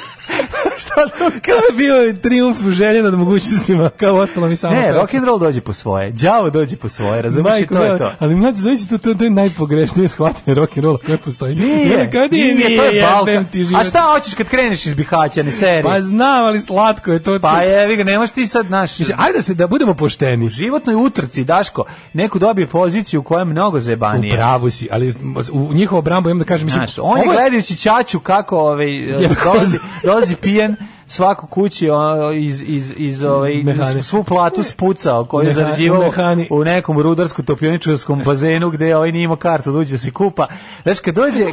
Šta da
Kao je bio triumf želje nad mogućnostima, Ono kao ostalo mi samo
Ne,
pesma.
rock and roll dođe po svoje. Đavo dođe po svoje, razumiješ i
Majko,
to je
mila,
to.
Ali mlađe, zavisi to, to, to je najpogrešnije shvatanje rock and rolla koje postoji. Ja kao, nije, nije,
to je Balkan.
jebem ti život.
A šta hoćeš kad kreneš iz Bihaća, ne seri?
Pa znam, ali slatko je to.
Pa jevi ga, nemaš ti sad naš...
Mislim, ajde da se da budemo pošteni.
životnoj utrci, Daško, neko dobije poziciju koja je mnogo
U
zebanija.
pravu si, ali u njihovu brambu imam da kažem, mislim,
Znaš, on je
ovo
gledajući Ćaću kako
<laughs>
ovaj, dolazi, dolazi pijen svako kući o, iz, iz, iz, ovaj,
mehane.
svu platu spucao koju je
Meha- u
zarađivao
mehani.
u nekom rudarsko topioničarskom bazenu gde ovaj nije imao kartu da uđe da se kupa. Znaš, kad dođe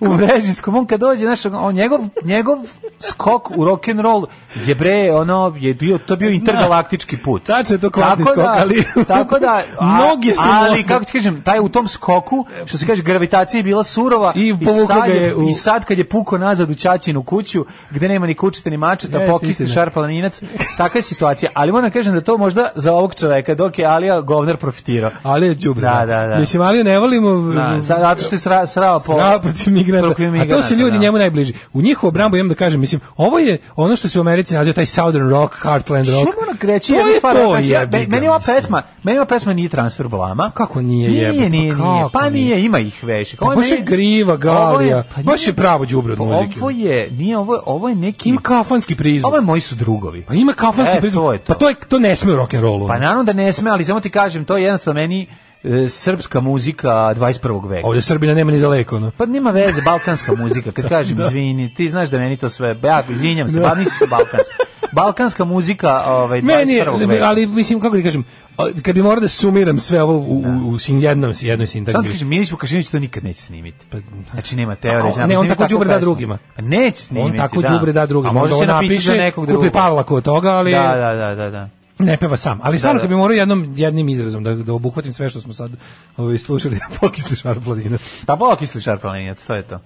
u Vrežinskom, on kad dođe, znaš, on, njegov, njegov skok u rock'n'roll je bre, ono, je bio, to je bio intergalaktički put.
Tačno je to kvantni skok, ali...
tako
<laughs>
da a-
Mnoge su
ali
nosne.
kako ti kažem taj u tom skoku što se kaže gravitacija je bila surova
I povukla
sad
ga je u-
i sad kad je puko nazad u ćaćinu kuću gde nema ni kućice ni mačeta
Jeste,
pokisni
istina.
šarpalaninac takva je situacija ali moram da kažem da to možda za ovog čoveka dok je Alija govnar profitirao
Ali je đubre.
Da, da, da.
Mislim, ali ne volimo...
da, zato što je sra, srao po
Srao protiv migranta.
protiv
A to su ljudi
da.
njemu najbliži. U njihovu obrambu imam da kažem, mislim, ovo je ono što se u Americi naziva taj Southern Rock, Heartland Rock.
Šta moram reći?
To
jednu
je
ono stvar,
to,
znači, ja-
jebi ga,
meni ova
mislim.
pesma, meni ova pesma nije transfer blama.
Kako nije,
Nije,
jebote,
nije,
pa
nije.
kako
Pa
nije?
nije, ima ih vešik.
Pa baš je griva, galija,
pa
baš je pravo đubre od muzike.
Ovo je, nije, ovo je, ovo je neki...
Ima kafanski prizvuk.
Ovo je moji su drugovi.
Pa ima kafanski
E,
prizvuk.
to je to.
Pa to, je, to ne sme u ono. rock'n'rollu.
Pa naravno da ne sme, ali samo ti kažem, to je jednostavno meni e, srpska muzika 21. veka.
Ovde Srbina nema ni za ono. leko, no.
Pa nema veze, balkanska muzika,
<laughs>
kad kažem izvini, ti znaš da meni to sve, ja izvinjam se, bavim se balkanska. Balkanska muzika ovaj, 21.
Meni je,
veka.
ali mislim, kako ti kažem, a, kad bi morao da sumiram sve ovo u, u, u sin, jednom, jednoj
Sad
sintagmi.
kaže Milić Vukašinović to nikad neće snimiti. Znači nema
Pa, A,
teorije. znači,
ne, on
snimi
tako
takvu
đubre da
pesmu.
drugima.
Pa Neće snimiti.
On tako
da.
đubre da drugim.
A može
Onda
se
on
napiše za
napiše,
nekog drugog.
kupi parlaku od toga, ali
Da, da, da, da, da.
ne peva sam. Ali stvarno,
da.
kad bi morao jednom, jednim izrazom da, da obuhvatim sve što smo sad ovaj, slušali, <laughs> pokisli šarpladinac.
Pa bolo kisli šarpalenjac, to je to.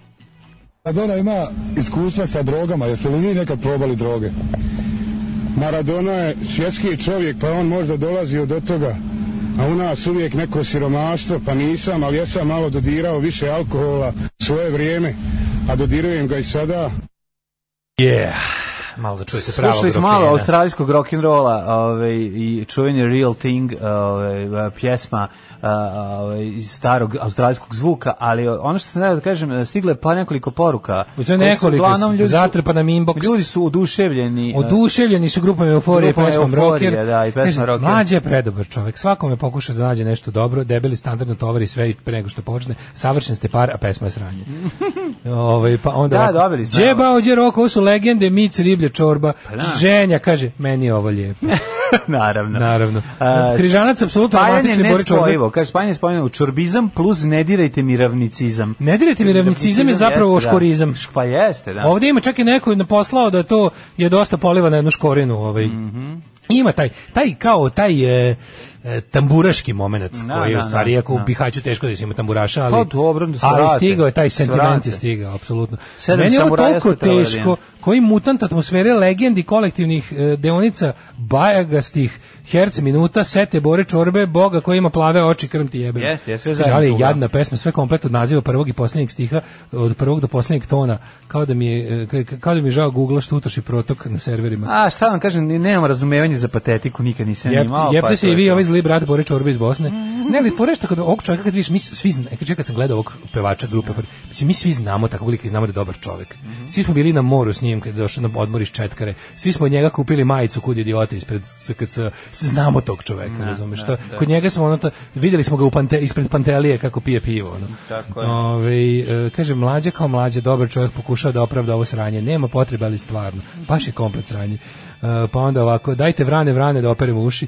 Maradona ima iskustva sa drogama, jeste li vi nekad probali droge? Maradona je svjetski čovjek, pa on možda dolazi od toga. A u nas uvijek neko siromaštvo, pa nisam, ali jesam malo dodirao više alkohola svoje vrijeme, a dodirujem ga i sada.
Yeah. Malo da čujete pravo.
Slušali smo malo australijskog rock'n'rolla ovaj, i čuveni Real Thing ovaj, pjesma ovaj, iz starog australijskog zvuka, ali ono što sam da da kažem, stigle pa nekoliko poruka.
Uče
koje su
nekoliko,
uglavnom ljudi su-
zatrpa nam inbox.
Ljudi su oduševljeni. eh,
Oduševljeni su grupom Euforije,
Grupom
pesmom
Euforije,
Rocker.
da, i pesma
Kaže,
Rocker.
Mlađe je predobar čovjek. Svakome pokuša da nađe nešto dobro, debeli standardno tovari sve i pre nego što počne. Savršen ste par, a pesma je
<laughs>
sranje. Ovaj pa onda
Da,
ovako,
dobili smo,
Đeba
evo. Pa
ođe rok, ovo su legende, mic, riblje, čorba.
da.
Ženja kaže, meni je ovo lijepo.
<laughs> Naravno.
Naravno.
A,
Križanac apsolutno romantični
Spajanje
Bore Čorbe.
nespojivo. Kaže, spajanje spojeno u čorbizam plus ne dirajte mi ravnicizam.
Ne dirajte mi ravnicizam je zapravo
jeste, da.
škorizam.
Pa jeste, da.
Ovdje ima čak i neko je poslao da to
Mhm.
je dosta poliva na jednu škorinu. Ovaj. Ima taj, taj kao taj e, e, tamburaški moment
Da,
koji je u
da,
stvari,
da,
iako u
da.
Bihaću teško da se ima tamburaša, ali,
Pa dobro, da se
ali
vrate,
stigao je taj
da se
sentiment
vrate.
je stigao, apsolutno.
Sedam
Meni je ovo
samuraja
toliko
smo trebali da
teško,
imamo.
koji mutant atmosfere legendi kolektivnih e, deonica bajagastih herc minuta, sete bore čorbe, boga koji ima plave oči, krm ti jebe.
Jeste, jeste, sve
Kaže,
zajedno
Ali je
tu, da.
jadna pesma, sve komplet od naziva prvog i posljednjeg stiha, od prvog do posljednjeg tona, kao da mi je, e, ka- kao da mi je žao Google što utoši protok na serverima.
A šta vam kažem, ni- nemam razumevanje za patetiku, nikad nisam
Jepte,
imao.
jepte se
to
i
pa je
vi
to.
ovaj zli brat Bore Čorbe iz Bosne. Ne, ali fore što kod ovog čovjeka kad vidiš, mi s- svi znamo, kad sam gledao ovog pevača grupe, fore, mislim, mi svi znamo takvog lika i znamo da je dobar čovjek.
Mhm.
Svi smo bili na moru s njim kad je došao na odmor iz Četkare. Svi smo od njega kupili majicu kud idiota ispred SKC. Svi Znamo tog čovjeka, razumeš? To- Kod njega smo ono to, vidjeli smo ga u pante, ispred Pantelije kako pije pivo. Ono.
Tako je.
Ovaj, e, kaže, mlađa kao mlađa, dobar čovjek pokušao da opravda ovo sranje. Nema potrebe, ali stvarno. Baš je komplet sranje. E, pa onda ovako, dajte vrane, vrane da operemo uši.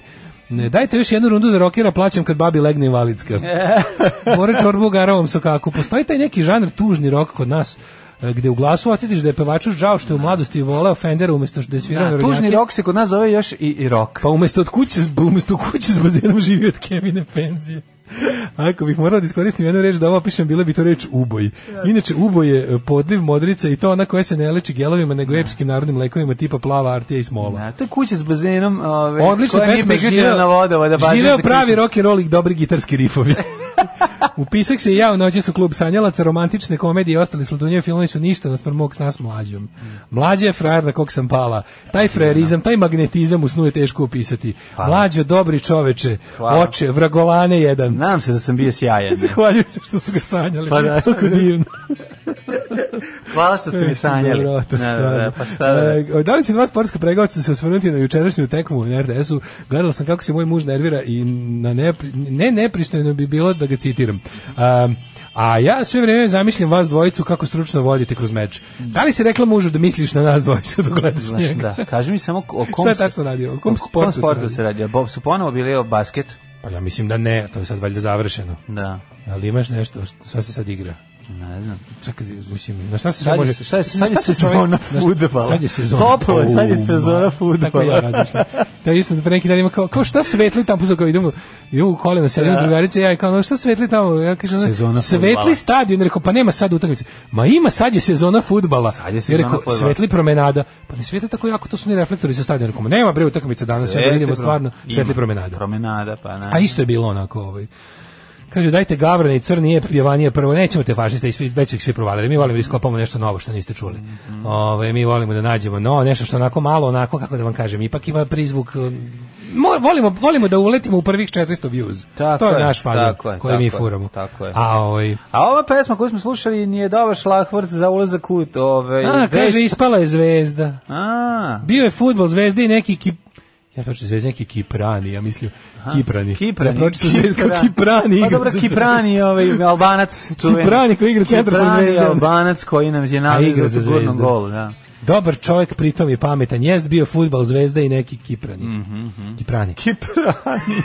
Ne, dajte još jednu rundu da rokira, plaćam kad babi legne
<laughs>
invalidska. Bore čorbu u garavom sokaku. Postoji taj neki žanr tužni rok kod nas e, gde u glasu osjetiš da je pevaču žao što je u mladosti voleo Fendera umjesto što je svirao
Da,
na
tužni
rodnjake.
rok se kod nas zove još i, i rok.
Pa umesto od kuće, umesto u kući s bazenom živi od Kevine penzije. Ako bih morao da iskoristim jednu reč da ovo pišem, bila bi to reč uboj. Inače, uboj je e, podliv modrica i to ona koja se ne leči gelovima, nego epskim narodnim lekovima tipa plava artija i smola.
Da, to je kuća s bazenom, ove,
Odlična
koja nije
pesma,
priključena
živeo,
na vodova. Da bazen
živeo
za
pravi
ključnicu.
rock and roll i dobri gitarski
<laughs>
rifovi. Upisak se i ja u noći su klub sanjalaca, romantične komedije i ostali sladunjevi filmovi su ništa naspram mog s nas mlađom. Mlađa je frajer na kog sam pala. Taj frajerizam, taj magnetizam u snu je teško opisati. Mlađo, dobri čoveče,
Hvala.
oče, vragolane jedan.
Nadam se da sam bio
<laughs>
sjajan.
Zahvaljujem se što su ga sanjali.
Pa da.
Toliko divno.
Hvala što ste mi sanjali.
E, Dobro, to
Da, da,
stvarno.
da, pa šta da, da.
E, da li će dva sportska pregaoca se osvrnuti na jučerašnju tekmu na RTS-u? Gledala sam kako se moj muž nervira i na ne, ne nepristojno bi bilo da ga citiram. Um, a ja sve vrijeme zamišljam vas dvojicu kako stručno vodite kroz meč. Da li si rekla mužu da misliš na nas dvojicu dok gledaš
Znaš,
njega?
da. Kaži mi samo o kom
Šta je
se-
tačno radio? O kom
o
sportu se
sportu
radi?
se radi? Bob su ponovo bili o basket.
Pa ja mislim da ne, to je sad valjda završeno.
Da.
Ali imaš nešto, šta se sad igra?
Ne znam.
Čekaj, mislim, na šta se
Sad
sad
je-
može...
sad je- sad
na
je
šta se
sezona
čovjek- na šta-
fudbala.
Sad je sezona.
Toplo je, sad je
Oh,
sezona
ma.
fudbala.
Tako ja razmišljam. Da, isto, pre neki dan ima kao, kao šta svetli tamo, posao kao idemo, idemo u kolima, sedimo
Da.
drugarice, ja i kao, no, šta svetli tamo? Ja kažem,
Sezona
svetli
fudbala.
stadion, rekao, pa nema sad utakmice. Ma ima, sad je sezona fudbala.
Sad je sezona
Ja rekao,
fudbala.
Svetli promenada. Pa ne svetli tako jako, to su ni reflektori sa stadiona. Rekao, ma nema bre utakmice danas, ja da vidimo stvarno svetli promenada.
Promenada, pa ne.
A isto je bilo onako ovaj. Kaže, dajte gavrane i crni je pjevanije prvo, nećemo te fašiste, i svi, već su ih svi provalili, mi volimo da iskopamo nešto novo što niste čuli.
Mhm.
Ovaj, mi volimo da nađemo no, nešto što onako malo, onako, kako da vam kažem, ipak ima prizvuk, um, mo- volimo, volimo da uletimo u prvih 400 views.
Tako
to je,
je,
naš fazon
tako je,
koji mi
tako je,
furamo.
tako je.
A, ovaj,
A ova pesma koju smo slušali nije dobar šlahvrt za ulazak u ove...
a kaže, ispala je zvezda.
A,
Bio je futbol zvezda i neki kip... Ja pročitam zvezda, neki Kiprani, ja mislim. Kiprani.
Kiprani.
Ja pročitam zvezda kao
Kipra-
Kiprani.
Pa
igra
dobro,
za zvezdu.
Kiprani, ovaj, Albanac. čuveni.
Kiprani koji igra centar pod
Kiprani,
Zvezdom.
Albanac koji nam je
A igra
navio
za
za sigurno
Zvezdu.
gol, da.
Dobar čovjek, pritom je pametan. Jest bio futbal zvezda i neki Kiprani.
Mhm,
Kiprani.
Kiprani.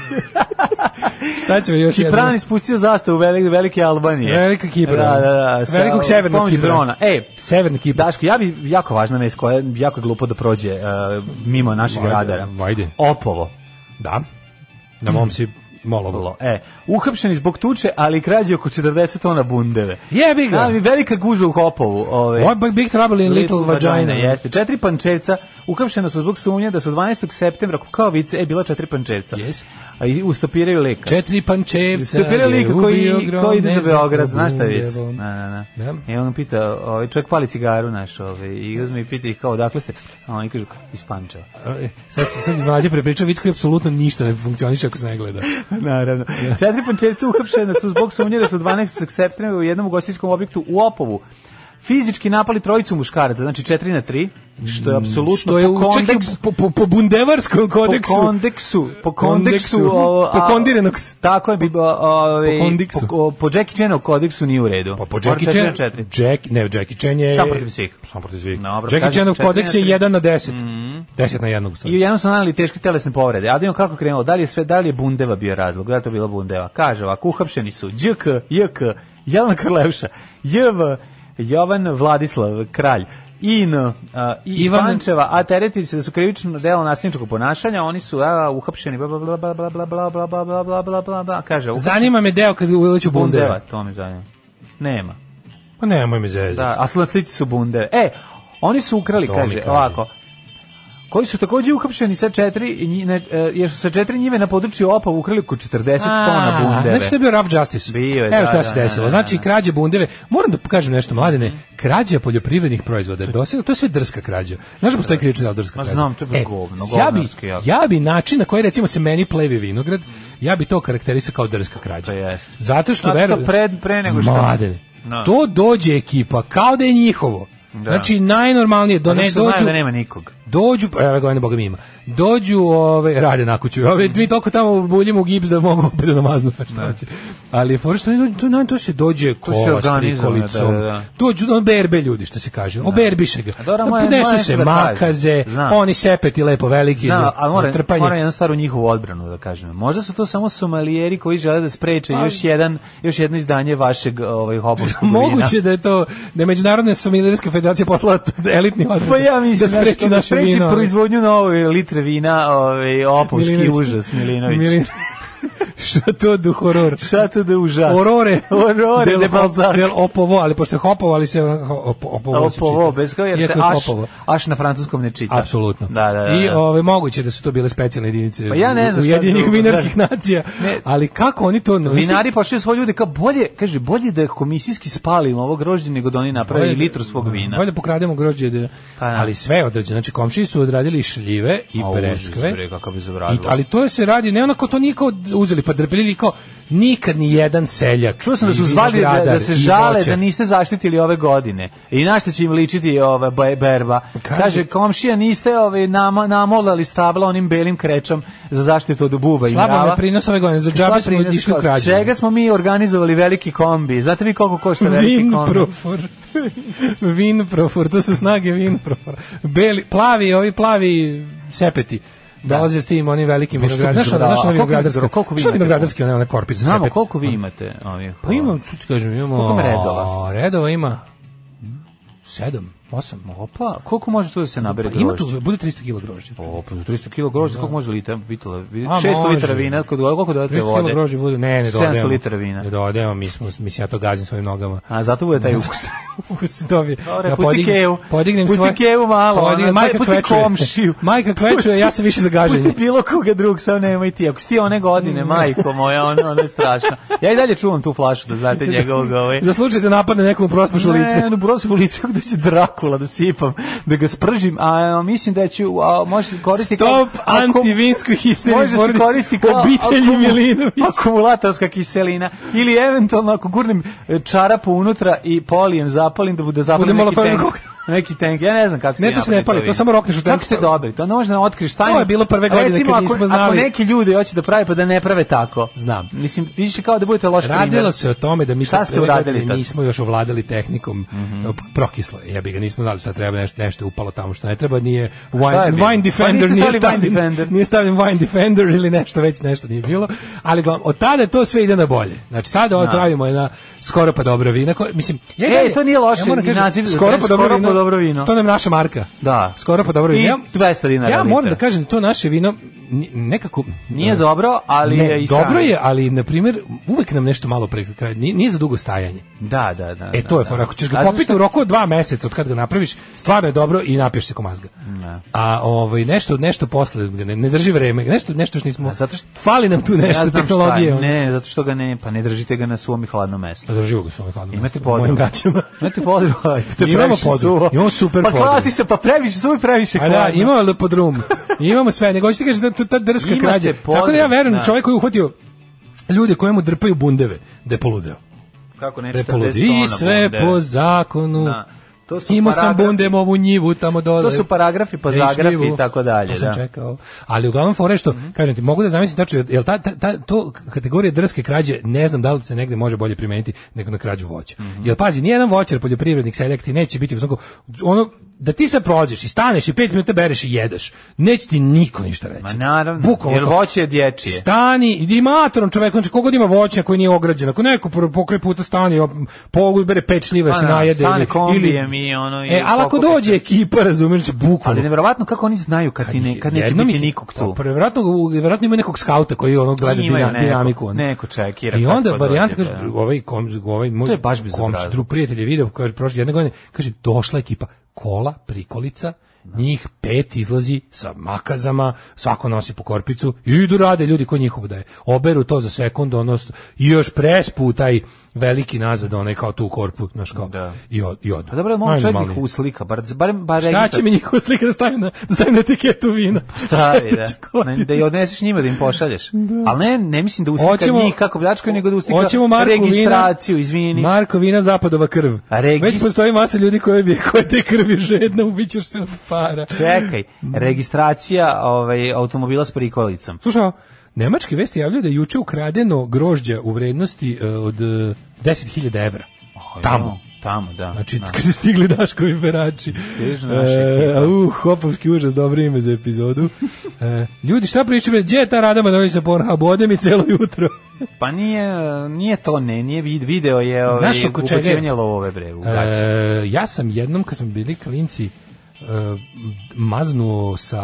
Šta ćemo još
Kiprani Znači, spustio zastavu velike, velike Albanije.
jednom? Velika Kipra.
Da, da, da. sa-
Velikog
s
severnog
pomoću
Kipra.
drona. E,
Severni Kipra.
Daško, ja bi jako važna vest koja je jako glupo da prođe e, mimo našeg
Vajde,
radara.
vajde.
Opovo.
Da. Na mom si molovo.
Lo- E, uhapšeni zbog tuče, ali i krađe oko 40 tona bundeve.
Jebi ga!
Da, mi velika gužva u Hopovu. Ove,
What big trouble in little, vagina.
Jeste. Četiri pančevca uhapšena su zbog sumnje da su 12. septembra kukaovice, e, bila četiri pančevca.
Yes.
A i ustopiraju leka.
Četiri pančevca.
Stupirao
je
lik koji,
ubio grom,
koji ide
ne
za
znam
Beograd,
kako
znaš šta je vic?
bundevom.
Na, na, na.
Da.
I on pita, ovaj, čovjek pali cigaru naš ovaj, i uzme i pita ih kao, odakle ste? A oni kažu, iz Pančeva. <laughs>
E, Sad, sad mlađe prepričao vic koji apsolutno ništa ne funkcioniše ako se ne gleda.
Naravno. Četiri pančevca uhapšena su zbog sumnje da su 12. septembra u jednom ugostiteljskom objektu u Opovu fizički napali trojicu muškaraca, znači 4 na 3, što je apsolutno
Mm, Što je
po
u, čak i
kondeksu.
po, po, po bundevarskom kodeksu.
Po kondeksu, po
Kondeksu.
kondeksu, ovo, a-
Po kondiranog s-
Tako je, bi, o, ovaj,
Po kondiksu.
po, po Jackie Chanov kodeksu nije u redu.
Pa po
Mora
Jackie
četiri
Chan,
na četiri.
Jack, ne, Jackie Chan je...
Sam protiv svih.
Sam protiv svih.
Dobro,
Jackie
kažem,
Chanov
četiri
kodeks
na
je
tri. Mhm.
1 na 10. 10 na 1 u
I
stvari.
jednom su nanali teške telesne povrede. A da vidimo kako krenulo. Da li je sve, da li je Bundeva bio razlog? Da li je to bila Bundeva? Kaže ovako, uhapšeni su Đk, JK, Jelena Karlevša, JV, Jovan Vladislav, kralj, Ino a, i iz
Ivan-
Pančeva, a teretili se da su krivično delo nasilničkog ponašanja, oni su a, uhapšeni, bla, bla, bla, bla, bla, bla, bla, bla, bla, bla, bla, bla, bla, bla, kaže, uhapšeni
Zanima me deo kad uleću
bundeva,
bundeva.
to me zanima. Nema.
Pa nemoj me zezati.
Da, a na slici su bunde. E, oni su ukrali,
To mi
kaže,
kaži.
ovako. Koji su takođe uhapšeni sa četiri, nji- ne, e, jer su sa četiri njive na području Opa ukrali oko 40 tona bundeve.
Znači to je bio rough justice.
Bio je,
Evo
da,
šta
da,
se
da,
desilo.
da,
Znači
da. Mhm.
krađe bundeve. Moram da pokažem nešto mladene. Krađa poljoprivrednih proizvoda. Dosegla to je sve drska krađa. Znaš da postoji krivično delo drska
Ma
krađa.
znam, to je baš
E,
govno,
Ja bi
govnarski jako.
ja bi način na koji recimo se meni plevi vinograd, ja bi to karakterisao kao drska krađa.
To Pa jeste.
Zato što
Zato što
verujem
pred- pre nego što-
mladene.
Da.
To dođe ekipa kao da je njihovo. Znači najnormalnije do
Zato
ne
što znaju
dođu
da nema nikog.
Dođu, pa, evo ga, ne boga mi ima. Dođu, ove, rade na kuću. Ove, mi toliko tamo buljimo u gips da mogu opet da namaznu, pa šta hoće. Ali je fora što oni dođu, to, na- to se dođe kola s
organizovano,
prikolicom.
da, da, da.
Dođu, on berbe ljudi, što se kaže. Oberbiše ga.
A dobro, moje- moje
Podnesu
što
se
da kažem.
makaze,
Znam.
oni sepeti lepo veliki
Da,
za,
ali moram,
za trpanje.
moram jednu stvar u njihovu odbranu da kažem. Možda su to samo somalijeri koji žele da spreče
Pa-
još, jedan, još jedno izdanje vašeg ovaj, hobovskog vina.
Moguće da je to, da je Međunarodna somilijska federacija poslala elitni odbor
Pa ja mislim
da spreči
da
naše
spreči
vino. ali-
proizvodnju nove litre vina, ovaj opovski
Milinović.
užas Milinović. <laughs>
Milin- Šta to du horor?
Šta to da je užas?
Orore.
Orore
del,
de Balzac.
Del opovo, ali pošto je hopovo, ali se onako op, opovo, se
Opovo,
čita.
bez kao jer se
Iako je
aš,
hopovo.
aš na francuskom ne čita.
Apsolutno.
Da, da, da.
I
da.
ove, moguće da su to bile specijalne jedinice
Pa ja ne znam šta
Ujedinjenih
drugo,
vinarskih
da.
nacija,
Ne.
ali kako oni to...
Vinari pošli svoje ljude kao bolje, kaže, bolje da komisijski spalimo ovo grožđe nego da oni naprave
Bolje- Mm,
litru svog vina.
Bolje pokrademo grožđe. Da,
Pa da.
Ali sve je određeno. Znači, komšiji su odradili i šljive i
A, užas,
breskve.
bre, kako bi
I, ali to se radi, ne onako to niko uzeli pa drpili, kao nikad ni jedan seljak.
Čuo sam da
i
su zvali da, da
vinogradar
se
i
žale
voćar.
da niste zaštitili ove godine. I na šta će im ličiti ova ba- berba.
Kaže-
Kaže, komšija niste ove nama namolali stabla onim belim krečom za zaštitu od buba i
Slabo
mrava.
me prinos ove godine, za
Slab
džabe smo
prinos,
išli u
kao,
krađu.
Čega smo mi organizovali veliki kombi? Znate vi koliko košta veliki kombi?
<laughs> Vinprofor. Vinprofor, to su snage Vinprofora. Beli, plavi, ovi plavi sepeti. Dolaze s tim onim velikim
Pa što bi
vinogradarima. Znaš, ono-
zabrala?
znaš, ono
A koliko
vinogradarsko-
koliko vi
znaš ono
imate?
vinogradarski, one, one korpice,
Znamo
sepeti?
koliko vi imate ovih. ovaj,
Pa imam, što ti kažem, imamo...
Koliko ima redova?
Redova ima... Sedam, osam.
Opa, pa, koliko može tu da se nabere
Pa ima
grožđa?
tu, bude 300 kg grožđa.
Opa, pa za 300 kg grožđa, koliko može litra vitala?
A,
600
može.
litara vina, kod koliko dodate
300
vode?
kg grožđa bude, ne, ne
700
dodajemo.
litara vina.
Ne dodajemo, mi smo, mislim, ja to gazim svojim
<laughs>
nogama.
A zato bude taj ukus.
ukus dobije.
Dobre, pusti Kevu.
Podignem
Pusti
svoje-
Kevu malo,
Podignem,
ono,
majka
pusti
kvečuje.
komšiju.
<laughs> Majka kvečuje, ja sam više za gaženje.
Pusti bilo koga drug, sam nemoj ti. Ako si ti one godine, majko moja, ono, ono je strašno. Ja i dalje čuvam tu flašu, da
<laughs>
znate njegovog ovaj.
Za slučaj da napadne nekom prospaš u lice.
Ne, no prosim u lice da će Drakula da sipam, da ga spržim, a mislim da ću, a može se koristiti
Stop
ako-
antivinskoj histeriji
Može se
porodici.
koristiti kao
obitelji
akumu-
Milinović.
Akumulatorska kiselina ili eventualno ako gurnem e, čarapu unutra i polijem zapalim da bude zapalim neki
molotovni
tank.
koktel.
Neki tank. Ja ne znam kako ste
Ne, to se ne
napravili
pali, to
vi.
samo rokneš u tank.
Kako ste dobili? To ne može da otkriš tajnu.
To je bilo prve godine
Recimo,
kad
ako-
nismo znali.
Ako neki ljudi hoće da prave pa da ne prave tako.
Znam.
Mislim, više kao da budete loš primjer.
Radilo se o tome da mi
Šta
to
ste
prve
uradili
godine
tad? Mhm.
nismo još ovladali tehnikom e, prokislo. je, Jebi ga, nismo znali sad treba nešto, nešto je upalo tamo što ne treba, nije
Šta
wine,
je bilo?
wine
Pa
defender,
niste
nije
stavili
stavljen,
Wine Defender.
nije stavljen wine defender ili nešto već nešto nije bilo. Ali uglavnom, od tada to sve ide na bolje. Znači sada ovo pravimo jedna skoro pa dobro vina. koja- mislim, ja i
E,
dalje-
to nije loše,
moram kažem,
naziv za
skoro
brend,
pa dobro
skoro
vino.
pa dobro vino.
To nam je naša marka.
Da.
Skoro pa dobro
I
vino. Ja-
200 dinara
Ja moram
litra.
da kažem to naše vino ni- nekako
Nije dobro, ali
ne,
je i
dobro
sranje.
je, ali na primjer uvek nam nešto malo preko kraja. Nije, nije za dugo stajanje.
Da, da, da.
E
da,
to je
da.
fora. Ako ćeš ga
A znaš
popiti
šta?
u roku od dva meseca od kad ga napraviš, stvarno je dobro i napiješ se komazga. A ovaj nešto nešto posle ga ne, ne drži vreme. Nešto nešto što nismo.
A zato što-
fali nam tu
Ja
nešto
znam
tehnologije.
šta,
ono.
Ne, zato što ga ne, pa ne držite ga na svom i hladnom mestu.
Pa drži ga sa ovim hladnom.
Imate
mestom, mojim
podrum. <laughs>
gaćama.
Imate
<laughs>
podrum. Aj, to je
Imamo
previše
podrum.
suvo.
Imamo super
pa
podrum.
klasi se, pa previše suvo i previše
A
hladno.
da, imamo lepodrum.
<laughs>
Imamo sve. Nego hoćete kažete da je to ta drska
Imate
krađa. Tako da ja
podrum,
verujem da
da.
čovjek koji je uhvatio ljude kojemu drpaju bundeve, da je poludeo.
Kako ne,
Da je
40
poludeo. I
tona
sve
bunde.
po zakonu.
Da. To su
Imao sam
paragrafi-
bundem ovu njivu tamo dole.
To su paragrafi, pa zagrafi i tako dalje.
Ja sam
Da. Mhm.
čekao. Ali uglavnom fore što, kažem ti, mogu da zamislim tačno, jel- jel ta, ta, ta, to kategorija drske krađe, ne znam da li se negde može
Mhm.
bolje primeniti nego na krađu voća. Jel pazi, nijedan voćar, poljoprivrednik, seljak ti neće biti u zonku, ono, da ti se prođeš i staneš i pet minuta bereš i jedeš, neće ti niko ništa reći.
Ma Pa naravno,
Bukvalno
jer
to.
voće je dječije.
Stani, idi matorom čovek, znači kogod ima voća koji nije ograđen, ako neko pro- pokraj puta stani, op- polu bere pet šljiva
Pa
se
da,
najede.
stane
ili-
kombijem i ono, i
E, ali ako
pokupi-
dođe ekipa, razumiješ, bukvalno.
Ali nevjerovatno kako oni znaju kad, ti ne, kad neće
Jednom
biti
ih-
nikog tu.
Pa, verovatno, verovatno ima nekog skauta koji ono gleda
Imaju
dina,
neko,
dinamiku. ono.
neko čekira
I
kad
onda
ko
varijanta
dođe,
kaže,
pa da.
ovaj, kom, ovaj moj
To je baš bezobrazno.
komš, drug prijatelj je video, kaže, prošle jedne godine, kaže, došla ekipa kola, prikolica, njih pet izlazi sa makazama, svako nosi po korpicu i idu rade ljudi koji njihovo daje. Oberu to za sekund, ono, s- i još prespu taj veliki nazad, onaj kao tu u korpu, znaš kao,
Da.
i, od, i odu.
Pa dobro, mogu čovjek
Najnormalnije.
ih uslika, bar, bar, bar
Šta će mi njihova slika da stavim na, da stavim na etiketu
<laughs>
vina? <laughs>
Stavi,
Sledeće
da. Ne,
godine.
da je odneseš njima da im pošalješ. Ali ne, ne mislim da uslika
Hoćemo
njih kako pljačkaju, nego da uslika
hoćemo Marko Vina-
registraciju, izvini.
Marko Vina zapadova krv.
A regist-
Već postoji masa ljudi koji bi koje te krvi žedna, ubićeš se od para.
Čekaj,
Mm.
registracija ovaj, automobila s prikolicom.
Slušao, nemačke vesti javljaju da je juče ukradeno grožđa u vrednosti e, od e, 10.000 evra. Tamo.
Tamo, da.
Znači,
da.
kad se stigli Daškovi perači.
Stižu naše
E,
ekipa.
uh, hopovski užas, dobro ime za epizodu. E, ljudi, šta pričate? Gdje je ta Radama da sa Pornhub? Ode mi celo jutro.
Pa nije, nije to, ne, nije vid, video je ovaj,
Znaš oko čega je?
ubacivanje lovove, bre, u gaće.
E, ja sam jednom kad smo bili klinci e, maznuo sa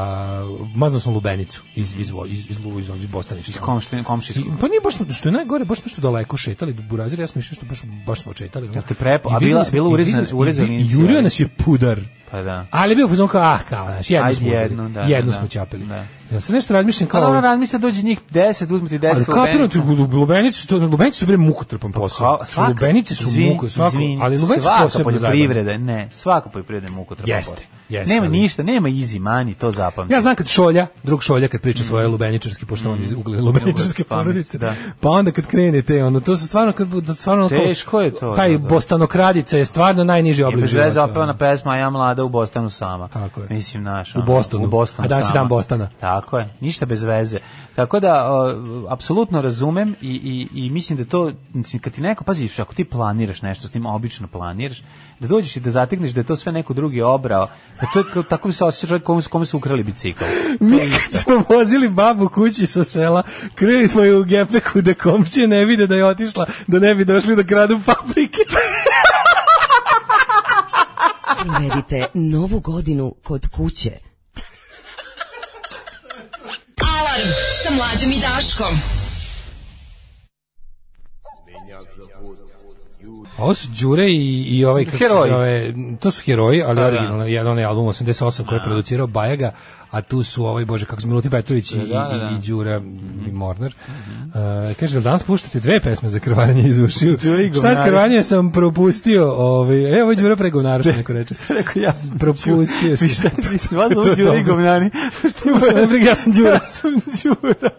maznuo sam lubenicu iz iz vo- iz iz Lu- iz, iz Bostaništa.
Iz komšti- komšijskog.
I- Pa nije baš smo- što je najgore, baš smo što daleko šetali do Burazira, ja sam mislio što baš baš smo šetali. ono.
te prepo- a
I videli
bila-
smo-
bila
i
urezana-
videli- i
urezana
vi- i
inicijalna.
Jurio nas je pudar.
Pa da.
Ali je bio fazon kao, ah, kao, znaš, jednu
Ajde,
smo uzeli,
jednu, da,
jednu
da,
smo
da.
ćapili.
Da.
Ja sam nešto razmišljam
Pa
kao...
dobro, razmisli dođe njih 10, uzmi ti 10
Ali kapiram ti, u Lubenici, to, Lubenici su bre mukotrpan posao.
Pa Kao-
Svaka, Lubenici su
izvini,
muko, svako,
izvini,
ali Lubenici su
svaka
posebno zajebani.
poljoprivreda, ne, svaka poljoprivreda je mukotrpan
Jeste,
posao.
jeste,
Nema
ali-
ništa, nema easy money, to zapamti.
Ja znam kad šolja, drug šolja kad priča svoje lubeničarski, pošto on iz ugle lubeničarske
Mm. Ugle, pamet,
porodice,
da.
pa onda kad krene te, ono, to su stvarno, kad, bu- stvarno ono kao-
Teško je to,
Taj
da, da.
bostanokradica je stvarno najniži
I
oblik
bez veze
života,
opevana pesma Ja mlada u Bostanu sama.
Tako je.
Mislim, naš.
U Bostonu.
U Bostonu
A danas je
sama.
dan Bostana.
Tako je. Ništa bez veze. Tako da, o, apsolutno razumem i, i, i mislim da to, mislim, kad ti neko, paziš, ako ti planiraš nešto s tim, obično planiraš, da dođeš i da zategneš da je to sve neko drugi obrao, da to, je kao- tako bi se osjećao čovjek kome, su- kome su ukrali bicikl.
Mi kad smo vozili babu kući sa sela, krenuli smo je u gepeku da komšije ne vide da je otišla, da ne bi došli da kradu paprike.
Provedite novu godinu kod kuće.
Alarm sa mlađom i Daškom.
A Ovo su Đure i, i ovaj, kako se
Heroji.
zove, to su heroji, ali
da.
originalno, jedan onaj album 88 koji je producirao Bajaga, a tu su ovaj, bože, kako se Milutin Petrović i, i,
da, Mm-hmm. da.
i Đura i Mornar. Uh, kaže, jel danas puštate dve pesme za krvaranje iz ušiju?
Đure i
Šta
govnari.
krvaranje sam propustio? Ovaj, e, ovo je Đura pre govnara, što neko
<laughs>
reče.
Rekao, ja sam
Propustio si.
Vi šta ti mislite?
<laughs>
Vas
To
zovu
je
Đuri
dobro.
Govnani. Šta ima
Ne briga, ja sam Đura.
<laughs> Ja sam Đura.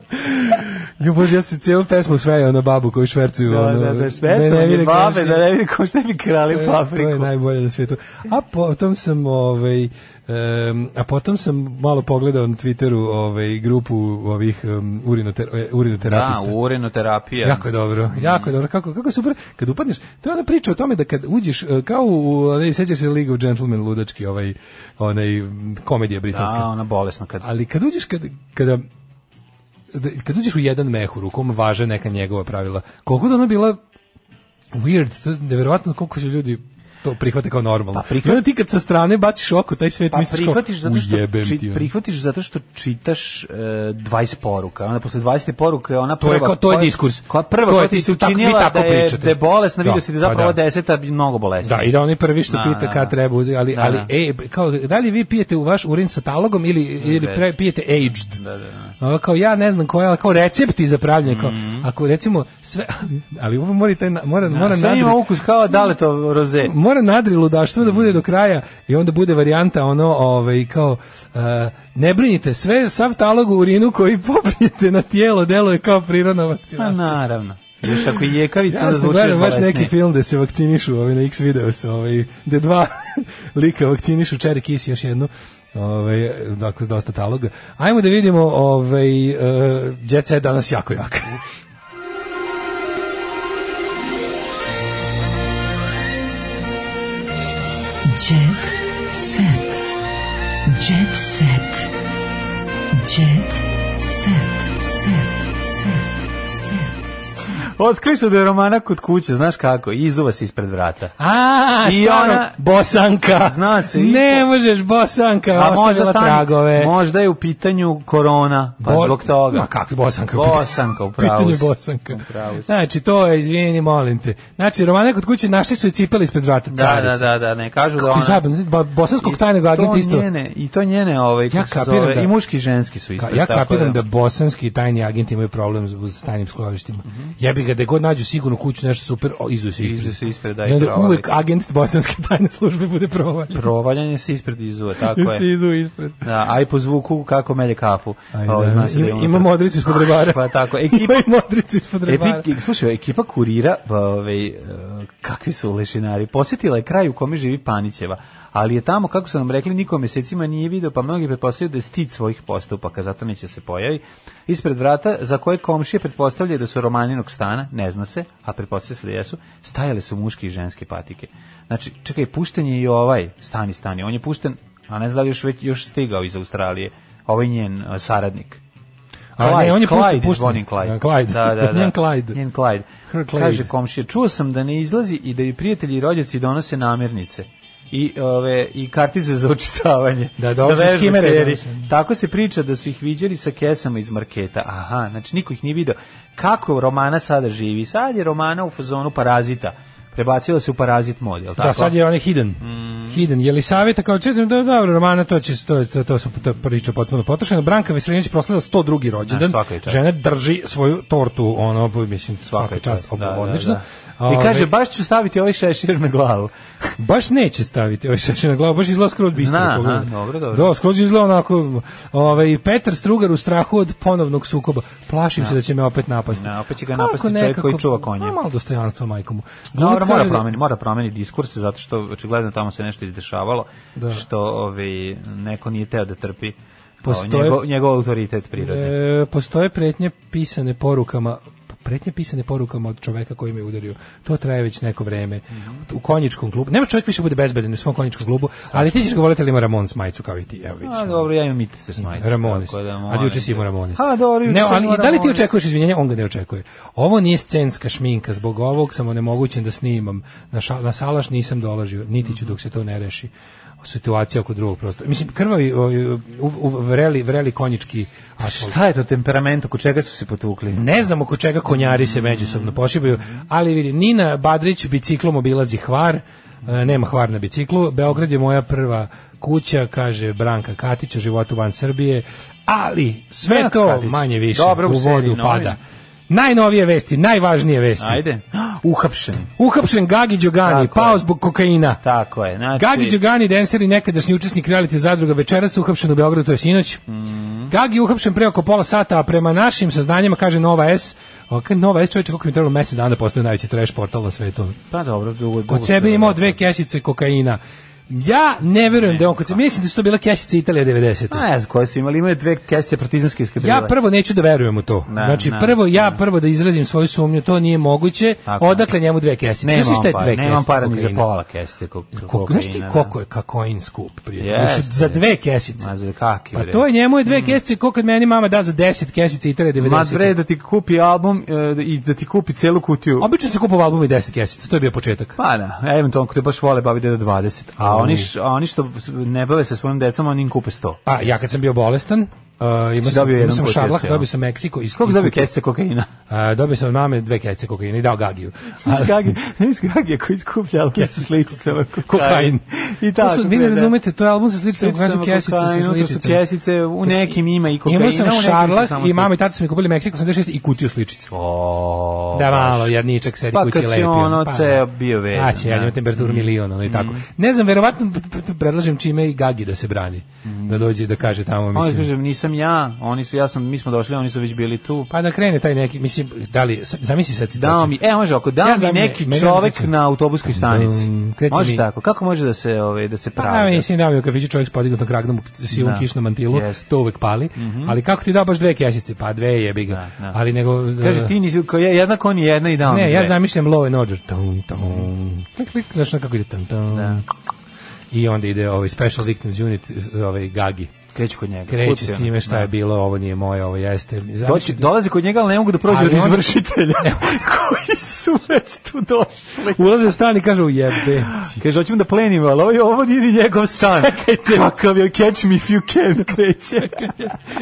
Jo, bože, ja se cijelu pesmu svejao na babu koju švercuju.
Da,
ono,
da, da,
ne, ne
špecam
vide
je babe,
komšije.
da ne vidi ko šta bi krali
E,
fabriku.
To je najbolje na svijetu. A potom sam ovaj em, a potom sam malo pogledao na Twitteru ovaj grupu ovih um, urinoter, e, urinoterapista.
Da, urinoterapija.
Jako je dobro, jako je dobro, kako, kako je super, kad upadneš, to je ona priča o tome da kad uđeš, e, kao u, onaj, sećaš se League of Gentlemen ludački, ovaj, onaj, m, komedija britanska.
Da, ona bolesna kad...
Ali kad uđeš kada, kada da- kad uđeš u jedan mehur u kom važe neka njegova pravila, koliko da ona bila weird, to je neverovatno koliko će ljudi to prihvate kao normalno.
Pa prihvat-
I onda ti kad sa strane baciš oko, taj svet
Pa
misliš kao,
prihvatiš zato što
ujebem
čit-
ti, ono.
prihvatiš zato što čitaš e, 20 poruka. Onda posle 20 poruke ona
To
prva
je kao- to je
koja-
diskurs.
Koja prva
To je
koja ti
ti-
se
tako- vi
učinila
tako
da je
pričate.
da je bolesna,
Da,
vidio si da je
pa
zapravo
da.
10 mnogo bolesna.
Da, i da oni prvi što
Da,
pita
da, da.
kad treba uzeti, ali,
Da,
ali
da.
e, kao, da li vi pijete u vaš urin sa talogom ili, ili
Već.
pre, pijete aged?
Da, da,
Ovo kao ja ne znam koja, ali kao recepti za pravljenje, kao, ako recimo sve, <laughs> ali ovo mora, i taj, na- mora, mora
Sve
nadri-
ima ukus kao da li to roze.
mora nadri ludaštvo da
Mm.
bude do kraja i onda bude varijanta ono ovaj kao e, ne brinite sve sav talog u urinu koji <laughs> popijete na tijelo deluje kao prirodna
Pa
vakcinacija.
naravno. Još ako i jekavica
Ja
onda
sam
zvučiš
gledao baš
bolesnije.
neki film da se vakcinišu, ovaj na X video se, ovaj da dva <laughs> lika vakcinišu Cherry Kiss još jednu. Ovaj dakle dosta taloga. Ajmo da vidimo ovaj uh, Jet Set danas jako jak.
Jet set.
Jet set. Jet set. Set. Set. Set.
Otkrili su da je romana kod kuće, znaš kako, izuva se ispred vrata.
A,
I
stvarno,
ona-
ono, bosanka.
Zna se, i-
Ne možeš, bosanka,
A možda,
ostavila
stani,
tragove.
možda je u pitanju korona, pa
Bo-
zbog toga.
Ma kakvi bosanka?
Bosanka, u pravu
Pitanje
si.
bosanka.
U pravu si.
Znači, to je, izvini, molim te. Znači, romane kod kuće našli su i cipeli ispred vrata
Da,
carice.
da, da, da, ne, kažu da
Kako
ona...
je zabavno, znači, ba- bosanskog
I
tajnog
to
agenta isto.
Njene, I to njene, ovaj,
Ja
kako se
kapiram
zove,
da-
i muški i ženski su
Ka,
ispred.
ja
tako
kapiram da bosanski tajni agenti imaju problem s- s tajnim skloništima. Jebi ga, da god nađu sigurnu kuću, nešto super, o, izuju se ispred.
Izuju Mhm. se ovaj. ispred, da,
I
i
onda
provali.
uvek agent bosanske tajne službe bude provaljen.
Provaljanje se ispred izuva, tako
se
je.
izuju ispred.
Da, aj po zvuku kako melje kafu.
Ajde,
Ovo, zna se da je
im-
unutra.
ima modricu ispod rebara.
<laughs> Pa tako,
Ima
ekipa,
i modricu ispod rebara.
Epi, slušaj, ekipa kurira, pa, ovaj, e, kakvi su lešinari, posjetila je kraj u kome živi Panićeva, ali je tamo, kako su nam rekli, niko mesecima nije video, pa mnogi pretpostavljaju da je stid svojih postupaka, zato neće se pojavi. Ispred vrata, za koje komšije pretpostavljaju da su romaninog stana, ne zna se, a pretpostavlja se da jesu, stajale su muške i ženske patike. Znači, čekaj, pušten je i ovaj, stani, stani, on je pušten, a ne znam da li je još, već, još stigao iz Australije, ovaj njen e, saradnik.
A ne, on je pušten-
Clyde,
pušten.
Zvonimir Clyde.
Da, Clyde.
Da,
<laughs>
da, da.
Njen Clyde.
Njen Clyde.
Her <laughs> Clyde.
Kaže komšija, čuo sam da ne izlazi i da ju prijatelji i rođaci donose namirnice i ove i kartice za očitavanje.
Da, da, opštinski
vežba
imere
čeri.
donose.
Tako se priča da su ih viđali sa kesama iz marketa. Aha, znači niko ih nije video. Kako Romana sada živi? Sad je Romana u fazonu parazita. Prebacila se u parazit mod, je li tako? Mm.
Da, sad je onaj hidden. Hidden. Je li savjeta kao čitam, da, dobro, Romana, to, će, to, to, to su to je priča potpuno potrošena. Branka Veselinović proslavila 102.
Da,
rođendan.
svaka je čast.
Žena drži svoju tortu, ono, mislim, svaka,
Svaka
čast,
Da, da,
odlično.
da. I kaže,
Ove,
baš ću staviti ovaj šešir na glavu.
baš neće staviti ovaj šešir na glavu, baš izgleda skroz bistro.
Zna,
pogledaj.
aha, dobro, dobro.
Da, skroz izgleda onako, ovaj, Petar Strugar u strahu od ponovnog sukoba. Plašim se da će me opet napasti.
Da, opet će ga
Kako
napasti čovjek
nekako-
koji čuva konje.
Ma, Malo dostojanstva majkomu.
Dobro, mora
kaže da-
promeni, mora promeni diskurs zato što očigledno tamo se nešto izdešavalo
Da.
što ovaj neko nije teo da trpi
Postoje-
Postoje... njegov, njegov autoritet prirodni.
E, postoje pretnje pisane porukama pretnje pisane porukama od čoveka koji me udario. To traje već neko vreme.
Mhm.
U konjičkom klubu. Nemaš čovjek više bude bezbedan u svom konjičkom klubu, ali ti ćeš ga voliti ali ima Ramon majicu kao i ti. Evo vidiš.
A dobro, ja imam mite se smajicu.
Ramones.
tako da
ali
molim
juče si
te.
imao Ramones.
A dobro, juče
ne,
sam
ali
imao
da li ti
Ramones.
očekuješ izvinjenje? On ga ne očekuje. Ovo nije scenska šminka, zbog ovog sam onemogućen da snimam. Na, ša- na salaš nisam dolažio, niti
Mhm.
ću dok se to ne reši situacija oko drugog prostora. Mislim, krvavi, o, u, u, vreli, vreli konjički asfalt.
Pa Šta je to temperament oko čega su se potukli?
Ne znam oko čega konjari se međusobno pošibaju, ali vidi, Nina Badrić biciklom obilazi Hvar, e, nema Hvar na biciklu, Beograd je moja prva kuća, kaže Branka Katić u životu van Srbije, ali sve
Branka
to
Katić.
manje više
Dobro,
u
u seriji
vodu
novina.
pada. Najnovije vesti, najvažnije vesti.
Ajde. <gasps> Uhapšen.
Uhapšen Gagi Đogani,
Tako
pao
je.
zbog kokaina.
Tako je. Znači,
Gagi Đugani, denser i nekadašnji učesnik reality zadruga večeras uhapšen u Beogradu, to je sinoć.
Mhm.
Gagi je uhapšen pre oko pola sata, a prema našim saznanjima, kaže Nova S, o, kad Nova S čovječe, koliko mi je trebalo mesec dana da postane najveći trash portal na svetu.
Pa dobro, dugo, dugo.
Od sebe je imao dve kesice kokaina. Ja ne verujem da je on,
pa-
kod sebe, mislim da su to bila kesice Italija 90.
A ne znam koje su imali, imaju dve kese partizanske eskadrile.
Ja prvo neću da verujem u to.
Ne,
znači
ne,
prvo ja prvo da izrazim svoju sumnju, to nije moguće.
Tako.
Odakle njemu dve kesice?
Nemam
Znaš li šta je
para,
dve
Nemam
kesice
para ni za
kokaina?
pola kesice kok-
Koliko,
kokaina.
znaš ti
da.
koliko je kakoin skup, prijatelj?
Jeste.
Za dve kesice.
Ma za kakvi,
Pa
bre.
to je njemu je dve kesice, koliko kad meni mama da za 10 kesice i tere 90.
Mm. Ma bre, da ti kupi album e, i da ti kupi celu kutiju.
Obično se kupovao album i 10 kesica, to je bio početak.
Pa da, eventualno ako te baš vole babi deda 20, a oni, š- a oni što ne bave se svojim decom, oni im kupe 100.
Pa ja kad sam bio bolestan, Uh, imao sam,
dobio
imao
jedan
sam
kutijac,
šarlah,
jel?
dobio sam Meksiko i
Koliko
i
dobio
kutiju.
kesice <laughs> kokaina?
Uh, dobio sam od mame dve kesice kokaina i dao Gagiju. <laughs> A-
<laughs> Skagi, skagi koji skuplja album sa sličicama
Kokain.
I
To
tako.
su, vi ne
bre, da.
razumete, to je album sa sličicama,
Sličicama
kažu kesice
kokaina,
sa
to su
sličicama.
kesice, u nekim ima i kokaina.
Imao
u
sam
nekim su
šarlah
samo
i mama i
sličice.
tata su mi kupili Meksiko 86 i kutiju sličice.
O,
Da
baš.
malo, jadničak sedi
Pa
kući
kad si
lepi,
ono,
pa,
ceo bio vezan,
Znači, ja
da. Mm.
imam temperaturu milion, ono i tako. Ne znam, verovatno p- p- predlažem čime i Gagi da se brani. Da dođe i da kaže tamo,
Oni
mislim.
Mm. kaže, nisam ja, oni su, ja sam, mi smo došli, oni su već bili tu.
Pa da krene taj neki, mislim, da li, s- zamisli sad situaciju.
Dao mi, e, može ako dao
Znači, Ja
mi
znam,
neki
meni
čovek
kreće.
na autobuskoj stanici.
Dum, kreće
može
mi-
tako, kako može da se, ovaj, da se
Pa ja
pravi?
mislim da mi u kafiću čovjek s podignutom kragnom u sivom
Da.
kišnom mantilu,
Jeste.
to uvek pali, ali kako ti da baš dve kesice? Pa dve jebi ga.
Da, da.
Ali nego... e,
Kaže ti nisi ko je jednak on je jedna i dao. mi
Ne, ja
dve.
ono zamišljam Law and Order. Tum, tum. Klik, klik, znaš na kako ide. Tum, tum.
Da.
i onda ide ovaj Special Victims Unit, ovaj Gagi.
Kreću kod njega.
Kreće
Kupci,
s
ono.
time šta je bilo, ovo nije moje, ovo jeste.
Doći, dolazi kod njega, ali ne mogu da prođu
Ali
od
on-
izvršitelja <laughs> koji su već tu došli.
Ulaze u stan i kaže, ujebe.
Kaže, hoćemo da plenimo, ali ovo, ovo nije ni njegov stan. Čekajte. Kakav je, catch me if you can, <laughs> kreće.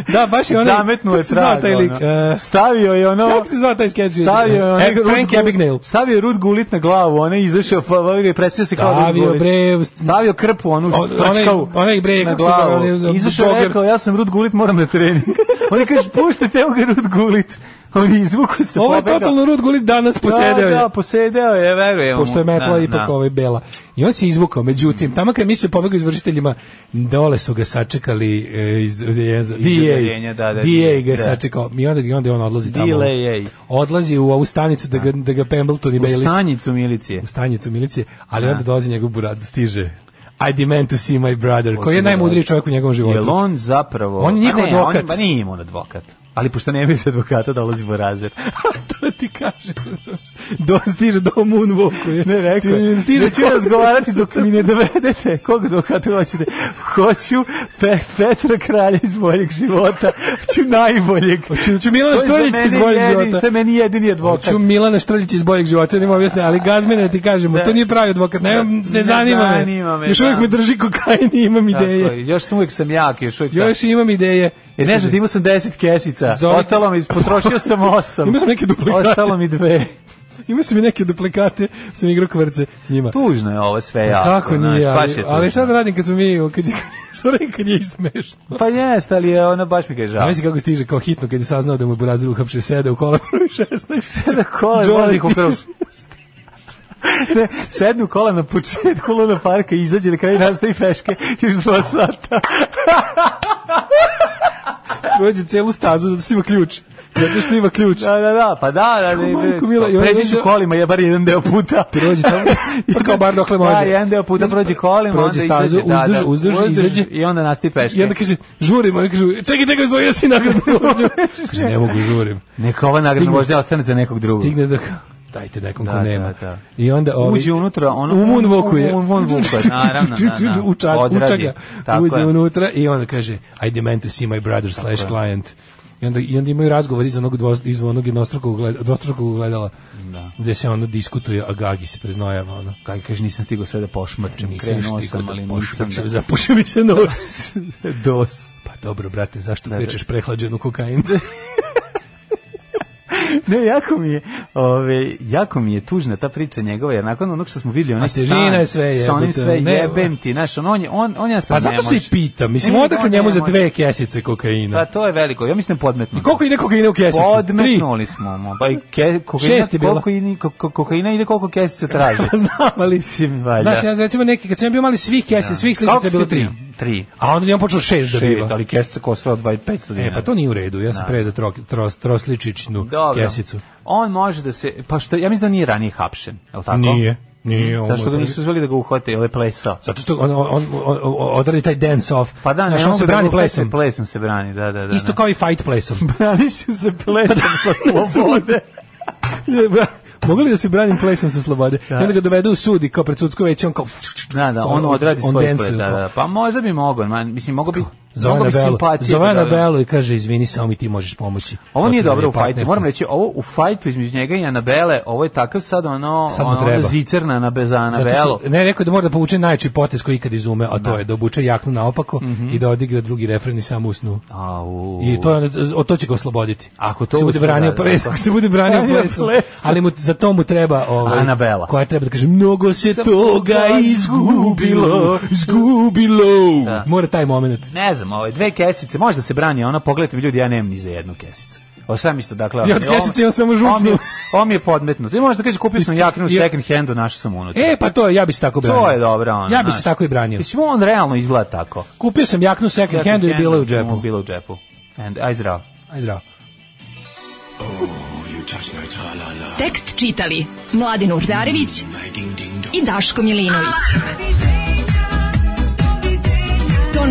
Da, baš je Znači, onaj...
Zametnuo je
kako se zvao
trag.
taj lik?
ono.
E,
Stavio je ono...
Kako se zvao taj skeč?
Stavio je onaj
Ed- Frank
Rud-
Abagnale.
Stavio je Rud Gulit na glavu, ona je izašao, pa ovaj ga je predstavio se kao Rud
Stavio,
Gulit.
bre,
Stavio krpu, onu
O- onaj-
prčkavu
onaj, bre,
na
kako se zove,
glavu.
onaj,
Izašao je
jogger.
rekao, ja sam Rud Gulit, moram na trening. <laughs> Oni kaže, puštajte, evo ga Rud Gulit. On je izvukao se,
Ovo je
pobegao.
totalno Rud Gulit danas posedeo
Da,
je.
da, posedeo je, verujem. mu.
pošto je metla
Da,
ipak
da.
ovaj bela. I on se izvukao, međutim, tamo kad je mislio pobegao izvršiteljima, dole su ga sačekali e, iz, iz, DA,
odeljenja, da, da,
DA ga je
da.
sačekao i onda, i onda on odlazi tamo.
DLA.
Odlazi u ovu stanicu da ga, da ga Pembleton i
U
Bayliss
stanjicu milicije.
u stanicu milicije, ali onda dolazi njegov burad, stiže. I demand to see my brother, koji je
da
najmudriji čovjek u njegovom životu.
Jel on zapravo...
On je njihov
A ne,
advokat.
On, ba nije im on advokat. Ali pošto ne bi se advokata dolazi
<laughs>
Borazer.
to ti kaže. Do, stiže do moonwalku. je.
Ne, rekao je.
Ti- Stiže
Stiže ću razgovarati dok mi ne dovedete kog advokata hoćete. Hoću Pet, Petra Kralja iz boljeg života. Hoću najboljeg.
Hoću- hoću Milana
To je za
Štorlića iz
mene
boljeg
jedini-
života.
To je meni jedini advokat.
Ču Milana Štrljić iz Bojeg života, nema objasne, ali gazmene ti kažemo,
Da.
to nije pravi advokat, ne,
Ne
ne zanima me.
zanima me,
Još
da.
uvijek me drži kokain i imam
Tako
ideje.
je, Još sam uvijek sam jak, još uvijek
Još imam ideje.
E, ne znam, imao sam 10 kesica.
Zovite-
Ostalo mi, potrošio sam 8.
Imao sam neke duplikate.
Ostalo mi dve.
Ima su mi neke duplikate, sam igrao kvrce s njima.
Tužno je ovo sve jako.
Pa Kako nije, ali,
znaš, baš je
ali
tužno.
šta da radim kad smo mi, kad, <laughs> šta da radim kad je smešno.
Pa jeste, ali je ono baš mi ga je žao.
A misli kako stiže kao hitno kad je saznao da mu je Burazir uhapšio seda u kola broj
<laughs>
16.
Sada kola
Joe
vozi
stiže. <laughs>
u krv. Ne, sednu kola na početku Luna Parka i izađe na kraju nastavi feške još dva sata.
Prođe celu stazu zato što ima ključ. Zato što ima ključ.
Da, da, da, pa da, da,
Ko,
da,
majko mila, i
da.
onda
Pređi ću
dođe-
kolima, je bar jedan deo
<laughs>
puta.
Prođe
<laughs>
tamo. Pa kao bar dokle može.
Da, jedan deo puta prođe kolima,
Prođe
onda
stazu,
izađe. da,
uzduž,
da,
uzduž, izađe.
I onda nastavi peške.
I onda kaže, žurim, oni kažu, čekaj, čekaj, svoj jesi
<laughs>
nagradnu vožnju. Kaže, ne mogu, žurim.
Neka ova nagradna
Stigne-
možda ostane za nekog drugog.
Stigne da dajte nekom
Da,
ko nema.
da, da.
I onda ovaj,
Uđe unutra, ono-
u moonwalku je.
u moonwalku je, <laughs>
<laughs>
naravno, da, da.
Uča, uča
Odradi.
ga.
Tako
Uđe ono.
je.
unutra i onda kaže, I demand to see my brother slash client. I onda, I onda imaju razgovor iz onog, dvo, iz onog jednostrukog gleda, dvostrukog gledala, da. gde se ono diskutuje, a Gagi se preznojava. Ono.
Kaj kaže, nisam stigao sve da pošmrčem,
Nisam
krenuo
još stigao
sam,
da
ali nisam
pošmrčem,
da...
Zapušio mi se nos.
<laughs> Dos.
pa dobro, brate, zašto pričaš prehlađen u <laughs> kokain?
Ne, jako mi je, ove, jako mi je tužna ta priča njegova, jer nakon onog što smo videli, onaj
A težina
stan,
je sve,
sa onim
jebote,
sve
ne,
jebem ti, znaš, on, on, je- on, on ja
pa zato se i pitam. Mislim, odakle njemu za dve kesice kokaina?
Pa to je veliko, ja mislim podmetno.
I koliko ide kokaina u kesicu? Tri.
Podmetnuli smo mu, pa i ke, kokaina,
Šest je bilo.
koliko i- ko- ko- kokaina ide koliko kesica traži.
<laughs> Znam, ali...
Mislim, valjda.
Znaš, ja recimo neki, kad sam ja bio mali, svih kesi, svih sličica je bilo
ste
tri.
bili? Tri.
A onda je on počeo šest da
Šest,
biva.
ali kesica koštala 2500 dinara.
E, pa to nije u redu, ja sam pre za trok, tros, trosličičnu
Dobro.
kesicu.
On može da se, pa što, ja mislim da nije ranije hapšen, je li tako?
Nije, nije. ovo je
Zašto ga
prvi.
nisu zveli da ga uhvate, ili je plesao?
Zato što on, on, on, on, on odradi taj dance off.
Pa da, ne
Znaš, on
mogu
se
da
brani
ga uhvate,
plesom.
Plesom se brani, da, da, da.
Isto
da.
kao i fight plesom.
<laughs> brani su se plesom
<laughs>
sa slobode.
Mogu li da se branim plesom sa slobode? I onda ga dovedu u sud i kao pred sudsko veće, on kao...
Da, da, on
Kao
odradi
Pa on
svoj
dansuje
play, da,
kao-
da. Pa možda bi mogao, man, mislim, mogao bi,
Zove
mogao
na
bi
Belu.
simpatije.
Zove
da
na
dodaje.
Belu i kaže, izvini, samo mi ti možeš pomoći.
Ovo nije
Potrebna mi je
dobro u fajtu,
partnerka.
moram reći, ovo u fajtu između njega i Anabele, ovo je takav sad ono,
Sad mu
ono, ono
treba.
zicerna Anabele, za
Zato što-
Anabelu.
Ne, rekao je da mora da povuče najjači potez koji ikad izume, a to je da obuče jaknu naopako
Mhm.
i da odigra drugi refren i samo usnu.
Au.
I to, je ono- o, to će ga osloboditi.
Ako to
se bude
uspe,
branio
da, da,
ples,
da.
<laughs> ako se bude branio
Branio
plesom.
plesom.
Ali mu, za to mu treba ovaj,
Anabela.
koja treba da kaže mnogo se toga izgubilo, izgubilo.
Da.
Mora taj moment.
Ne znam, ovaj, dve kesice, možda se brani, ono, pogledajte mi ljudi, ja nemam ni za jednu kesicu. Ovo sam isto, dakle...
Ja od
ovo-
kesice imam samo žučnu.
Ovo mi je- Ovo mi je podmetnuto. I možda kaže, kupio sam
Isto-
jaknu u
ja-
second handu, našao sam unutra.
E, pa to, je, ja bi se tako branio.
To je dobro, ono.
Ja bi se
znaš.
tako i branio.
Mislim, on realno izgleda tako.
Kupio sam jaknu second handu i bilo je u džepu.
Bilo je u džepu. And, aj zdravo.
Aj zdravo.
Tekst čitali Mladin Urdarević i Daško Milinović. Ton